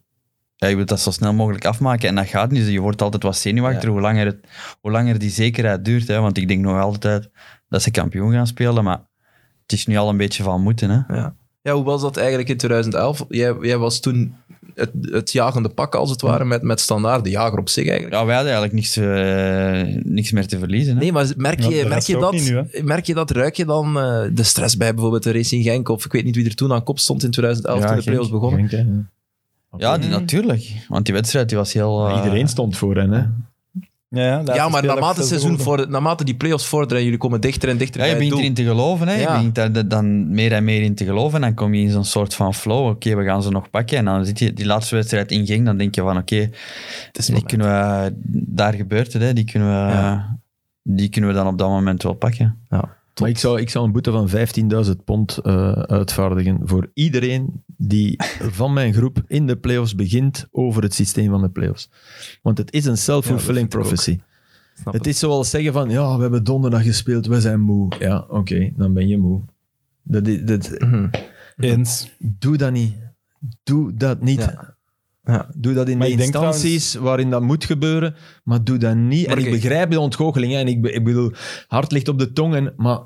[SPEAKER 4] ja, je wilt dat zo snel mogelijk afmaken. En dat gaat niet. Dus Je wordt altijd wat zenuwachtiger hoe, langer het, hoe langer die zekerheid duurt. Hè? Want ik denk nog altijd dat ze kampioen gaan spelen. Maar het is nu al een beetje van moeten. Hè?
[SPEAKER 1] Ja. ja, hoe was dat eigenlijk in 2011? Jij, jij was toen het, het jagende pak, als het ware, met, met standaard, de jager op zich eigenlijk.
[SPEAKER 4] Ja, wij hadden eigenlijk niks, eh, niks meer te verliezen. Hè?
[SPEAKER 1] Nee, maar merk
[SPEAKER 3] Ja,
[SPEAKER 1] je,
[SPEAKER 3] de rest
[SPEAKER 1] merk, je
[SPEAKER 3] ook
[SPEAKER 1] dat,
[SPEAKER 3] niet nu,
[SPEAKER 1] merk je dat? Ruik je dan eh, de stress bij bijvoorbeeld de Racing Genk? Of ik weet niet wie er toen aan kop stond in 2011
[SPEAKER 4] Ja,
[SPEAKER 1] toen de
[SPEAKER 4] Genk.
[SPEAKER 1] play-offs begonnen.
[SPEAKER 2] Genk, hè, ja.
[SPEAKER 4] Ja, die- natuurlijk. Want die wedstrijd die was heel... eh,
[SPEAKER 2] Iedereen stond voor hen, hè.
[SPEAKER 3] Ja, ja, laatste
[SPEAKER 1] ja, maar
[SPEAKER 3] speeldag
[SPEAKER 1] naarmate, het
[SPEAKER 3] veel
[SPEAKER 1] seizoen
[SPEAKER 3] gewonnen.
[SPEAKER 1] voor, naarmate die play-offs vorderen, jullie komen dichter en dichter
[SPEAKER 4] Ja, je
[SPEAKER 1] bij het
[SPEAKER 4] begint
[SPEAKER 1] doel.
[SPEAKER 4] erin te geloven. Hè.
[SPEAKER 1] Ja.
[SPEAKER 4] Je begint daar de- dan meer en meer in te geloven. En dan kom je in zo'n soort van flow. Oké, we gaan ze nog pakken. En dan zit je die laatste wedstrijd in Genk. Dan denk je van, oké, die kunnen we daar gebeurt het. Hè. Die, kunnen we,
[SPEAKER 1] Ja.
[SPEAKER 4] die kunnen we dan op dat moment wel pakken.
[SPEAKER 2] Maar ik zou, ik zou een boete van 15.000 pond eh, uitvaardigen voor iedereen die van mijn groep in de playoffs begint over het systeem van de playoffs. Want het is een self-fulfilling
[SPEAKER 1] Ja, dat vind ik
[SPEAKER 2] prophecy.
[SPEAKER 1] Snap
[SPEAKER 2] Het is zoals zeggen van, ja, we hebben donderdag gespeeld, we zijn moe. Ja, oké, dan ben je moe. Dat, i- dat,
[SPEAKER 1] Mhm.
[SPEAKER 3] Eens.
[SPEAKER 2] doe dat niet. Doe dat niet.
[SPEAKER 1] Ja. Ja.
[SPEAKER 2] Doe dat in
[SPEAKER 3] Maar
[SPEAKER 2] de
[SPEAKER 3] ik denk
[SPEAKER 2] instanties waarin dat moet gebeuren, maar doe dat niet.
[SPEAKER 1] Maar
[SPEAKER 2] en
[SPEAKER 1] ik-
[SPEAKER 2] ik begrijp de ontgoocheling, hè, en ik, be- ik bedoel, hart ligt op de tong, en, maar...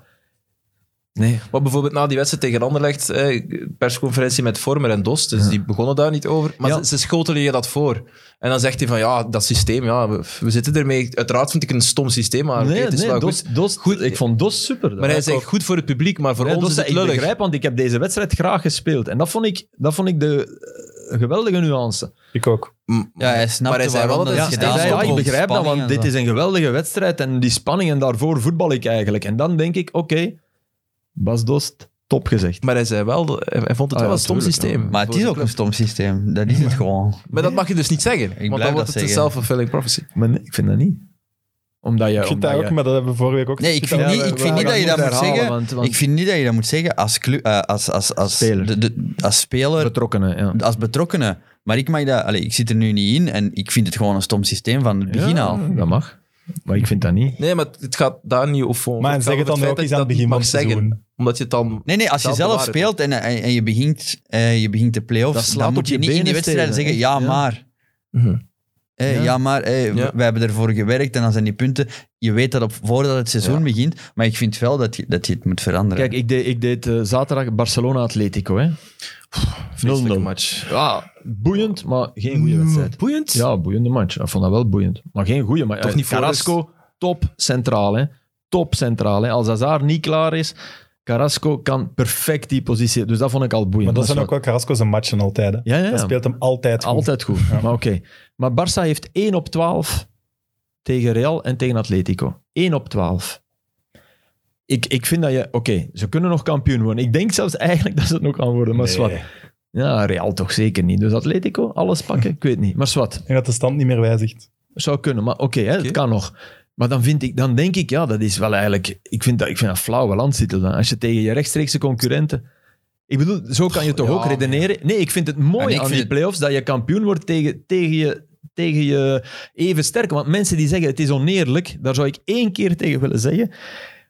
[SPEAKER 2] Nee,
[SPEAKER 1] Maar bijvoorbeeld na die wedstrijd tegen Anderlecht, eh, persconferentie met Vormer en Dost, dus die begonnen daar niet over. Maar
[SPEAKER 2] Ja.
[SPEAKER 1] ze, ze schotelen je dat voor. En dan zegt hij van, ja, dat systeem, ja, we, we zitten ermee. Uiteraard vind ik een stom systeem, maar Ah, oké,
[SPEAKER 2] nee,
[SPEAKER 1] het is
[SPEAKER 2] nee,
[SPEAKER 1] wel
[SPEAKER 2] Dos,
[SPEAKER 1] goed.
[SPEAKER 2] Dos,
[SPEAKER 1] Goed.
[SPEAKER 2] ik vond Dos super.
[SPEAKER 1] Maar hij
[SPEAKER 2] Dat
[SPEAKER 1] zegt,
[SPEAKER 2] ook-
[SPEAKER 1] goed voor het publiek, maar voor
[SPEAKER 2] Ja,
[SPEAKER 1] ons
[SPEAKER 2] Dos
[SPEAKER 1] is
[SPEAKER 2] zei,
[SPEAKER 1] het
[SPEAKER 2] ik
[SPEAKER 1] lullig.
[SPEAKER 2] begrijp, want ik heb deze wedstrijd graag gespeeld. En dat vond ik, dat vond ik de eh, geweldige nuance.
[SPEAKER 3] Ik ook.
[SPEAKER 1] Mm,
[SPEAKER 4] Ja, hij snapt
[SPEAKER 1] Maar hij zei wel dat het
[SPEAKER 2] Ja, hij
[SPEAKER 1] gedaan
[SPEAKER 2] zei,
[SPEAKER 1] wordt,
[SPEAKER 2] ja, ik
[SPEAKER 1] want
[SPEAKER 2] begrijp dat, want dit is een geweldige wedstrijd en die spanning en daarvoor voetbal ik eigenlijk. En dan denk ik, oké, Bas Dost, top gezegd.
[SPEAKER 1] Maar hij zei wel, hij hij vond het
[SPEAKER 2] Ah,
[SPEAKER 1] wel
[SPEAKER 2] ja,
[SPEAKER 1] een stom
[SPEAKER 2] tuurlijk,
[SPEAKER 1] systeem.
[SPEAKER 2] ja.
[SPEAKER 4] Maar het is ook een stom systeem. Dat is het gewoon.
[SPEAKER 1] Maar dat mag je dus niet zeggen, want dan
[SPEAKER 4] blijf
[SPEAKER 1] wordt
[SPEAKER 4] dat
[SPEAKER 1] het een
[SPEAKER 4] zeggen.
[SPEAKER 1] self-fulfilling prophecy.
[SPEAKER 2] Maar nee, ik vind dat niet. Omdat je...
[SPEAKER 3] Ik vind
[SPEAKER 2] omdat
[SPEAKER 3] dat ook,
[SPEAKER 2] je-
[SPEAKER 3] maar dat hebben we vorige week ook
[SPEAKER 4] Nee, ik
[SPEAKER 3] gezien.
[SPEAKER 4] vind niet,
[SPEAKER 2] we-
[SPEAKER 4] ik
[SPEAKER 2] we
[SPEAKER 4] vind niet
[SPEAKER 2] gaan
[SPEAKER 4] dat je dat
[SPEAKER 2] het
[SPEAKER 4] moet
[SPEAKER 2] herhalen,
[SPEAKER 4] zeggen.
[SPEAKER 2] want- want-
[SPEAKER 4] Ik vind niet dat je dat moet zeggen als, clu- eh, als, als, als,
[SPEAKER 2] Speler.
[SPEAKER 4] de- de- als speler
[SPEAKER 2] Betrokkenen, ja.
[SPEAKER 4] als betrokkenen. Maar ik, mag dat, allee, ik zit er nu niet in en ik vind het gewoon een stom systeem van het begin
[SPEAKER 2] Ja,
[SPEAKER 4] al.
[SPEAKER 2] Dat mag. Maar ik vind dat niet.
[SPEAKER 1] Nee, maar het gaat daar niet over.
[SPEAKER 3] Maar en zeg het dan ook eens aan het begin van
[SPEAKER 1] mag
[SPEAKER 3] het seizoen.
[SPEAKER 1] zeggen. Omdat je het dan...
[SPEAKER 4] Nee, nee, als je
[SPEAKER 1] Dat
[SPEAKER 4] zelf
[SPEAKER 1] bewaar ik
[SPEAKER 4] speelt en, en, en je, begint, eh, je begint de
[SPEAKER 2] Dat
[SPEAKER 4] play-offs,
[SPEAKER 2] slaat
[SPEAKER 4] dan
[SPEAKER 2] op
[SPEAKER 4] moet je
[SPEAKER 2] je
[SPEAKER 4] niet in die
[SPEAKER 2] benen
[SPEAKER 4] wedstrijd
[SPEAKER 2] stelen,
[SPEAKER 4] zeggen,
[SPEAKER 2] hè?
[SPEAKER 4] ja,
[SPEAKER 2] Ja.
[SPEAKER 4] maar.
[SPEAKER 1] Mhm.
[SPEAKER 4] Eh,
[SPEAKER 2] Ja.
[SPEAKER 4] ja. maar, eh,
[SPEAKER 1] Ja.
[SPEAKER 4] we hebben ervoor gewerkt en dan zijn die punten. Je weet dat op, voordat het seizoen
[SPEAKER 1] Ja.
[SPEAKER 4] begint, maar ik vind wel dat je, dat je het moet veranderen.
[SPEAKER 2] Kijk, ik deed, ik deed eh, zaterdag Barcelona-Atletico, hè.
[SPEAKER 1] Vreselijke
[SPEAKER 2] 0-0.
[SPEAKER 1] match.
[SPEAKER 2] Ja, boeiend, maar geen goede wedstrijd.
[SPEAKER 1] Mm, Boeiend.
[SPEAKER 2] Mm. Ja, boeiende match. Ik vond dat wel boeiend. Maar geen goede match.
[SPEAKER 1] Toch niet
[SPEAKER 2] Carrasco, top centraal. Hè. Top centraal. Hè. Als Hazard niet klaar is, Carrasco kan perfect die positie. Dus dat vond ik al boeiend.
[SPEAKER 3] Maar dat zijn ook
[SPEAKER 2] is
[SPEAKER 3] wel Carrasco's en matchen altijd. Hè.
[SPEAKER 2] Ja, ja,
[SPEAKER 3] Dat
[SPEAKER 2] ja.
[SPEAKER 3] speelt hem altijd goed.
[SPEAKER 2] altijd goed.
[SPEAKER 3] Ja.
[SPEAKER 2] Maar oké. Maar Barça heeft 1 op 12 tegen Real en tegen Atletico. 1 op 12. Ik, ik vind dat je... Oké, ze kunnen nog kampioen worden. Ik denk zelfs eigenlijk dat ze het nog gaan worden, maar
[SPEAKER 3] Nee.
[SPEAKER 2] zwart. Ja, Real toch zeker niet. Dus Atletico, alles pakken? Ik weet niet. Maar zwart.
[SPEAKER 3] En dat de stand niet meer wijzigt.
[SPEAKER 2] Zou kunnen, maar oké, hè,
[SPEAKER 1] Oké.
[SPEAKER 2] het kan nog. Maar dan, vind ik, dan denk ik, ja, dat is wel eigenlijk... Ik vind dat, ik vind dat flauwe landstitel dan. Als je tegen je rechtstreekse concurrenten... Ik bedoel, zo kan je toch
[SPEAKER 1] ja,
[SPEAKER 2] ook redeneren? Nee, ik vind het mooi
[SPEAKER 4] En ik
[SPEAKER 2] aan
[SPEAKER 4] vind
[SPEAKER 2] die
[SPEAKER 4] het-
[SPEAKER 2] play-offs dat je kampioen wordt tegen, tegen, je, tegen je even sterk. Want mensen die zeggen, het is oneerlijk, daar zou ik één keer tegen willen zeggen.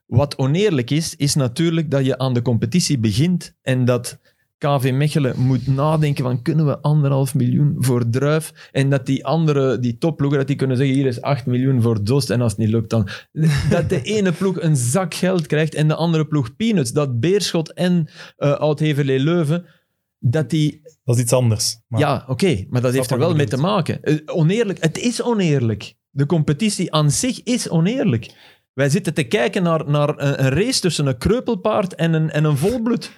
[SPEAKER 2] Wat oneerlijk is, is natuurlijk dat je aan de competitie begint en dat KV Mechelen moet nadenken van kunnen we anderhalf miljoen voor Druif en dat die andere, die topploegen, dat die kunnen zeggen hier is 8 miljoen voor Dost en als het niet lukt dan... Dat de ene ploeg een zak geld krijgt en de andere ploeg peanuts. Dat Beerschot en eh Oud-Heverlee Leuven, dat die...
[SPEAKER 3] Dat is iets anders. Maar
[SPEAKER 2] ja, oké, maar dat heeft er
[SPEAKER 3] wat je
[SPEAKER 2] wel mee te
[SPEAKER 3] bedoelt.
[SPEAKER 2] maken. Eh, oneerlijk, het is oneerlijk. De competitie aan zich is oneerlijk. Wij zitten te kijken naar, naar een, een race tussen een kreupelpaard en een, en een volbloed.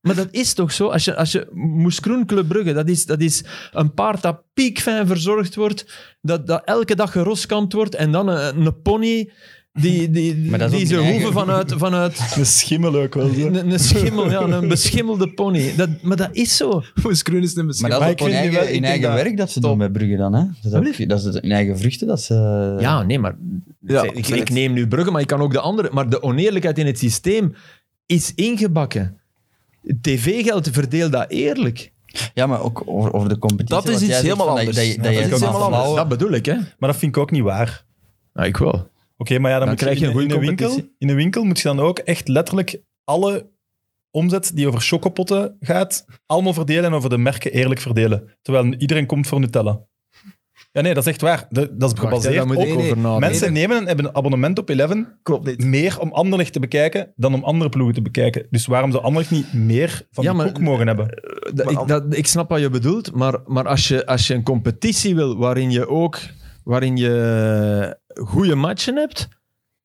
[SPEAKER 2] Maar dat is toch zo? Als je, als je Moes Kroen Club Brugge, dat is, dat is een paard dat piekfijn verzorgd wordt, dat, dat elke dag geroskampt wordt, en dan een, een pony die, die,
[SPEAKER 4] Maar dat is
[SPEAKER 2] die
[SPEAKER 4] ook
[SPEAKER 2] ze
[SPEAKER 4] niet
[SPEAKER 2] hoeven
[SPEAKER 4] eigen.
[SPEAKER 2] vanuit, vanuit
[SPEAKER 3] Een schimmel ook wel. zo.
[SPEAKER 2] een, een schimmel, ja, een beschimmelde pony. Dat, maar dat is zo.
[SPEAKER 1] Moes Kroen is nummer
[SPEAKER 4] maar dat is
[SPEAKER 3] Maar
[SPEAKER 4] ook
[SPEAKER 3] ik
[SPEAKER 4] hun
[SPEAKER 3] vind nu
[SPEAKER 4] eigen,
[SPEAKER 3] wel- ik
[SPEAKER 4] hun
[SPEAKER 3] denk
[SPEAKER 4] eigen
[SPEAKER 3] dat-
[SPEAKER 4] werk dat ze doen bij Brugge dan. Hè? Dat, is ook, dat is hun eigen vruchten dat ze... eh,
[SPEAKER 2] eh, Ja, nee, maar
[SPEAKER 1] Ja,
[SPEAKER 2] ik,
[SPEAKER 1] terecht.
[SPEAKER 2] ik neem nu Brugge, maar ik kan ook de andere. Maar de oneerlijkheid in het systeem is ingebakken. TV-geld verdeelt dat eerlijk.
[SPEAKER 4] Ja, maar ook over, over de competitie.
[SPEAKER 1] Dat is
[SPEAKER 4] want
[SPEAKER 1] iets
[SPEAKER 4] jij zegt
[SPEAKER 1] helemaal
[SPEAKER 4] van dat-
[SPEAKER 1] anders.
[SPEAKER 4] Dat, je-
[SPEAKER 1] Ja,
[SPEAKER 4] dat,
[SPEAKER 1] dat
[SPEAKER 4] jij
[SPEAKER 1] is iets
[SPEAKER 4] kan
[SPEAKER 1] helemaal anders.
[SPEAKER 4] flauwen.
[SPEAKER 2] Dat bedoel ik, hè?
[SPEAKER 3] Maar dat vind ik ook niet waar.
[SPEAKER 2] Ja, ik wel.
[SPEAKER 3] Oké, maar ja, dan,
[SPEAKER 2] Dan
[SPEAKER 3] moet
[SPEAKER 2] krijg je
[SPEAKER 3] in,
[SPEAKER 2] een
[SPEAKER 3] in
[SPEAKER 2] goede
[SPEAKER 3] winkel,
[SPEAKER 2] competitie.
[SPEAKER 3] in een winkel moet je dan ook echt letterlijk alle omzet die over chocopotten gaat, allemaal verdelen en over de merken eerlijk verdelen. Terwijl iedereen komt voor Nutella. Ja, nee, dat is echt waar. De- dat is gebaseerd
[SPEAKER 2] daar moet nou,
[SPEAKER 3] op...
[SPEAKER 2] ik over nadenken.
[SPEAKER 3] Mensen nemen en hebben een abonnement op Eleven
[SPEAKER 1] Klopt niet.
[SPEAKER 3] meer om Anderlecht te bekijken dan om andere ploegen te bekijken. Dus waarom zou Anderlecht niet meer van
[SPEAKER 2] Ja,
[SPEAKER 3] die
[SPEAKER 2] maar-
[SPEAKER 3] koek mogen hebben?
[SPEAKER 2] Dat-
[SPEAKER 1] Maar
[SPEAKER 2] ik, dat, ik snap wat je bedoelt, maar, maar als, je, als je een competitie wil waarin je ook waarin je goede eh, matchen hebt,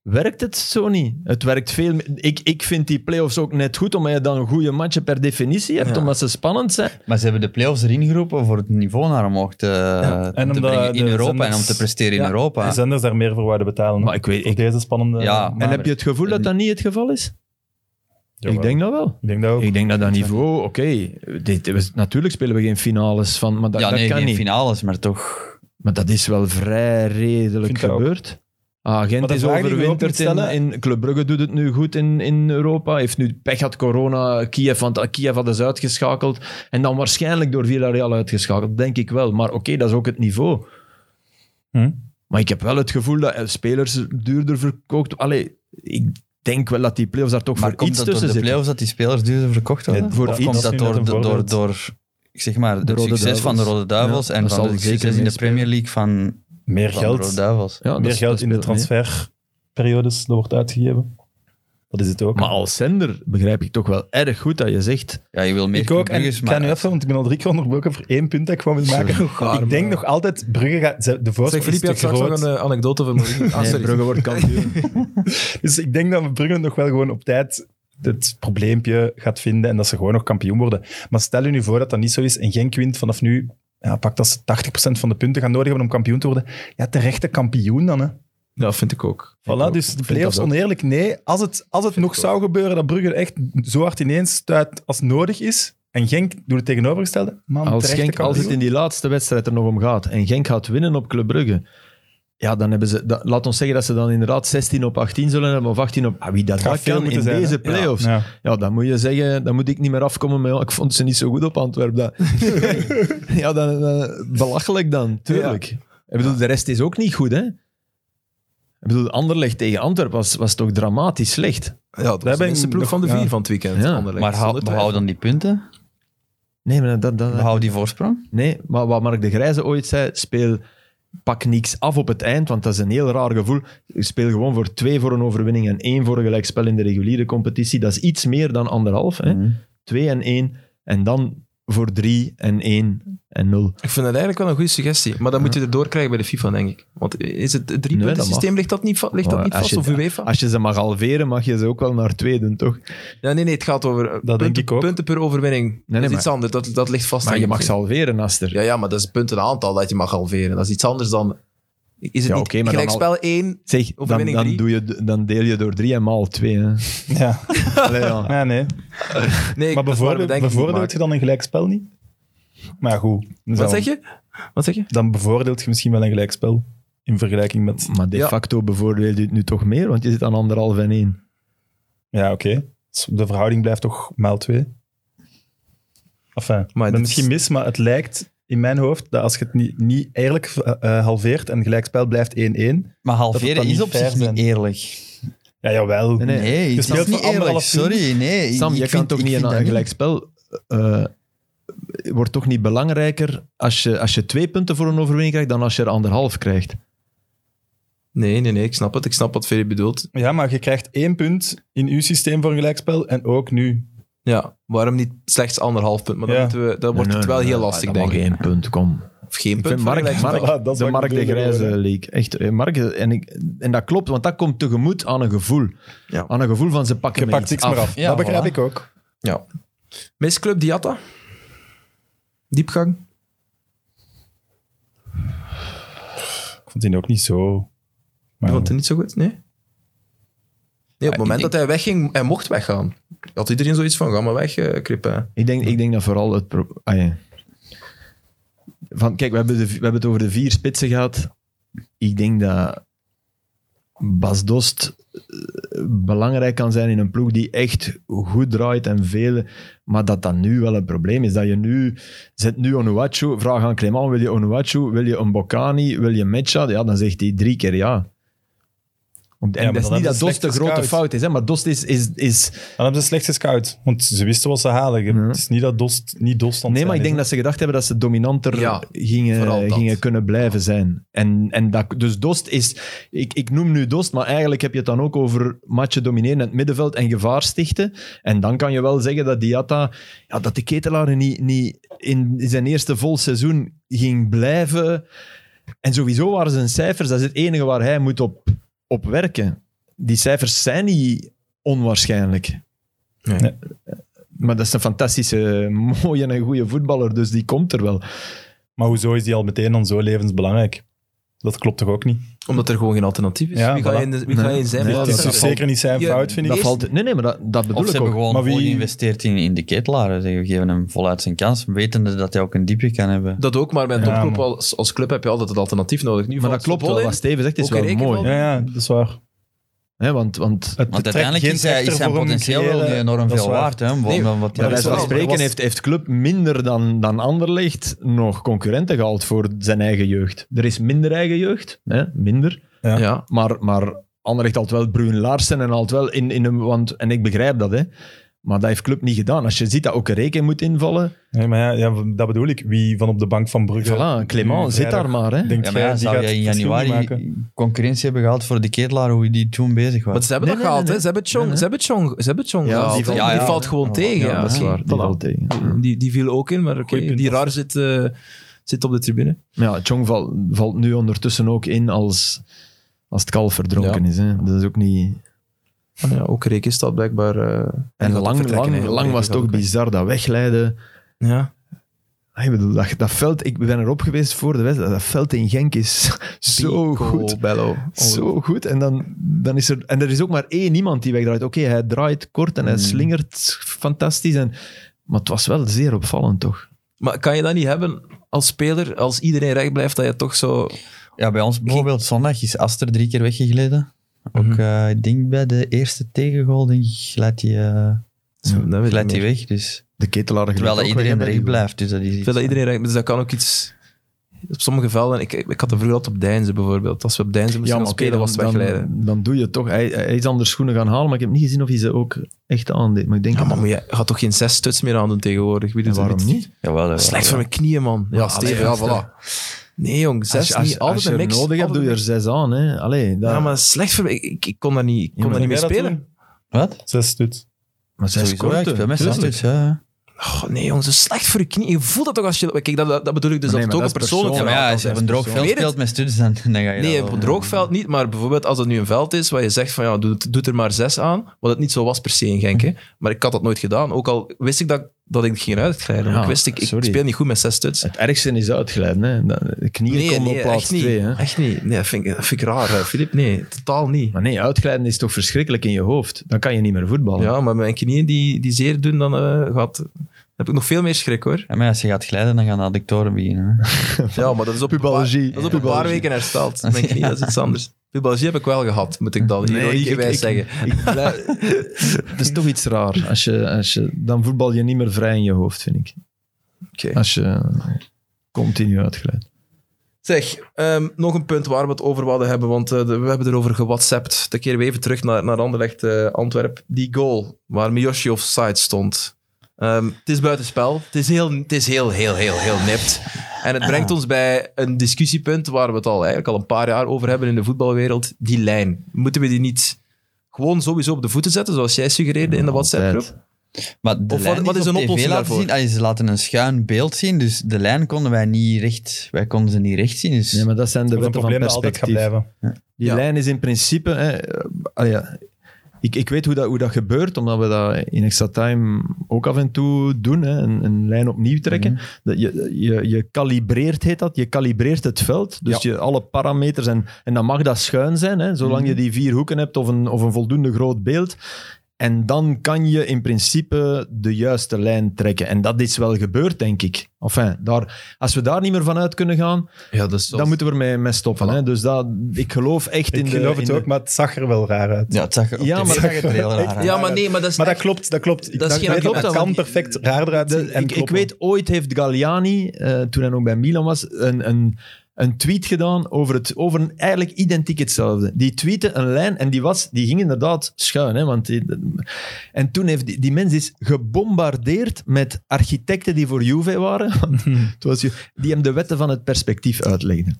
[SPEAKER 2] werkt het zo niet. Het werkt veel. me- Ik, ik vind die play-offs ook net goed, omdat je dan een goede matchen per definitie hebt,
[SPEAKER 1] Ja.
[SPEAKER 2] omdat ze spannend zijn.
[SPEAKER 4] Maar ze hebben de play-offs erin geroepen voor het niveau naar omhoog te, eh,
[SPEAKER 3] En
[SPEAKER 4] te
[SPEAKER 3] omdat
[SPEAKER 4] brengen in
[SPEAKER 3] de
[SPEAKER 4] Europa en
[SPEAKER 3] zenders-
[SPEAKER 4] om te presteren in
[SPEAKER 3] Ja,
[SPEAKER 4] Europa.
[SPEAKER 3] De zenders daar meer voor waarde betalen. hè.
[SPEAKER 2] Maar ik weet-
[SPEAKER 3] Voor
[SPEAKER 2] ik-
[SPEAKER 3] deze spannende...
[SPEAKER 4] Ja,
[SPEAKER 3] maar-
[SPEAKER 4] maar-
[SPEAKER 2] en heb je het gevoel dat dat niet het geval is?
[SPEAKER 3] Jawel.
[SPEAKER 2] Ik denk dat wel.
[SPEAKER 3] Ik denk dat ook.
[SPEAKER 2] Ik denk dat dat niveau, oké, dit- we- natuurlijk spelen we geen finales van, maar dat,
[SPEAKER 4] ja,
[SPEAKER 2] dat
[SPEAKER 4] nee,
[SPEAKER 2] kan
[SPEAKER 4] geen
[SPEAKER 2] niet.
[SPEAKER 4] finales, maar toch.
[SPEAKER 2] Maar dat is wel vrij redelijk
[SPEAKER 3] Vind dat ook.
[SPEAKER 2] gebeurd. Ah, Gent
[SPEAKER 3] Maar de
[SPEAKER 2] is
[SPEAKER 3] vraag die we ook
[SPEAKER 2] overwinterd
[SPEAKER 3] moeten
[SPEAKER 2] in,
[SPEAKER 3] stellen-
[SPEAKER 2] in Club Brugge doet het nu goed in, in Europa. Heeft nu pech had corona, Kiev, want Kiev hadden ze uitgeschakeld. En dan waarschijnlijk door Villarreal uitgeschakeld, denk ik wel. Maar oké, dat is ook het niveau.
[SPEAKER 3] Hm?
[SPEAKER 2] Maar ik heb wel het gevoel dat eh, spelers duurder verkoopt. Allee, ik denk wel dat die play-offs daar toch
[SPEAKER 4] Maar
[SPEAKER 2] voor
[SPEAKER 4] komt
[SPEAKER 2] iets
[SPEAKER 4] dat door
[SPEAKER 2] tussen
[SPEAKER 4] de
[SPEAKER 2] zitten.
[SPEAKER 4] play-offs dat die spelers duurder verkocht worden?
[SPEAKER 3] Ja, voor
[SPEAKER 4] of
[SPEAKER 3] iets.
[SPEAKER 4] komt dat
[SPEAKER 3] Misschien
[SPEAKER 4] door,
[SPEAKER 3] net een
[SPEAKER 4] door, door,
[SPEAKER 3] voorbeeld.
[SPEAKER 4] ik zeg maar, het
[SPEAKER 2] De Rode
[SPEAKER 4] succes van de
[SPEAKER 2] Duivels.
[SPEAKER 4] Rode Duivels
[SPEAKER 2] Ja,
[SPEAKER 4] en
[SPEAKER 2] dat
[SPEAKER 4] van
[SPEAKER 2] zal
[SPEAKER 4] het
[SPEAKER 2] zeker
[SPEAKER 4] succes in de
[SPEAKER 2] meespelen.
[SPEAKER 4] Premier League van,
[SPEAKER 3] Meer
[SPEAKER 4] van Oh, de Rode
[SPEAKER 3] geld,
[SPEAKER 4] Duivels?
[SPEAKER 2] Ja, dat-
[SPEAKER 3] meer
[SPEAKER 2] dat
[SPEAKER 3] geld in de
[SPEAKER 2] speelt mee.
[SPEAKER 3] transferperiodes dat wordt uitgegeven. Dat is het ook.
[SPEAKER 2] Maar als zender begrijp ik toch wel erg goed dat je zegt...
[SPEAKER 4] Ja, je wil meer
[SPEAKER 3] ik ook. En ik
[SPEAKER 4] Brugge's,
[SPEAKER 3] ga nu
[SPEAKER 4] maar
[SPEAKER 3] even, want ik ben al drie keer onderbroken voor één punt dat ik gewoon wil maken. ik denk nog altijd, Brugge gaat... ze- De
[SPEAKER 1] Zeg,
[SPEAKER 3] voorsprong is
[SPEAKER 1] Filippi
[SPEAKER 3] te
[SPEAKER 1] had straks nog
[SPEAKER 3] groot.
[SPEAKER 1] een eh, anekdote van Mourinho. Ah, sorry.
[SPEAKER 2] wordt kampioen.
[SPEAKER 3] Dus ik denk dat Brugge nog wel gewoon op tijd het probleempje gaat vinden en dat ze gewoon nog kampioen worden. Maar stel je nu voor dat dat niet zo is en Genk wint vanaf nu, ja, pak dat ze 80% van de punten gaan nodig hebben om kampioen te worden. Ja, terechte kampioen dan, hè.
[SPEAKER 1] Ja, vind ik ook.
[SPEAKER 3] Voilà, dus de play-offs oneerlijk. Nee, als het, als het nog zou gebeuren dat Brugge er echt zo hard ineens stuit als nodig is, en Genk doet het tegenovergestelde, man,
[SPEAKER 2] Als,
[SPEAKER 3] terechte
[SPEAKER 2] Genk, als het in
[SPEAKER 3] kampioen.
[SPEAKER 2] die laatste wedstrijd er nog om gaat en Genk gaat winnen op Club Brugge, ja, dan hebben ze, dat- laat ons zeggen dat ze dan inderdaad 16 op 18 zullen hebben of 18 op... Ah, wie dat,
[SPEAKER 3] Het gaat
[SPEAKER 2] dat
[SPEAKER 3] veel
[SPEAKER 2] kan
[SPEAKER 3] moeten
[SPEAKER 2] in
[SPEAKER 3] zijn, hè?
[SPEAKER 2] deze play-offs. Ja.
[SPEAKER 3] Ja.
[SPEAKER 2] dan moet je zeggen, dan moet ik niet meer afkomen met, "Ja, ik vond ze niet zo goed op Antwerpen. Dat- ja, dan, dan- belachelijk dan, tuurlijk. Ik bedoel, de rest is ook niet goed, hè. Ik bedoel, Anderlecht tegen Antwerpen was, was toch dramatisch slecht?
[SPEAKER 1] Ja, dat
[SPEAKER 3] Daar
[SPEAKER 1] was de
[SPEAKER 3] ben ik
[SPEAKER 1] minste ploeg
[SPEAKER 3] nog-
[SPEAKER 1] van de vier
[SPEAKER 3] ja.
[SPEAKER 1] van het weekend.
[SPEAKER 2] Ja.
[SPEAKER 1] Anderlecht,
[SPEAKER 4] maar hou,
[SPEAKER 1] zonder
[SPEAKER 4] behoud
[SPEAKER 1] twijfel.
[SPEAKER 4] dan die punten,
[SPEAKER 2] Nee, maar dat... dat, dat
[SPEAKER 4] behoud die voorsprong.
[SPEAKER 2] Nee, maar wat Mark de Grijze ooit zei, speel, pak niks af op het eind, want dat is een heel raar gevoel. Speel gewoon voor twee voor een overwinning en één voor een gelijkspel in de reguliere competitie. Dat is iets meer dan anderhalf.
[SPEAKER 1] Mm.
[SPEAKER 2] Hè?
[SPEAKER 4] Mhm.
[SPEAKER 2] Twee en één. En dan voor drie en één en nul.
[SPEAKER 1] Ik vind dat eigenlijk wel een goede suggestie. Maar dat moet je erdoor krijgen bij de FIFA, denk ik. Want is het het drie
[SPEAKER 2] Nee,
[SPEAKER 1] punten
[SPEAKER 2] dat mag.
[SPEAKER 1] systeem ligt dat niet, va- ligt dat
[SPEAKER 2] Maar
[SPEAKER 1] niet
[SPEAKER 2] als
[SPEAKER 1] vast?
[SPEAKER 2] je-
[SPEAKER 1] of UEFA?
[SPEAKER 2] Als je ze mag halveren, mag je ze ook wel naar twee doen, toch?
[SPEAKER 1] Ja, nee, nee, het gaat over eh, punten,
[SPEAKER 3] denk ik ook.
[SPEAKER 1] punten per overwinning. dat is
[SPEAKER 2] nee,
[SPEAKER 1] iets anders. Dat, dat ligt vast.
[SPEAKER 2] Maar
[SPEAKER 1] aan
[SPEAKER 2] je mag
[SPEAKER 1] punten.
[SPEAKER 2] ze halveren, Aster.
[SPEAKER 1] Ja, ja, maar dat is punten aantal dat je mag halveren. Dat is iets anders dan... Is het
[SPEAKER 2] Ja,
[SPEAKER 1] niet
[SPEAKER 2] oké, maar dan al-
[SPEAKER 1] gelijkspel 1?
[SPEAKER 2] Zeg, dan,
[SPEAKER 1] Overwinning
[SPEAKER 2] dan,
[SPEAKER 1] drie.
[SPEAKER 2] doe je, dan deel je door drie en maal twee. Hè?
[SPEAKER 3] Ja.
[SPEAKER 2] Allee, ja.
[SPEAKER 3] Ja, nee.
[SPEAKER 1] Nee,
[SPEAKER 3] Maar
[SPEAKER 1] dat is waar, dat
[SPEAKER 3] bevoordeel,
[SPEAKER 1] denk ik niet,
[SPEAKER 3] bevoordeelt je dan een gelijkspel niet? Maar goed.
[SPEAKER 1] maar-
[SPEAKER 3] dan-
[SPEAKER 1] Wat zeg je? Wat zeg je?
[SPEAKER 3] Dan bevoordeelt je misschien wel een gelijkspel in vergelijking met...
[SPEAKER 2] Maar de
[SPEAKER 1] Ja.
[SPEAKER 2] facto bevoordeel je het nu toch meer, want je zit aan anderhalf en één.
[SPEAKER 3] Ja, oké. Dus De verhouding blijft toch maal twee? Enfin, ik ben
[SPEAKER 1] dit
[SPEAKER 3] misschien
[SPEAKER 1] is-
[SPEAKER 3] mis, maar het lijkt in mijn hoofd dat als je het niet, niet eerlijk eh, eh, halveert en gelijkspel blijft 1-1...
[SPEAKER 4] Maar
[SPEAKER 3] kan
[SPEAKER 4] halveren is
[SPEAKER 3] niet
[SPEAKER 4] op zich
[SPEAKER 3] fair
[SPEAKER 4] niet
[SPEAKER 3] zijn.
[SPEAKER 4] eerlijk.
[SPEAKER 3] Ja, jawel.
[SPEAKER 2] Nee,
[SPEAKER 4] Nee,
[SPEAKER 3] Je
[SPEAKER 4] het
[SPEAKER 3] speelt
[SPEAKER 4] is
[SPEAKER 3] voor
[SPEAKER 4] niet eerlijk,
[SPEAKER 3] anderhalf punt.
[SPEAKER 4] sorry. Nee,
[SPEAKER 2] Sam,
[SPEAKER 4] ik
[SPEAKER 2] je kan
[SPEAKER 4] vind-
[SPEAKER 2] toch
[SPEAKER 4] ik
[SPEAKER 2] niet
[SPEAKER 4] vind
[SPEAKER 2] een,
[SPEAKER 4] dat
[SPEAKER 2] een gelijkspel... eh, wordt toch niet belangrijker als je, als je twee punten voor een overwinning krijgt dan als je er anderhalf krijgt?
[SPEAKER 1] Nee, nee, nee, ik snap het. Ik snap wat Ferry bedoelt.
[SPEAKER 3] Ja, maar je krijgt één punt in uw systeem voor een gelijkspel en ook nu.
[SPEAKER 1] Ja, waarom niet slechts anderhalf punt? Maar dan,
[SPEAKER 3] Ja.
[SPEAKER 1] moeten we, dan wordt het wel heel lastig, denk ik.
[SPEAKER 2] één punt, kom.
[SPEAKER 1] Of geen
[SPEAKER 2] Ik
[SPEAKER 1] punt.
[SPEAKER 2] vind Mark,
[SPEAKER 1] vergelijkbaar.
[SPEAKER 2] Mark,
[SPEAKER 3] Voilà, dat is
[SPEAKER 2] de
[SPEAKER 3] wat ik
[SPEAKER 2] Mark de
[SPEAKER 3] bedoelde,
[SPEAKER 2] Grijze
[SPEAKER 3] hoor.
[SPEAKER 2] league. Echt, eh, Mark, en, ik, en dat klopt, want dat komt tegemoet aan een gevoel.
[SPEAKER 1] Ja.
[SPEAKER 2] Aan een gevoel van ze
[SPEAKER 3] Je
[SPEAKER 2] pakken me
[SPEAKER 3] pakt
[SPEAKER 2] iets
[SPEAKER 3] niks meer af.
[SPEAKER 4] Ja,
[SPEAKER 3] dat begrijp
[SPEAKER 4] voilà.
[SPEAKER 3] ik ook.
[SPEAKER 1] Ja. Miss Club Diatta? Diepgang?
[SPEAKER 3] Ik vond die ook niet zo...
[SPEAKER 1] Je
[SPEAKER 3] Maar
[SPEAKER 1] vond het niet zo goed? Nee? Nee,
[SPEAKER 2] Ah,
[SPEAKER 1] op het
[SPEAKER 4] ik
[SPEAKER 1] moment
[SPEAKER 4] denk-
[SPEAKER 1] dat hij wegging, hij mocht weggaan. Had iedereen zoiets van, ga maar weg, eh Krippen.
[SPEAKER 2] Ik denk, ik denk dat vooral het pro- ah, ja. Van, kijk, we hebben, de, we hebben het over de vier spitsen gehad. Ik denk dat Bas Dost eh, belangrijk kan zijn in een ploeg die echt goed draait en vele. Maar dat dat nu wel een probleem is. Dat je nu... Zet nu Onuachu. Vraag aan Clement, wil je Onuachu? Wil je een Bocani? Wil je Mecha? Ja, dan zegt hij drie keer ja. En
[SPEAKER 3] maar
[SPEAKER 2] dat is
[SPEAKER 3] dan
[SPEAKER 2] niet dat
[SPEAKER 3] hebben ze
[SPEAKER 2] Dost de
[SPEAKER 3] slechte
[SPEAKER 2] grote
[SPEAKER 3] scouts.
[SPEAKER 2] fout is, hè, maar Dost is... is, is
[SPEAKER 3] Dan hebben ze slecht gescout, want ze wisten wat ze halen. Je-
[SPEAKER 2] Mhm.
[SPEAKER 3] Het is niet dat Dost niet Dost aan het
[SPEAKER 2] Nee, maar ik denk
[SPEAKER 3] zijn is,
[SPEAKER 2] dat ze gedacht hebben dat ze dominanter
[SPEAKER 1] Ja, vooral
[SPEAKER 2] gingen,
[SPEAKER 1] dat.
[SPEAKER 2] gingen kunnen blijven zijn. En, en dat, dus Dost is... Ik, ik noem nu Dost, maar eigenlijk heb je het dan ook over matchen domineren in het middenveld en gevaar stichten. En dan kan je wel zeggen dat Diatta... Ja, dat de ketelaar niet, niet in zijn eerste vol seizoen ging blijven. En sowieso waren zijn cijfers, dat is het enige waar hij moet op, op werken. die cijfers zijn niet onwaarschijnlijk.
[SPEAKER 1] Nee.
[SPEAKER 3] Nee.
[SPEAKER 2] Maar dat is een fantastische, mooie en goede voetballer, dus die komt er wel.
[SPEAKER 3] Maar hoezo is die al meteen dan zo levensbelangrijk? Dat klopt toch ook niet?
[SPEAKER 1] Omdat er gewoon geen alternatief is.
[SPEAKER 3] Ja,
[SPEAKER 1] wie, ga je
[SPEAKER 3] voilà.
[SPEAKER 1] in de- wie ga je in zijn
[SPEAKER 2] Nee,
[SPEAKER 1] plaats
[SPEAKER 3] Het is
[SPEAKER 2] dat dus
[SPEAKER 3] toch
[SPEAKER 1] zetten?
[SPEAKER 3] zeker niet zijn
[SPEAKER 1] Ja,
[SPEAKER 3] fout, vind
[SPEAKER 2] Dat
[SPEAKER 3] ik.
[SPEAKER 1] Eerst-
[SPEAKER 2] valt, nee, nee, maar dat, dat bedoel
[SPEAKER 4] Of ze
[SPEAKER 2] ik ook.
[SPEAKER 4] hebben
[SPEAKER 3] Maar
[SPEAKER 4] gewoon
[SPEAKER 3] wie-
[SPEAKER 4] vol geïnvesteerd in, in de ketelaren. Ze geven hem voluit zijn kans, wetende dat hij ook een diepje kan hebben.
[SPEAKER 1] Dat ook, maar bij een
[SPEAKER 3] Ja,
[SPEAKER 1] topclub
[SPEAKER 3] maar-
[SPEAKER 1] als, als club heb je altijd het alternatief nodig. Nu
[SPEAKER 2] Maar
[SPEAKER 1] valt
[SPEAKER 2] dat klopt
[SPEAKER 1] Bol
[SPEAKER 2] wel,
[SPEAKER 1] in.
[SPEAKER 2] wat Steven zegt is
[SPEAKER 1] Ook in
[SPEAKER 2] wel
[SPEAKER 1] rekenval.
[SPEAKER 2] mooi.
[SPEAKER 3] Ja, ja, dat is waar.
[SPEAKER 2] Hè, want, want
[SPEAKER 3] Het
[SPEAKER 4] Want
[SPEAKER 3] betrekt
[SPEAKER 4] uiteindelijk
[SPEAKER 3] geen
[SPEAKER 4] is, hij, is
[SPEAKER 3] slechter
[SPEAKER 4] zijn
[SPEAKER 3] voor een
[SPEAKER 4] potentieel wel
[SPEAKER 3] creële-
[SPEAKER 4] enorm
[SPEAKER 3] dat is
[SPEAKER 4] veel
[SPEAKER 3] waar.
[SPEAKER 4] waard. Hè? Wat-
[SPEAKER 1] Nee,
[SPEAKER 4] wat- wat-
[SPEAKER 1] maar
[SPEAKER 2] bij wijze van
[SPEAKER 1] wel-
[SPEAKER 2] spreken
[SPEAKER 1] was-
[SPEAKER 2] heeft, heeft Club minder dan, dan Anderlecht nog concurrenten gehaald voor zijn eigen jeugd. Er is minder eigen jeugd, hè, minder.
[SPEAKER 3] Ja.
[SPEAKER 1] Ja.
[SPEAKER 2] Maar, maar Anderlecht had wel Bruin Larsen en had wel in, in een... Want, en ik begrijp dat, hè. Maar dat heeft Club niet gedaan. Als je ziet dat ook een reken moet invallen...
[SPEAKER 3] Nee, maar ja, ja, dat bedoel ik. Wie van op de bank van Brugge...
[SPEAKER 2] voilà, Clément,
[SPEAKER 3] nu
[SPEAKER 2] zit daar
[SPEAKER 3] vrijdag
[SPEAKER 2] maar, hè.
[SPEAKER 3] Denkt
[SPEAKER 4] Ja, maar ja,
[SPEAKER 3] jij, die
[SPEAKER 4] zou
[SPEAKER 3] gaat
[SPEAKER 4] jij in
[SPEAKER 3] het verschil niet maken?
[SPEAKER 4] januari concurrentie hebben gehad voor de ketelaar, hoe die toen bezig was?
[SPEAKER 1] Maar ze hebben
[SPEAKER 2] Nee,
[SPEAKER 1] dat
[SPEAKER 2] nee,
[SPEAKER 1] gehaald,
[SPEAKER 2] nee,
[SPEAKER 1] hè. Ze hebben Chong,
[SPEAKER 2] Nee, nee.
[SPEAKER 1] ze hebben Chong, ze hebben Chong
[SPEAKER 2] Ja,
[SPEAKER 1] gehaald.
[SPEAKER 2] die
[SPEAKER 1] Die,
[SPEAKER 2] valt-
[SPEAKER 1] die
[SPEAKER 4] ja, ja.
[SPEAKER 1] valt gewoon
[SPEAKER 4] Ja,
[SPEAKER 1] tegen.
[SPEAKER 4] ja,
[SPEAKER 1] Ja,
[SPEAKER 4] dat is
[SPEAKER 2] waar. Die
[SPEAKER 1] Die,
[SPEAKER 2] valt tegen.
[SPEAKER 1] die, die viel ook in, maar oké,
[SPEAKER 3] Goeie punt,
[SPEAKER 1] die
[SPEAKER 3] dat
[SPEAKER 1] raar zit, eh, zit op de tribune.
[SPEAKER 2] Ja, Chong val- valt nu ondertussen ook in als, als het kalf verdronken is. Hè. Dat is ook niet...
[SPEAKER 1] Maar Ah, ja, ook Reek is dat blijkbaar... eh, die
[SPEAKER 2] En
[SPEAKER 1] gaat
[SPEAKER 2] lang,
[SPEAKER 1] vertrekken,
[SPEAKER 2] lang,
[SPEAKER 1] hè.
[SPEAKER 2] lang
[SPEAKER 1] Reek
[SPEAKER 2] was het ook
[SPEAKER 1] gaat ook, hè.
[SPEAKER 2] bizar, dat wegleiden...
[SPEAKER 1] Ja.
[SPEAKER 2] Ah, Ik bedoel, dat, dat veld, ik ben erop geweest voor de wedstrijd. Dat veld in Genk is zo
[SPEAKER 1] Pico
[SPEAKER 2] goed.
[SPEAKER 1] Bello.
[SPEAKER 2] Zo goed. En, dan, dan is er, en er is ook maar één iemand die wegdraait. Oké, hij draait kort en hij
[SPEAKER 4] Mm.
[SPEAKER 2] slingert fantastisch. En, maar het was wel zeer opvallend, toch?
[SPEAKER 1] Maar kan je dat niet hebben als speler, als iedereen recht blijft, dat je toch zo...
[SPEAKER 4] Ja, bij ons bijvoorbeeld zondag is Aster drie keer weggegleden. Ook,
[SPEAKER 1] Mhm.
[SPEAKER 4] eh, ik denk bij de eerste tegengoal, denk ik, glijdt hij eh,
[SPEAKER 1] Zo, dat weet ik
[SPEAKER 4] glijdt
[SPEAKER 1] niet
[SPEAKER 4] hij
[SPEAKER 1] meer.
[SPEAKER 4] weg. Dus.
[SPEAKER 2] De ketelaar
[SPEAKER 4] Terwijl dat iedereen recht blijft. Dus dat is
[SPEAKER 1] Ik
[SPEAKER 4] iets-
[SPEAKER 1] vind dat iedereen recht... Dus dat kan ook iets... Op sommige velden... Ik, ik had er vroeger altijd op Deinzen bijvoorbeeld. Als we op Deinzen moesten
[SPEAKER 2] Ja,
[SPEAKER 1] gaan
[SPEAKER 2] maar
[SPEAKER 1] spelen,
[SPEAKER 2] oké,
[SPEAKER 1] was
[SPEAKER 2] dan,
[SPEAKER 1] het wegleiden.
[SPEAKER 2] dan, dan doe je het toch. Hij, hij is anders schoenen gaan halen, maar ik heb niet gezien of hij ze ook echt aandeed. Maar ik denk,
[SPEAKER 1] Ja, maar moet je gaat toch geen zes stuts meer aan doen tegenwoordig? Wie
[SPEAKER 2] en
[SPEAKER 1] doet dat
[SPEAKER 2] waarom niet?
[SPEAKER 4] Jawel, jawel,
[SPEAKER 1] Slecht
[SPEAKER 4] ja.
[SPEAKER 1] voor mijn knieën, man. Ja,
[SPEAKER 2] Ja,
[SPEAKER 1] Steven,
[SPEAKER 2] allee,
[SPEAKER 1] ja,
[SPEAKER 2] gasten.
[SPEAKER 1] voilà. Nee, jong, zes
[SPEAKER 2] Als je, als,
[SPEAKER 1] niet.
[SPEAKER 2] je- als
[SPEAKER 1] Altijd
[SPEAKER 2] je
[SPEAKER 1] een
[SPEAKER 2] er
[SPEAKER 1] mix.
[SPEAKER 2] nodig hebt,
[SPEAKER 1] altijd
[SPEAKER 2] doe je er
[SPEAKER 1] een
[SPEAKER 2] zes aan. Hè. Allee,
[SPEAKER 1] mix.
[SPEAKER 2] dat,
[SPEAKER 1] Ja,
[SPEAKER 2] maar,
[SPEAKER 1] maar slecht voor mij. Ik, ik kon daar niet, ik kon daar
[SPEAKER 2] maar
[SPEAKER 1] niet mee
[SPEAKER 3] Jij dat
[SPEAKER 1] spelen.
[SPEAKER 3] doen?
[SPEAKER 4] Wat?
[SPEAKER 3] Zes stuts.
[SPEAKER 2] zes
[SPEAKER 4] Sowieso, ja, ik
[SPEAKER 2] korte,
[SPEAKER 4] speel met
[SPEAKER 2] tuurlijk.
[SPEAKER 4] Sanders, ja.
[SPEAKER 1] Oh, nee, jong, zo slecht voor je knieën. Je voelt dat toch als je... Kijk, dat, dat, dat bedoel ik dus
[SPEAKER 2] Nee,
[SPEAKER 1] dat
[SPEAKER 2] maar
[SPEAKER 1] het ook
[SPEAKER 2] dat
[SPEAKER 1] een
[SPEAKER 2] is
[SPEAKER 1] persoonlijk
[SPEAKER 4] Ja, maar
[SPEAKER 2] persoonlijk.
[SPEAKER 1] verhaal
[SPEAKER 4] ja, als
[SPEAKER 1] kan
[SPEAKER 4] je
[SPEAKER 1] zijn.
[SPEAKER 4] op een droog
[SPEAKER 1] Ik
[SPEAKER 4] veld
[SPEAKER 1] weet het.
[SPEAKER 4] speelt met studs, dan, dan ga je
[SPEAKER 1] Nee,
[SPEAKER 4] dat
[SPEAKER 1] op
[SPEAKER 4] wel-
[SPEAKER 1] een droogveld niet, maar bijvoorbeeld als het nu een veld is waar je zegt van ja, doe, doe er maar zes aan, wat het niet zo was per se in Genk, hè.
[SPEAKER 2] Mhm.
[SPEAKER 1] maar ik had dat nooit gedaan. Ook al wist ik dat, dat ik ging uitglijden.
[SPEAKER 2] Ja,
[SPEAKER 1] ik wist, ik, ik
[SPEAKER 2] sorry.
[SPEAKER 1] speel niet goed met zes stuts.
[SPEAKER 2] Het ergste is uitglijden. Hè. Dat- De knieën komen op plaats
[SPEAKER 1] echt niet.
[SPEAKER 2] 2.
[SPEAKER 1] Echt niet. Nee, dat vind ik, dat vind ik raar, hè, Filip. Nee, totaal niet.
[SPEAKER 2] Maar nee, uitglijden is toch verschrikkelijk in je hoofd. Dan kan je niet meer voetballen.
[SPEAKER 1] Ja, maar mijn knieën die, die zeer doen, dan eh, gaat, dan heb ik nog veel meer schrik hoor.
[SPEAKER 4] Ja, maar als je gaat glijden, dan gaan de adductoren beginnen. hè.
[SPEAKER 1] Ja, maar dat is op een paar,
[SPEAKER 2] Pubalgie.
[SPEAKER 1] dat is op een paar
[SPEAKER 2] Pubalgie.
[SPEAKER 1] weken hersteld. Mijn knie, dat is iets anders. Pubalgie heb ik wel gehad, moet ik dan
[SPEAKER 2] Nee,
[SPEAKER 1] hier
[SPEAKER 2] ik-
[SPEAKER 1] bij
[SPEAKER 2] ik-
[SPEAKER 1] zeggen.
[SPEAKER 2] Ik blijf- Het is toch iets raar. Als je, als je, dan voetbal je niet meer vrij in je hoofd, vind ik.
[SPEAKER 1] Oké.
[SPEAKER 2] Als je continu uitglijdt.
[SPEAKER 1] Zeg, ehm, nog een punt waar we het over wilden hebben, want eh, de- we hebben erover gewhatsappt. Dan keren we even terug naar, naar Anderlecht, eh Antwerp. Die goal waar Miyoshi offside stond. Ehm, het is buitenspel. Het is, heel, het is heel, heel, heel, heel nipt. En het brengt ons bij een discussiepunt waar we het al eigenlijk al een paar jaar over hebben in de voetbalwereld. Die lijn. Moeten we die niet gewoon sowieso op de voeten zetten, zoals jij suggereerde in de WhatsApp-groep?
[SPEAKER 4] Maar de
[SPEAKER 1] Of wat-
[SPEAKER 4] lijn
[SPEAKER 1] wat
[SPEAKER 4] die
[SPEAKER 1] is
[SPEAKER 4] ze op
[SPEAKER 1] een
[SPEAKER 4] tv
[SPEAKER 1] oplossing
[SPEAKER 4] laten
[SPEAKER 1] daarvoor?
[SPEAKER 4] zien, allee, ze laten een schuin beeld zien, dus de lijn konden wij niet recht, wij konden ze niet recht zien. Dus
[SPEAKER 2] Nee, maar dat zijn de
[SPEAKER 3] Dat is een
[SPEAKER 2] wetten van
[SPEAKER 3] probleem dat altijd gaat
[SPEAKER 2] perspectief.
[SPEAKER 3] blijven.
[SPEAKER 2] Die
[SPEAKER 1] Ja.
[SPEAKER 2] lijn is in principe... Hè, eh, ah ja, ik, ik weet hoe dat, hoe dat gebeurt, omdat we dat in extra time ook af en toe doen. Hè, een, een lijn opnieuw trekken. Dat je, je, je kalibreert, heet dat. Je kalibreert het veld. Dus je, alle parameters. En, en dan mag dat schuin zijn, hè, zolang je die vier hoeken hebt of een, of een voldoende groot beeld. En dan kan je in principe de juiste lijn trekken. En dat is wel gebeurd, denk ik. Enfin, daar, als we daar niet meer vanuit kunnen gaan,
[SPEAKER 1] Ja, dus
[SPEAKER 2] dan moeten we ermee mee stoppen.
[SPEAKER 1] Voilà.
[SPEAKER 2] Hè? Dus dat, ik geloof echt in
[SPEAKER 3] Ik
[SPEAKER 2] de...
[SPEAKER 3] geloof het
[SPEAKER 2] in de-
[SPEAKER 3] ook, maar het zag er wel raar uit.
[SPEAKER 4] Ja, het zag er op
[SPEAKER 2] Ja,
[SPEAKER 4] tv
[SPEAKER 2] maar-
[SPEAKER 4] zag het er heel raar uit.
[SPEAKER 1] ja, maar nee, maar dat is
[SPEAKER 3] Maar dat
[SPEAKER 1] echt-
[SPEAKER 3] klopt, dat klopt. Ik
[SPEAKER 1] Dat is
[SPEAKER 3] dacht-
[SPEAKER 1] geen
[SPEAKER 3] weet
[SPEAKER 1] argument,
[SPEAKER 3] dat
[SPEAKER 1] want
[SPEAKER 3] kan
[SPEAKER 1] die-
[SPEAKER 3] perfect raarder
[SPEAKER 2] De-
[SPEAKER 3] uitzien. en
[SPEAKER 2] ik, ik
[SPEAKER 3] kloppen.
[SPEAKER 2] weet, ooit heeft Galliani, eh, toen hij nog bij Milan was, een, een, een tweet gedaan over, het, over een, eigenlijk identiek hetzelfde. Die tweette een lijn en die, was, die ging inderdaad schuin. Hè, want die- en toen heeft die, die mens is gebombardeerd met architecten die voor Juve waren, want
[SPEAKER 3] Hmm.
[SPEAKER 2] het was, Ju- die hem de wetten van het perspectief uitlegden.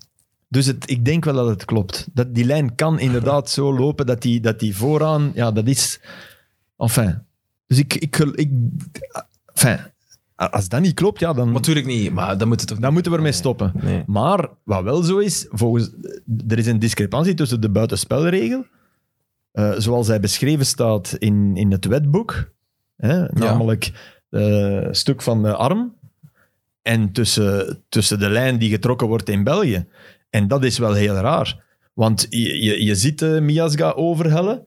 [SPEAKER 2] Dus het, ik denk wel dat het klopt. Dat die lijn kan inderdaad zo lopen dat die, dat die vooraan... Ja, dat is... Enfin. Dus ik... ik, gel- ik enfin, als dat niet klopt, ja, dan,
[SPEAKER 1] Natuurlijk niet, maar dan moet het toch
[SPEAKER 2] dan moeten we ermee stoppen.
[SPEAKER 1] Nee.
[SPEAKER 2] Maar wat wel zo is, volgens, er is een discrepantie tussen de buitenspelregel eh, zoals hij beschreven staat in, in het wetboek, hè, namelijk eh, stuk van de arm, en tussen, tussen de lijn die getrokken wordt in België. En dat is wel heel raar. Want je, je, je ziet eh, Miasga overhellen.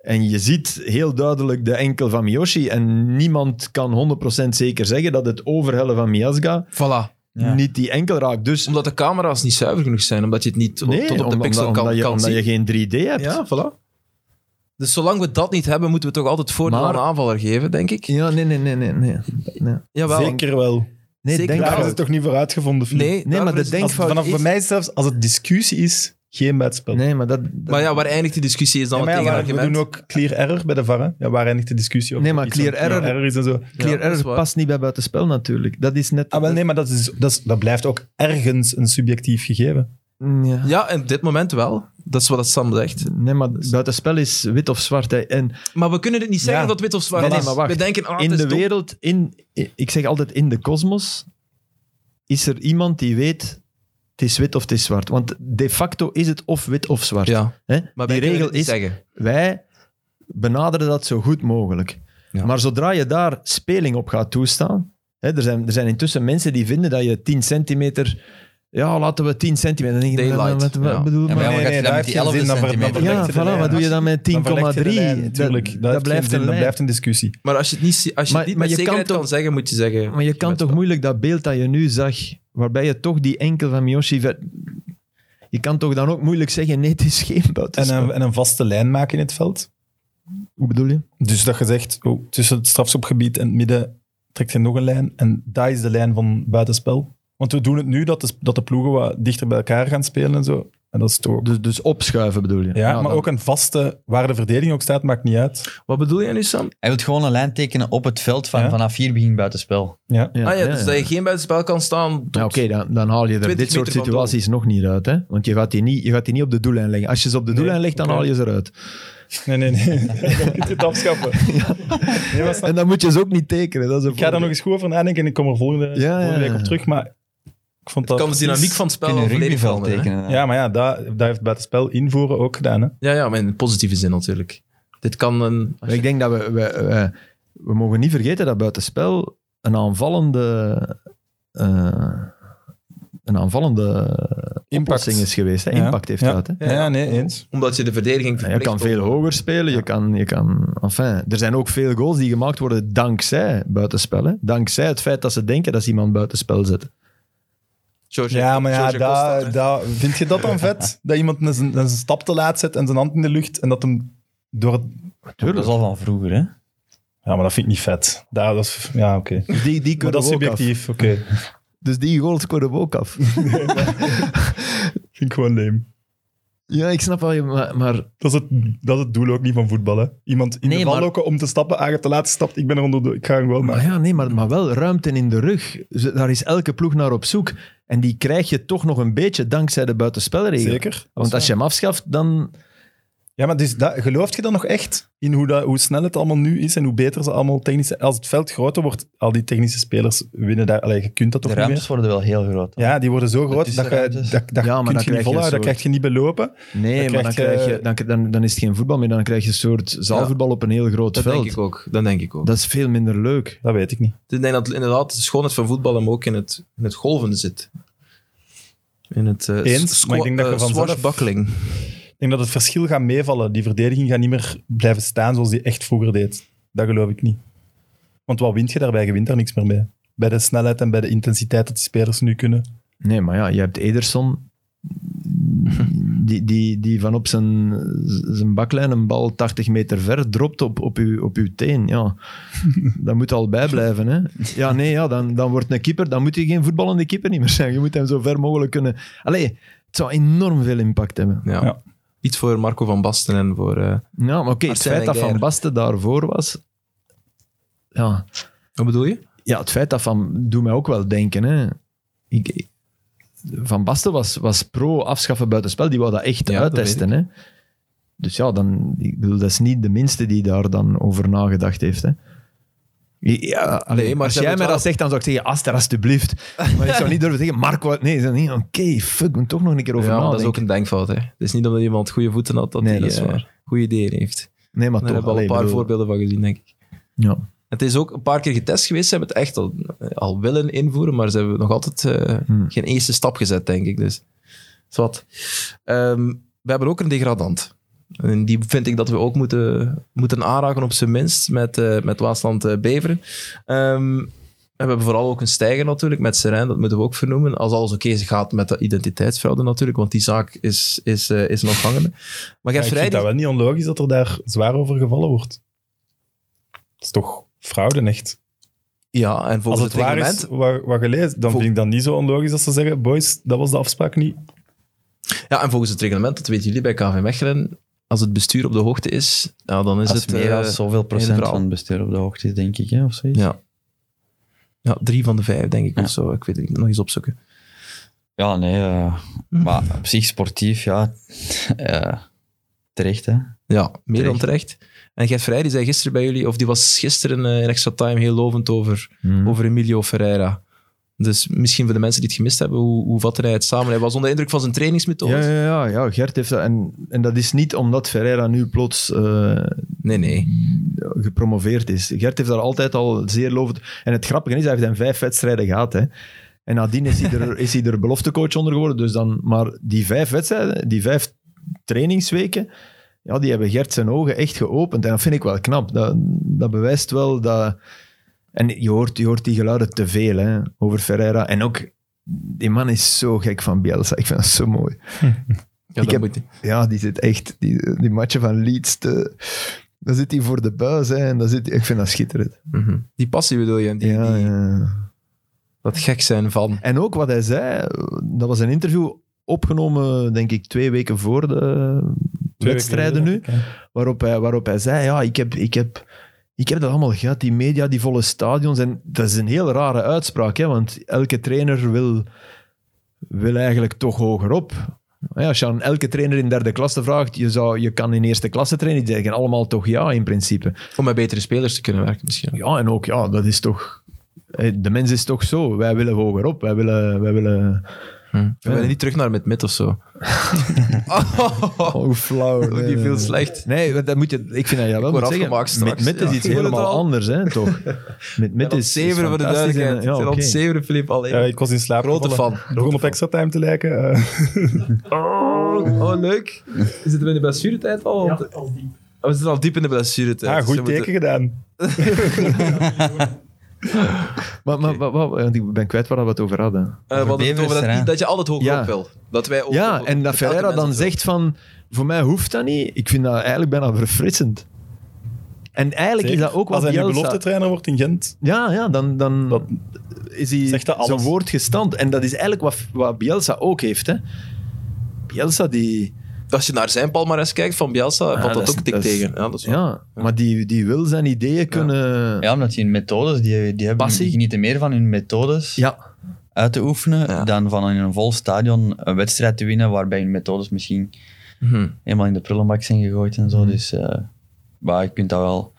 [SPEAKER 2] En je ziet heel duidelijk de enkel van Miyoshi. En niemand kan 100% zeker zeggen dat het overhellen van Miasga
[SPEAKER 1] Voilà.
[SPEAKER 4] Ja.
[SPEAKER 2] niet die enkel raakt. Dus
[SPEAKER 1] Omdat de camera's niet zuiver genoeg zijn, omdat je het niet tot-
[SPEAKER 2] nee,
[SPEAKER 1] tot op de
[SPEAKER 2] om-
[SPEAKER 1] pixel
[SPEAKER 2] omdat,
[SPEAKER 1] kan,
[SPEAKER 2] omdat je,
[SPEAKER 1] kan
[SPEAKER 2] omdat
[SPEAKER 1] zien.
[SPEAKER 2] je geen 3D hebt.
[SPEAKER 1] Ja, voilà. Dus zolang we dat niet hebben, moeten we toch altijd voordeel
[SPEAKER 2] Maar-
[SPEAKER 1] aan aanvaller geven, denk ik.
[SPEAKER 2] Ja, nee, nee, nee, nee. nee. nee.
[SPEAKER 1] Jawel.
[SPEAKER 3] Zeker wel.
[SPEAKER 2] Nee,
[SPEAKER 1] Zeker.
[SPEAKER 2] denk-
[SPEAKER 3] Daar is
[SPEAKER 1] fout.
[SPEAKER 3] het toch niet voor uitgevonden, Filip?
[SPEAKER 1] Nee,
[SPEAKER 2] maar
[SPEAKER 1] daarvoor
[SPEAKER 2] de
[SPEAKER 1] is het-
[SPEAKER 2] denk-
[SPEAKER 3] Als,
[SPEAKER 2] denkfout
[SPEAKER 3] vanaf
[SPEAKER 2] is-
[SPEAKER 3] bij mij zelfs, als het discussie is, geen wedspel.
[SPEAKER 2] nee, maar dat... dat-
[SPEAKER 1] Maar ja, waar eindigt die discussie is dan
[SPEAKER 3] Ja,
[SPEAKER 1] het
[SPEAKER 3] maar ja, waar- we
[SPEAKER 1] tegenargument.
[SPEAKER 3] doen ook clear error bij de VAR. hè. Ja, waar eindigt de discussie over?
[SPEAKER 2] Nee, maar
[SPEAKER 3] iets
[SPEAKER 2] clear
[SPEAKER 3] van
[SPEAKER 2] error-
[SPEAKER 3] is en zo.
[SPEAKER 2] Clear
[SPEAKER 1] Ja, dat is
[SPEAKER 2] error
[SPEAKER 1] waar.
[SPEAKER 2] past niet bij buitenspel natuurlijk. Dat is net...
[SPEAKER 3] Ah, wel, nee, maar dat, is, dat, is- dat blijft ook ergens een subjectief gegeven.
[SPEAKER 2] Mm, Ja.
[SPEAKER 1] Ja, op dit moment wel. Dat is wat Sam zegt.
[SPEAKER 2] Nee, maar buitenspel is wit of zwart. Hè. En
[SPEAKER 1] Maar we kunnen het niet zeggen
[SPEAKER 3] Ja.
[SPEAKER 1] dat wit of zwart
[SPEAKER 2] Nee, nee,
[SPEAKER 1] is.
[SPEAKER 2] maar wacht.
[SPEAKER 1] We denken, ah,
[SPEAKER 2] in
[SPEAKER 1] het is
[SPEAKER 2] de
[SPEAKER 1] dom.
[SPEAKER 2] wereld, in, ik zeg altijd in de kosmos, is er iemand die weet het is wit of het is zwart. Want de facto is het of wit of zwart.
[SPEAKER 1] Ja,
[SPEAKER 2] Hè?
[SPEAKER 1] maar
[SPEAKER 2] Die
[SPEAKER 1] wij kunnen
[SPEAKER 2] regel
[SPEAKER 1] het niet
[SPEAKER 2] is,
[SPEAKER 1] zeggen.
[SPEAKER 2] wij benaderen dat zo goed mogelijk.
[SPEAKER 1] Ja.
[SPEAKER 2] Maar zodra je daar speling op gaat toestaan, hè, er, zijn, er zijn intussen mensen die vinden dat je 10 centimeter, ja, laten we 10 centimeter. Dan denk je,
[SPEAKER 1] Daylight,
[SPEAKER 2] maar wat- wat
[SPEAKER 1] ja.
[SPEAKER 2] bedoel je?
[SPEAKER 4] Ja, maar
[SPEAKER 2] maar-
[SPEAKER 4] ja, wat
[SPEAKER 3] nee,
[SPEAKER 4] gaat je
[SPEAKER 3] nee,
[SPEAKER 4] dan met
[SPEAKER 3] daar
[SPEAKER 4] die
[SPEAKER 3] heeft
[SPEAKER 4] 11
[SPEAKER 3] geen zin, dan ver- dan
[SPEAKER 4] centimeter?
[SPEAKER 2] Ja,
[SPEAKER 3] verlegt je de
[SPEAKER 2] voilà,
[SPEAKER 3] lijn.
[SPEAKER 2] wat doe je dan met 10,3?
[SPEAKER 3] Dan verlegt je de lijn, Tuurlijk,
[SPEAKER 2] Dat-
[SPEAKER 3] dat,
[SPEAKER 2] Dat
[SPEAKER 3] heeft geen
[SPEAKER 2] blijft
[SPEAKER 3] zin,
[SPEAKER 2] een
[SPEAKER 3] dat
[SPEAKER 2] lijn.
[SPEAKER 3] blijft een discussie.
[SPEAKER 1] Maar als je het niet, als je
[SPEAKER 2] Maar-
[SPEAKER 1] het niet
[SPEAKER 2] maar
[SPEAKER 1] met
[SPEAKER 2] je kan
[SPEAKER 1] zekerheid kan,
[SPEAKER 2] toch-
[SPEAKER 1] zeggen, moet je zeggen...
[SPEAKER 2] Maar je kan toch moeilijk dat beeld dat je nu zag, waarbij je toch die enkel van Miyoshi... ver- Je kan toch dan ook moeilijk zeggen, nee, het is geen
[SPEAKER 3] En eh,
[SPEAKER 2] buitenspel.
[SPEAKER 3] een, en een vaste lijn maken in het veld.
[SPEAKER 2] Hoe bedoel je?
[SPEAKER 3] Dus dat je zegt, oh, tussen het strafschopgebied en het midden trekt je nog een lijn. En dat is de lijn van buitenspel. Want we doen het nu dat de, dat de ploegen wat dichter bij elkaar gaan spelen en zo. En dat is toch...
[SPEAKER 2] Dus, dus opschuiven bedoel je?
[SPEAKER 3] Ja, maar
[SPEAKER 2] dan-
[SPEAKER 3] ook een vaste, waar de verdediging ook staat, maakt niet uit.
[SPEAKER 1] Wat bedoel jij nu, Sam?
[SPEAKER 4] Hij wil gewoon een lijn tekenen op het veld van
[SPEAKER 3] Ja.
[SPEAKER 4] vanaf hier begin buitenspel.
[SPEAKER 3] Ja.
[SPEAKER 1] ah ja, dus dat je geen buitenspel kan staan tot...
[SPEAKER 2] Ja, Oké, dan, dan haal je er
[SPEAKER 1] 20
[SPEAKER 2] dit soort
[SPEAKER 1] meter van
[SPEAKER 2] situaties nog niet uit. Hè? Want je gaat, die niet, je gaat die niet op de doellijn leggen. Als je ze op de
[SPEAKER 3] Nee,
[SPEAKER 2] doellijn legt, dan
[SPEAKER 3] oké.
[SPEAKER 2] haal je ze eruit.
[SPEAKER 3] Nee, nee, nee. Dan moet je het afschaffen. Nee, maar snap-
[SPEAKER 2] En dan moet je ze ook niet tekenen. Dat is een
[SPEAKER 3] Ik ga daar nog
[SPEAKER 2] voordeel.
[SPEAKER 3] eens goed over nadenken en ik kom er volgende,
[SPEAKER 2] ja,
[SPEAKER 3] volgende
[SPEAKER 2] ja.
[SPEAKER 3] week op terug. Maar ik vond dat...
[SPEAKER 1] kan de dynamiek van het spel
[SPEAKER 4] Kunnen
[SPEAKER 1] volledig
[SPEAKER 4] rugbyveld
[SPEAKER 1] veranderen, hè?
[SPEAKER 4] tekenen.
[SPEAKER 3] Ja, maar ja, dat, dat heeft buitenspel invoeren ook gedaan. Hè?
[SPEAKER 1] Ja, ja, maar in positieve zin natuurlijk. Dit kan een...
[SPEAKER 2] Maar Ik denk dat we, we, we, we mogen niet vergeten dat buitenspel een aanvallende, eh, een aanvallende oplossing is geweest. Hè?
[SPEAKER 3] Ja.
[SPEAKER 2] Impact heeft
[SPEAKER 3] Ja.
[SPEAKER 2] gehad. Hè?
[SPEAKER 3] Ja, ja, nee, eens.
[SPEAKER 1] Omdat je de verdediging
[SPEAKER 2] Ja, Je
[SPEAKER 1] verplicht...
[SPEAKER 2] kan
[SPEAKER 1] om-
[SPEAKER 2] veel hoger spelen. Je kan, je kan, enfin, er zijn ook veel goals die gemaakt worden dankzij buitenspel. Hè? Dankzij het feit dat ze denken dat ze iemand buitenspel zetten.
[SPEAKER 1] Jorge-
[SPEAKER 3] Ja, maar ja,
[SPEAKER 1] Jorge Costa,
[SPEAKER 3] daar
[SPEAKER 1] hè?
[SPEAKER 3] daar- vind je dat dan vet? Dat iemand een- zijn, zijn stap te laat zet en zijn hand in de lucht en dat hem door... het-
[SPEAKER 4] Dat is al van vroeger, hè?
[SPEAKER 3] Ja, maar dat vind ik niet vet. Daar, dat is, ja, oké.
[SPEAKER 2] Dus Die, die
[SPEAKER 3] Maar
[SPEAKER 2] kunnen
[SPEAKER 3] dat is
[SPEAKER 2] we ook af.
[SPEAKER 3] subjectief, oké.
[SPEAKER 2] Dus die goals kunnen we ook af.
[SPEAKER 3] vind ik gewoon lame.
[SPEAKER 2] ja, ik snap wel, je- maar, maar
[SPEAKER 3] Dat is, het, dat is het doel ook niet van voetbal, hè. Iemand in de
[SPEAKER 4] Nee,
[SPEAKER 3] bal
[SPEAKER 4] maar-
[SPEAKER 3] lokken om te stappen. Ah, je hebt te laat gestapt. Ik ben er onder de... Ik ga hem gewoon
[SPEAKER 2] Maar
[SPEAKER 3] maken.
[SPEAKER 2] ja, nee, maar, maar wel ruimte in de rug. Ze- Daar is elke ploeg naar op zoek. En die krijg je toch nog een beetje dankzij de buitenspelregel.
[SPEAKER 3] Zeker. Dat is
[SPEAKER 2] Want
[SPEAKER 3] waar.
[SPEAKER 2] als je hem afschaft, dan...
[SPEAKER 3] Ja, maar dus dat, geloof je dan nog echt in hoe, dat, hoe snel het allemaal nu is en hoe beter ze allemaal technische... Als het veld groter wordt, al die technische spelers winnen daar... Allee, je kunt dat
[SPEAKER 4] De
[SPEAKER 3] toch niet meer?
[SPEAKER 4] ruimtes worden wel heel groot.
[SPEAKER 3] Ja, die worden zo groot dat, je,
[SPEAKER 4] tussenruimtes.
[SPEAKER 3] dat, dat
[SPEAKER 2] Ja, maar dan
[SPEAKER 3] kun je niet
[SPEAKER 2] krijg je
[SPEAKER 3] volhouden,
[SPEAKER 2] een
[SPEAKER 3] dat
[SPEAKER 2] soort-
[SPEAKER 3] krijg je niet belopen.
[SPEAKER 2] Nee,
[SPEAKER 3] Dan
[SPEAKER 2] maar dan,
[SPEAKER 3] krijg je-
[SPEAKER 2] krijg je, dan, dan, dan is het geen voetbal meer. Dan krijg je een soort zaalvoetbal op een heel groot
[SPEAKER 1] Dat
[SPEAKER 2] veld.
[SPEAKER 1] denk ik ook. Dat denk ik ook.
[SPEAKER 2] Dat is veel minder leuk.
[SPEAKER 3] Dat weet ik niet.
[SPEAKER 1] Ik denk dat inderdaad de schoonheid van voetbal hem ook in het, in het golven zit. In het eh
[SPEAKER 3] Eens,
[SPEAKER 1] squa-
[SPEAKER 3] maar ik denk dat je
[SPEAKER 1] eh,
[SPEAKER 3] vanzelf-
[SPEAKER 1] swashbuckling.
[SPEAKER 3] Ik denk dat het verschil gaat meevallen. Die verdediging gaat niet meer blijven staan zoals die echt vroeger deed. Dat geloof ik niet. Want wat wint je daarbij? Je wint daar niks meer mee. Bij de snelheid en bij de intensiteit dat die spelers nu kunnen.
[SPEAKER 2] Nee, maar ja, je hebt Ederson... Die, die, die van op zijn, zijn baklijn een bal 80 meter ver dropt op, op, uw, op uw teen. Ja. Dat moet al bijblijven. Hè? Ja, nee, ja, dan, dan wordt een keeper... Dan moet hij geen voetballende keeper niet meer zijn. Je moet hem zo ver mogelijk kunnen... Allee, het zou enorm veel impact hebben.
[SPEAKER 1] Ja.
[SPEAKER 3] Ja.
[SPEAKER 1] Iets voor Marco van Basten en voor... eh
[SPEAKER 2] Ja, maar oké, het
[SPEAKER 1] Arsène
[SPEAKER 2] feit dat
[SPEAKER 1] Wenger.
[SPEAKER 2] Van Basten daarvoor was... Ja,
[SPEAKER 1] wat bedoel je?
[SPEAKER 2] ja, het feit dat Van... Doet mij ook wel denken, hè. Ik, ik- van Basten was, was pro afschaffen buitenspel. Die wou dat echt
[SPEAKER 1] Ja, dat
[SPEAKER 2] uittesten, hè. Dus ja, dan, ik bedoel, dat is niet de minste die daar dan over nagedacht heeft, hè. Ja, allee,
[SPEAKER 1] maar
[SPEAKER 2] als
[SPEAKER 1] ze hebben
[SPEAKER 2] jij
[SPEAKER 1] het
[SPEAKER 2] mij
[SPEAKER 1] wel-
[SPEAKER 2] dat zegt, dan zou ik zeggen, Aster, alstublieft. Maar ik zou niet durven zeggen, Mark, wat? Nee, dan niet. Oké, fuck, ik moet toch nog een keer over
[SPEAKER 1] ja, dat is
[SPEAKER 2] nadenken.
[SPEAKER 1] ook een denkfout. Hè. Het is niet omdat iemand goede voeten had dat
[SPEAKER 2] Nee,
[SPEAKER 1] hij
[SPEAKER 2] dat is
[SPEAKER 1] eh,
[SPEAKER 2] waar.
[SPEAKER 1] goede ideeën heeft.
[SPEAKER 2] Nee, maar
[SPEAKER 1] Daar
[SPEAKER 2] toch.
[SPEAKER 1] hebben we al
[SPEAKER 2] allee,
[SPEAKER 1] een paar
[SPEAKER 2] bedoel-
[SPEAKER 1] voorbeelden van gezien, denk ik.
[SPEAKER 2] Ja.
[SPEAKER 1] Het is ook een paar keer getest geweest. Ze hebben het echt al, al willen invoeren, maar ze hebben nog altijd eh,
[SPEAKER 2] Hmm.
[SPEAKER 1] geen eerste stap gezet, denk ik. Dus is wat. Ehm, we hebben ook een degradant. En die vind ik dat we ook moeten, moeten aanraken, op zijn minst, met, eh, met Waasland eh, Beveren. Ehm, en we hebben vooral ook een stijger natuurlijk, met Serijn, dat moeten we ook vernoemen. Als alles oké gaat met de identiteitsfraude natuurlijk, want die zaak is, is, eh, is een afhangende. Maar
[SPEAKER 3] Ja,
[SPEAKER 1] Gert
[SPEAKER 3] ik
[SPEAKER 1] Vrij,
[SPEAKER 3] vind dat wel niet onlogisch dat er daar zwaar over gevallen wordt. Het is toch fraude, echt.
[SPEAKER 1] ja, en
[SPEAKER 3] Als
[SPEAKER 1] volgens
[SPEAKER 3] het
[SPEAKER 1] het,
[SPEAKER 3] waar
[SPEAKER 1] reglement...
[SPEAKER 3] is wat, wat gelezen, dan
[SPEAKER 1] Vol-
[SPEAKER 3] vind ik dat niet zo onlogisch dat ze zeggen, boys, dat was de afspraak niet.
[SPEAKER 1] Ja, en volgens het reglement, dat weten jullie bij KV Mechelen, als het bestuur op de hoogte is, ja, dan is
[SPEAKER 4] Als
[SPEAKER 1] het...
[SPEAKER 4] meer
[SPEAKER 1] eh,
[SPEAKER 4] dan zoveel procent
[SPEAKER 1] verhaal.
[SPEAKER 4] van het bestuur op de hoogte is, denk ik, hè, of zoiets.
[SPEAKER 1] Ja. ja, drie van de vijf, denk ik,
[SPEAKER 4] Ja.
[SPEAKER 1] of zo. Ik weet het niet, nog eens opzoeken.
[SPEAKER 4] Ja, nee. eh,
[SPEAKER 1] Hm.
[SPEAKER 4] maar op zich sportief, ja. eh, terecht, hè.
[SPEAKER 1] Ja, meer dan terecht. En Gert Vrij, die zei gisteren bij jullie, of die was gisteren eh, in extra time heel lovend over,
[SPEAKER 2] Hmm.
[SPEAKER 1] over Emilio Ferreira. Dus misschien voor de mensen die het gemist hebben, hoe, hoe vatte hij het samen? Hij was onder de indruk van zijn trainingsmethode.
[SPEAKER 2] Ja, ja, ja, ja, Gert heeft dat. En, en dat is niet omdat Ferreira nu plots eh,
[SPEAKER 1] Nee, nee.
[SPEAKER 2] gepromoveerd is. Gert heeft daar altijd al zeer lovend... En het grappige is, hij heeft dan vijf wedstrijden gehad. Hè. En nadien is hij, er, is hij er beloftecoach onder geworden. Dus dan, maar die vijf wedstrijden, die vijf trainingsweken, ja, die hebben Gert zijn ogen echt geopend. En dat vind ik wel knap. Dat, dat bewijst wel dat... En je hoort, je hoort die geluiden te veel hè, over Ferreira. En ook, die man is zo gek van Bielsa. Ik vind dat zo mooi.
[SPEAKER 1] Ja,
[SPEAKER 2] Ik
[SPEAKER 1] dat
[SPEAKER 2] heb-
[SPEAKER 1] moet-
[SPEAKER 2] Ja, die zit echt, die, die matchen van Leeds, te, daar zit hij voor de buis. Hè, en daar zit, hij- ik vind dat schitterend.
[SPEAKER 1] Mhm. Die passie bedoel je, die,
[SPEAKER 2] Ja,
[SPEAKER 1] die-
[SPEAKER 2] ja.
[SPEAKER 1] dat gek zijn van...
[SPEAKER 2] En ook wat hij zei, dat was een interview opgenomen, denk ik, twee weken voor de
[SPEAKER 3] Twee
[SPEAKER 2] wedstrijden
[SPEAKER 3] weken
[SPEAKER 2] nu.
[SPEAKER 3] geleden.
[SPEAKER 2] Waarop hij, waarop hij zei, ja, ik heb, ik, heb, ik heb dat allemaal gehad, die media, die volle stadions. En dat is een heel rare uitspraak, hè, want elke trainer wil, wil eigenlijk toch hoger op. Maar ja, als je aan elke trainer in derde klasse vraagt, je, zou, je kan in eerste klasse trainen, die zeggen allemaal toch ja in principe.
[SPEAKER 1] Om met betere spelers te kunnen werken misschien.
[SPEAKER 2] Ja, en ook, ja, dat is toch... eh, De mens is toch zo. Wij willen hoger op. Wij willen... Wij willen
[SPEAKER 1] Hm. We willen niet terug naar met mid of zo.
[SPEAKER 2] oh, flauw.
[SPEAKER 1] Ook die viel slecht.
[SPEAKER 2] Nee, want dat moet je, ik vind dat je dat wel
[SPEAKER 1] word
[SPEAKER 2] moet zeggen.
[SPEAKER 1] afgemaakt straks.
[SPEAKER 2] Met met
[SPEAKER 1] Ja.
[SPEAKER 2] is iets
[SPEAKER 1] Ik hoor het
[SPEAKER 2] helemaal
[SPEAKER 1] al.
[SPEAKER 2] anders, hè, toch? Met met is, is
[SPEAKER 1] Zeven voor de
[SPEAKER 2] fantastisch en,
[SPEAKER 1] duidelijkheid.
[SPEAKER 2] ja,
[SPEAKER 1] Ik ben
[SPEAKER 2] oké.
[SPEAKER 1] ontzeven, Filip. Alleen.
[SPEAKER 3] Ja, ik was in slaap
[SPEAKER 1] Grote
[SPEAKER 3] gevallen.
[SPEAKER 1] fan.
[SPEAKER 3] Begon op extra time te lijken. eh.
[SPEAKER 1] Oh, oh, leuk. Zitten we in de blessuretijd al?
[SPEAKER 6] Ja,
[SPEAKER 1] Want-
[SPEAKER 6] al diep.
[SPEAKER 1] Oh, we zitten al diep in de blessuretijd.
[SPEAKER 3] ah,
[SPEAKER 1] Dus
[SPEAKER 3] goed
[SPEAKER 1] we
[SPEAKER 3] teken
[SPEAKER 1] moeten-
[SPEAKER 3] gedaan.
[SPEAKER 2] Maar, maar, maar, maar- want ik ben kwijt waar we het over hadden.
[SPEAKER 1] Eh, we hadden het
[SPEAKER 4] Beveren
[SPEAKER 1] over
[SPEAKER 4] is er,
[SPEAKER 1] dat,
[SPEAKER 4] hè?
[SPEAKER 1] dat je altijd hoog
[SPEAKER 2] Ja.
[SPEAKER 1] op wil. Dat wij ook
[SPEAKER 2] Ja,
[SPEAKER 1] ook-
[SPEAKER 2] en dat
[SPEAKER 1] elke
[SPEAKER 2] Ferreira
[SPEAKER 1] mens
[SPEAKER 2] dan
[SPEAKER 1] dat wil.
[SPEAKER 2] zegt van... Voor mij hoeft dat niet. Ik vind dat eigenlijk bijna verfrissend. En eigenlijk is dat ook wat
[SPEAKER 3] Als hij nu
[SPEAKER 2] Bielsa-
[SPEAKER 3] beloftetrainer wordt in Gent,
[SPEAKER 2] Ja, ja dan, dan
[SPEAKER 3] Dat-
[SPEAKER 2] is hij
[SPEAKER 3] zegt dat alles.
[SPEAKER 2] zijn woord gestand. En dat is eigenlijk wat, wat Bielsa ook heeft. Hè. Bielsa die...
[SPEAKER 1] Als je naar zijn palmarès kijkt van Bielsa, valt dat,
[SPEAKER 2] Ah, dat is-
[SPEAKER 1] ook dik
[SPEAKER 2] dat is-
[SPEAKER 1] tegen. Ja, dat is waar.
[SPEAKER 2] Ja, maar die, die wil zijn ideeën kunnen...
[SPEAKER 4] Ja, omdat die hun methodes, die, die, hebben,
[SPEAKER 2] Passie.
[SPEAKER 4] die genieten meer van hun methodes
[SPEAKER 2] Ja,
[SPEAKER 4] uit te oefenen
[SPEAKER 1] Ja.
[SPEAKER 4] dan van in een vol stadion een wedstrijd te winnen waarbij hun methodes misschien
[SPEAKER 1] Mhm.
[SPEAKER 4] helemaal in de prullenbak zijn gegooid en zo. Dus eh, maar je kunt dat wel,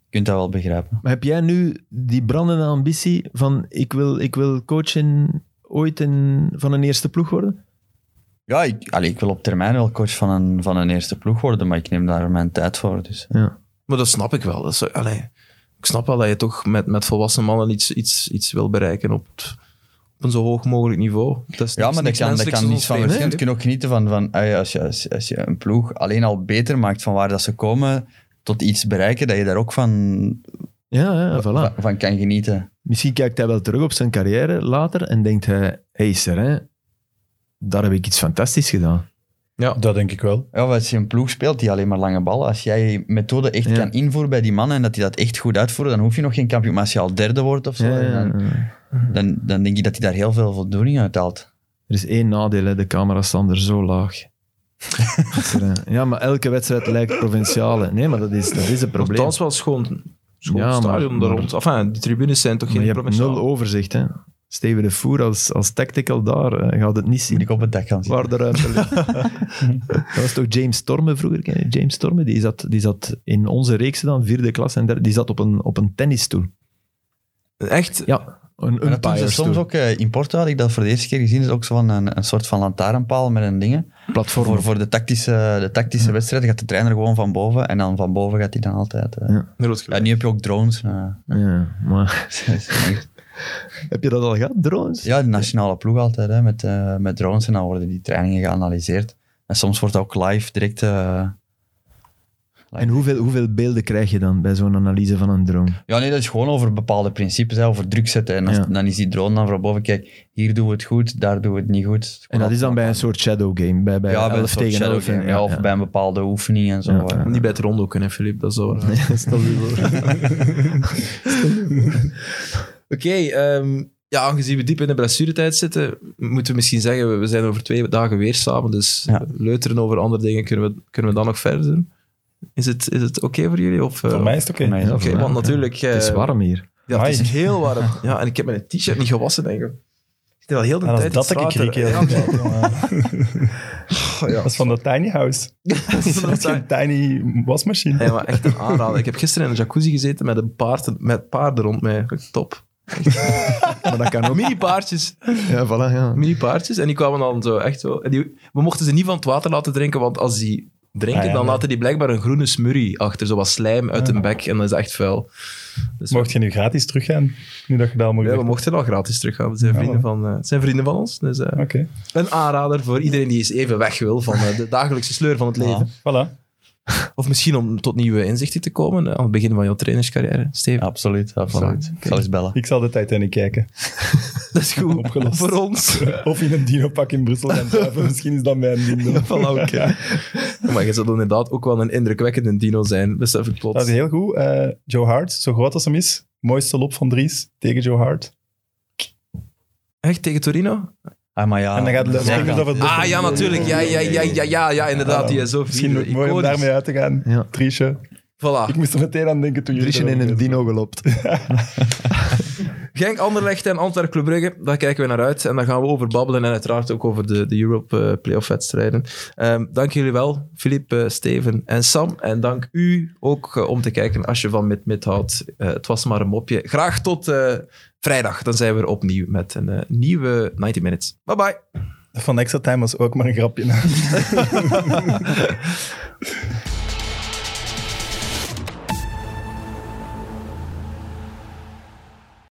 [SPEAKER 4] je kunt dat wel begrijpen.
[SPEAKER 2] maar heb jij nu die brandende ambitie van ik wil, ik wil coach in, ooit in, van een eerste ploeg worden?
[SPEAKER 4] Ja, ik, allee, ik wil op termijn wel coach van een, van een eerste ploeg worden, maar ik neem daar mijn tijd voor. Dus.
[SPEAKER 2] Ja.
[SPEAKER 1] Maar dat snap ik wel. Dat is, allee, ik snap wel dat je toch met, met volwassen mannen iets, iets, iets wil bereiken op, het- op een zo hoog mogelijk niveau. Dat is niks-
[SPEAKER 4] Ja, maar dat
[SPEAKER 1] niks
[SPEAKER 4] kan, dat
[SPEAKER 1] menselijks
[SPEAKER 4] kan
[SPEAKER 1] dan
[SPEAKER 4] niets van
[SPEAKER 1] ons
[SPEAKER 4] verschillen.
[SPEAKER 1] vreemd,
[SPEAKER 4] Je kunt ook genieten van, van ah ja, als, je, als, je- als je een ploeg alleen al beter maakt van waar dat ze komen, tot iets bereiken, dat je daar ook van,
[SPEAKER 2] Ja, ja, voilà.
[SPEAKER 4] van, van kan genieten.
[SPEAKER 2] Misschien kijkt hij wel terug op zijn carrière later en denkt hij... Hé, hey, Serain, daar heb ik iets fantastisch gedaan.
[SPEAKER 3] dat denk ik wel.
[SPEAKER 4] Ja, want als je een ploeg speelt die alleen maar lange ballen, als jij je methode echt
[SPEAKER 2] Ja.
[SPEAKER 4] kan invoeren bij die mannen en dat die dat echt goed uitvoeren, dan hoef je nog geen kampioen. Maar als je al derde wordt of zo,
[SPEAKER 2] Ja, ja, ja.
[SPEAKER 4] Dan, dan, dan denk ik dat hij daar heel veel voldoening uit haalt.
[SPEAKER 2] Er is één nadeel, hè. de camera's staan er zo laag. ja, maar elke wedstrijd lijkt provinciale. Nee, maar dat is, dat is een
[SPEAKER 1] hè.
[SPEAKER 2] probleem.
[SPEAKER 1] Althans wel schoon, schoon
[SPEAKER 2] Ja, maar-
[SPEAKER 1] stadion daar
[SPEAKER 2] maar-
[SPEAKER 1] rond. Enfin, die tribunes zijn toch
[SPEAKER 2] Maar je
[SPEAKER 1] geen
[SPEAKER 2] hebt nul
[SPEAKER 1] provinciaal.
[SPEAKER 2] overzicht. Hè. Steven de Voer als, als tactical daar eh, gaat het niet
[SPEAKER 4] Moet
[SPEAKER 2] zien.
[SPEAKER 4] ik op het dak gaan zitten.
[SPEAKER 2] Waar de ruimte ligt. dat was toch James Storme vroeger? Ken je James Storme, die zat, die zat in onze reeks dan, vierde klas en derde, die zat op een, op een tennisstoel.
[SPEAKER 1] Echt?
[SPEAKER 7] Ja, een
[SPEAKER 4] En dat doen
[SPEAKER 7] umpire
[SPEAKER 4] ze soms ook eh, in Porto, had ik dat voor de eerste keer gezien, is ook zo'n een, een soort van lantaarnpaal met een dingen.
[SPEAKER 7] platform.
[SPEAKER 4] Voor, voor de tactische, de tactische wedstrijd gaat de trainer gewoon van boven en dan van boven gaat hij dan altijd... eh,
[SPEAKER 7] Ja.
[SPEAKER 1] Rood
[SPEAKER 4] ja,
[SPEAKER 1] gelijk.
[SPEAKER 4] nu heb je ook drones. eh.
[SPEAKER 7] Ja, maar heb je dat al gehad, drones?
[SPEAKER 4] ja, de nationale ploeg altijd, hè, met, eh, met drones en dan worden die trainingen geanalyseerd. En soms wordt ook live direct... eh,
[SPEAKER 7] En hoeveel, hoeveel beelden krijg je dan bij zo'n analyse van een drone?
[SPEAKER 4] Ja, nee, dat is gewoon over bepaalde principes, hè, over druk zetten. En als-
[SPEAKER 7] Ja.
[SPEAKER 4] dan is die drone dan van boven, kijk, hier doen we het goed, daar doen we het niet goed.
[SPEAKER 7] En dat is dan bij een soort shadow game, bij, bij
[SPEAKER 4] ja, bij een
[SPEAKER 7] 11
[SPEAKER 4] soort
[SPEAKER 7] tegen
[SPEAKER 4] shadow
[SPEAKER 7] 11.
[SPEAKER 4] game, ja, of bij een bepaalde oefening en zo.
[SPEAKER 7] Ja.
[SPEAKER 4] hè.
[SPEAKER 1] Niet bij het rondo kunnen, Filip. Dat is zo. raar. Oké, ehm, ja, aangezien we diep in de blessuretijd zitten, moeten we misschien zeggen, we- we zijn over twee dagen weer samen, dus
[SPEAKER 4] Ja.
[SPEAKER 1] leuteren over andere dingen kunnen we, kunnen we dan nog verder doen. Is het, is het oké voor jullie? Of, eh,
[SPEAKER 3] Voor mij is het oké.
[SPEAKER 4] Voor mij is dat
[SPEAKER 1] Oké,
[SPEAKER 4] wel-
[SPEAKER 1] want natuurlijk... eh,
[SPEAKER 7] Het is warm hier.
[SPEAKER 1] Ja, het is
[SPEAKER 3] Amai.
[SPEAKER 1] heel warm. Ja, en ik heb mijn t-shirt niet gewassen, denk ik. Ik zit al heel de
[SPEAKER 3] En als
[SPEAKER 1] tijd in
[SPEAKER 3] Ah, dat
[SPEAKER 1] het
[SPEAKER 3] ik ik
[SPEAKER 1] water.
[SPEAKER 3] riek heel
[SPEAKER 1] Ja,
[SPEAKER 3] goed had, jongen.
[SPEAKER 1] Oh,
[SPEAKER 3] Dat is van de tiny house.
[SPEAKER 1] dat is
[SPEAKER 3] Dat is
[SPEAKER 1] een-
[SPEAKER 3] geen tiny wasmachine.
[SPEAKER 1] Ja, maar echt een aanrader. Ik heb gisteren in een jacuzzi gezeten met, een paard, met paarden rond mij. Top.
[SPEAKER 7] Maar dat kan ook.
[SPEAKER 1] Mini paardjes.
[SPEAKER 7] Ja, voilà, ja.
[SPEAKER 1] Mini paardjes. En die kwamen dan zo echt zo. En die, we mochten ze niet van het water laten drinken, want als die drinken,
[SPEAKER 3] Ah, ja,
[SPEAKER 1] dan
[SPEAKER 3] ja.
[SPEAKER 1] laten die blijkbaar een groene smurrie achter. Zo wat slijm uit
[SPEAKER 3] Ah.
[SPEAKER 1] hun bek. En dat is echt vuil. Dus
[SPEAKER 3] Mocht je nu gratis teruggaan, nu dat je dat al mocht
[SPEAKER 1] ja, we
[SPEAKER 3] doen?
[SPEAKER 1] mochten al gratis teruggaan. We zijn
[SPEAKER 3] Ja,
[SPEAKER 1] vrienden
[SPEAKER 3] wel.
[SPEAKER 1] van, eh, het zijn vrienden van ons. Dus eh,
[SPEAKER 3] Oké,
[SPEAKER 1] een aanrader voor iedereen die eens even weg wil van eh, de dagelijkse sleur van het
[SPEAKER 3] Ah.
[SPEAKER 1] leven.
[SPEAKER 3] voilà.
[SPEAKER 1] Of misschien om tot nieuwe inzichten te komen eh, aan het begin van jouw trainerscarrière, Steven.
[SPEAKER 4] Absoluut, absoluut. Ik zal eens bellen.
[SPEAKER 3] Ik zal de Titanic kijken.
[SPEAKER 1] Dat is goed.
[SPEAKER 3] Opgelost.
[SPEAKER 1] Voor ons.
[SPEAKER 3] Of in een dino-pak in Brussel gaan slapen. Misschien is dat mijn ding. dan.
[SPEAKER 1] Voilà, oké. maar je zult inderdaad ook wel een indrukwekkende dino zijn, besef ik
[SPEAKER 3] Dat
[SPEAKER 1] plots.
[SPEAKER 3] is heel goed. Eh, Joe Hart, zo groot als hem is. Mooiste lop van Dries tegen Joe Hart.
[SPEAKER 1] Echt, tegen Torino?
[SPEAKER 4] Ah, maar ja.
[SPEAKER 3] En dan gaat het-
[SPEAKER 4] Zij
[SPEAKER 3] het
[SPEAKER 4] kan-
[SPEAKER 3] over het-
[SPEAKER 1] Ah, ja, natuurlijk. Ja, ja, ja, ja, ja, ja inderdaad. Die is zo
[SPEAKER 3] Eh, Misschien
[SPEAKER 1] vierde.
[SPEAKER 3] mooi om
[SPEAKER 1] Iconisch.
[SPEAKER 3] daarmee uit te gaan.
[SPEAKER 7] Ja.
[SPEAKER 3] Driesje. Ik
[SPEAKER 1] Voilà.
[SPEAKER 3] moest er meteen aan denken toen jullie...
[SPEAKER 7] Driesje in
[SPEAKER 3] erover
[SPEAKER 7] een
[SPEAKER 3] deden.
[SPEAKER 7] dino gelopt.
[SPEAKER 1] Genk, Anderlecht en Antwerp Club Brugge, daar kijken we naar uit. En daar gaan we over babbelen en uiteraard ook over de, de Europe eh, playoff wedstrijden. Ehm, dank jullie wel, Filip, eh, Steven en Sam. En dank u ook eh, om te kijken als je van Mid Mid houdt. Eh, het was maar een mopje. Graag tot eh, vrijdag, dan zijn we er opnieuw met een eh, nieuwe 90 Minutes. Bye bye.
[SPEAKER 3] Van Extra Time was ook maar een grapje.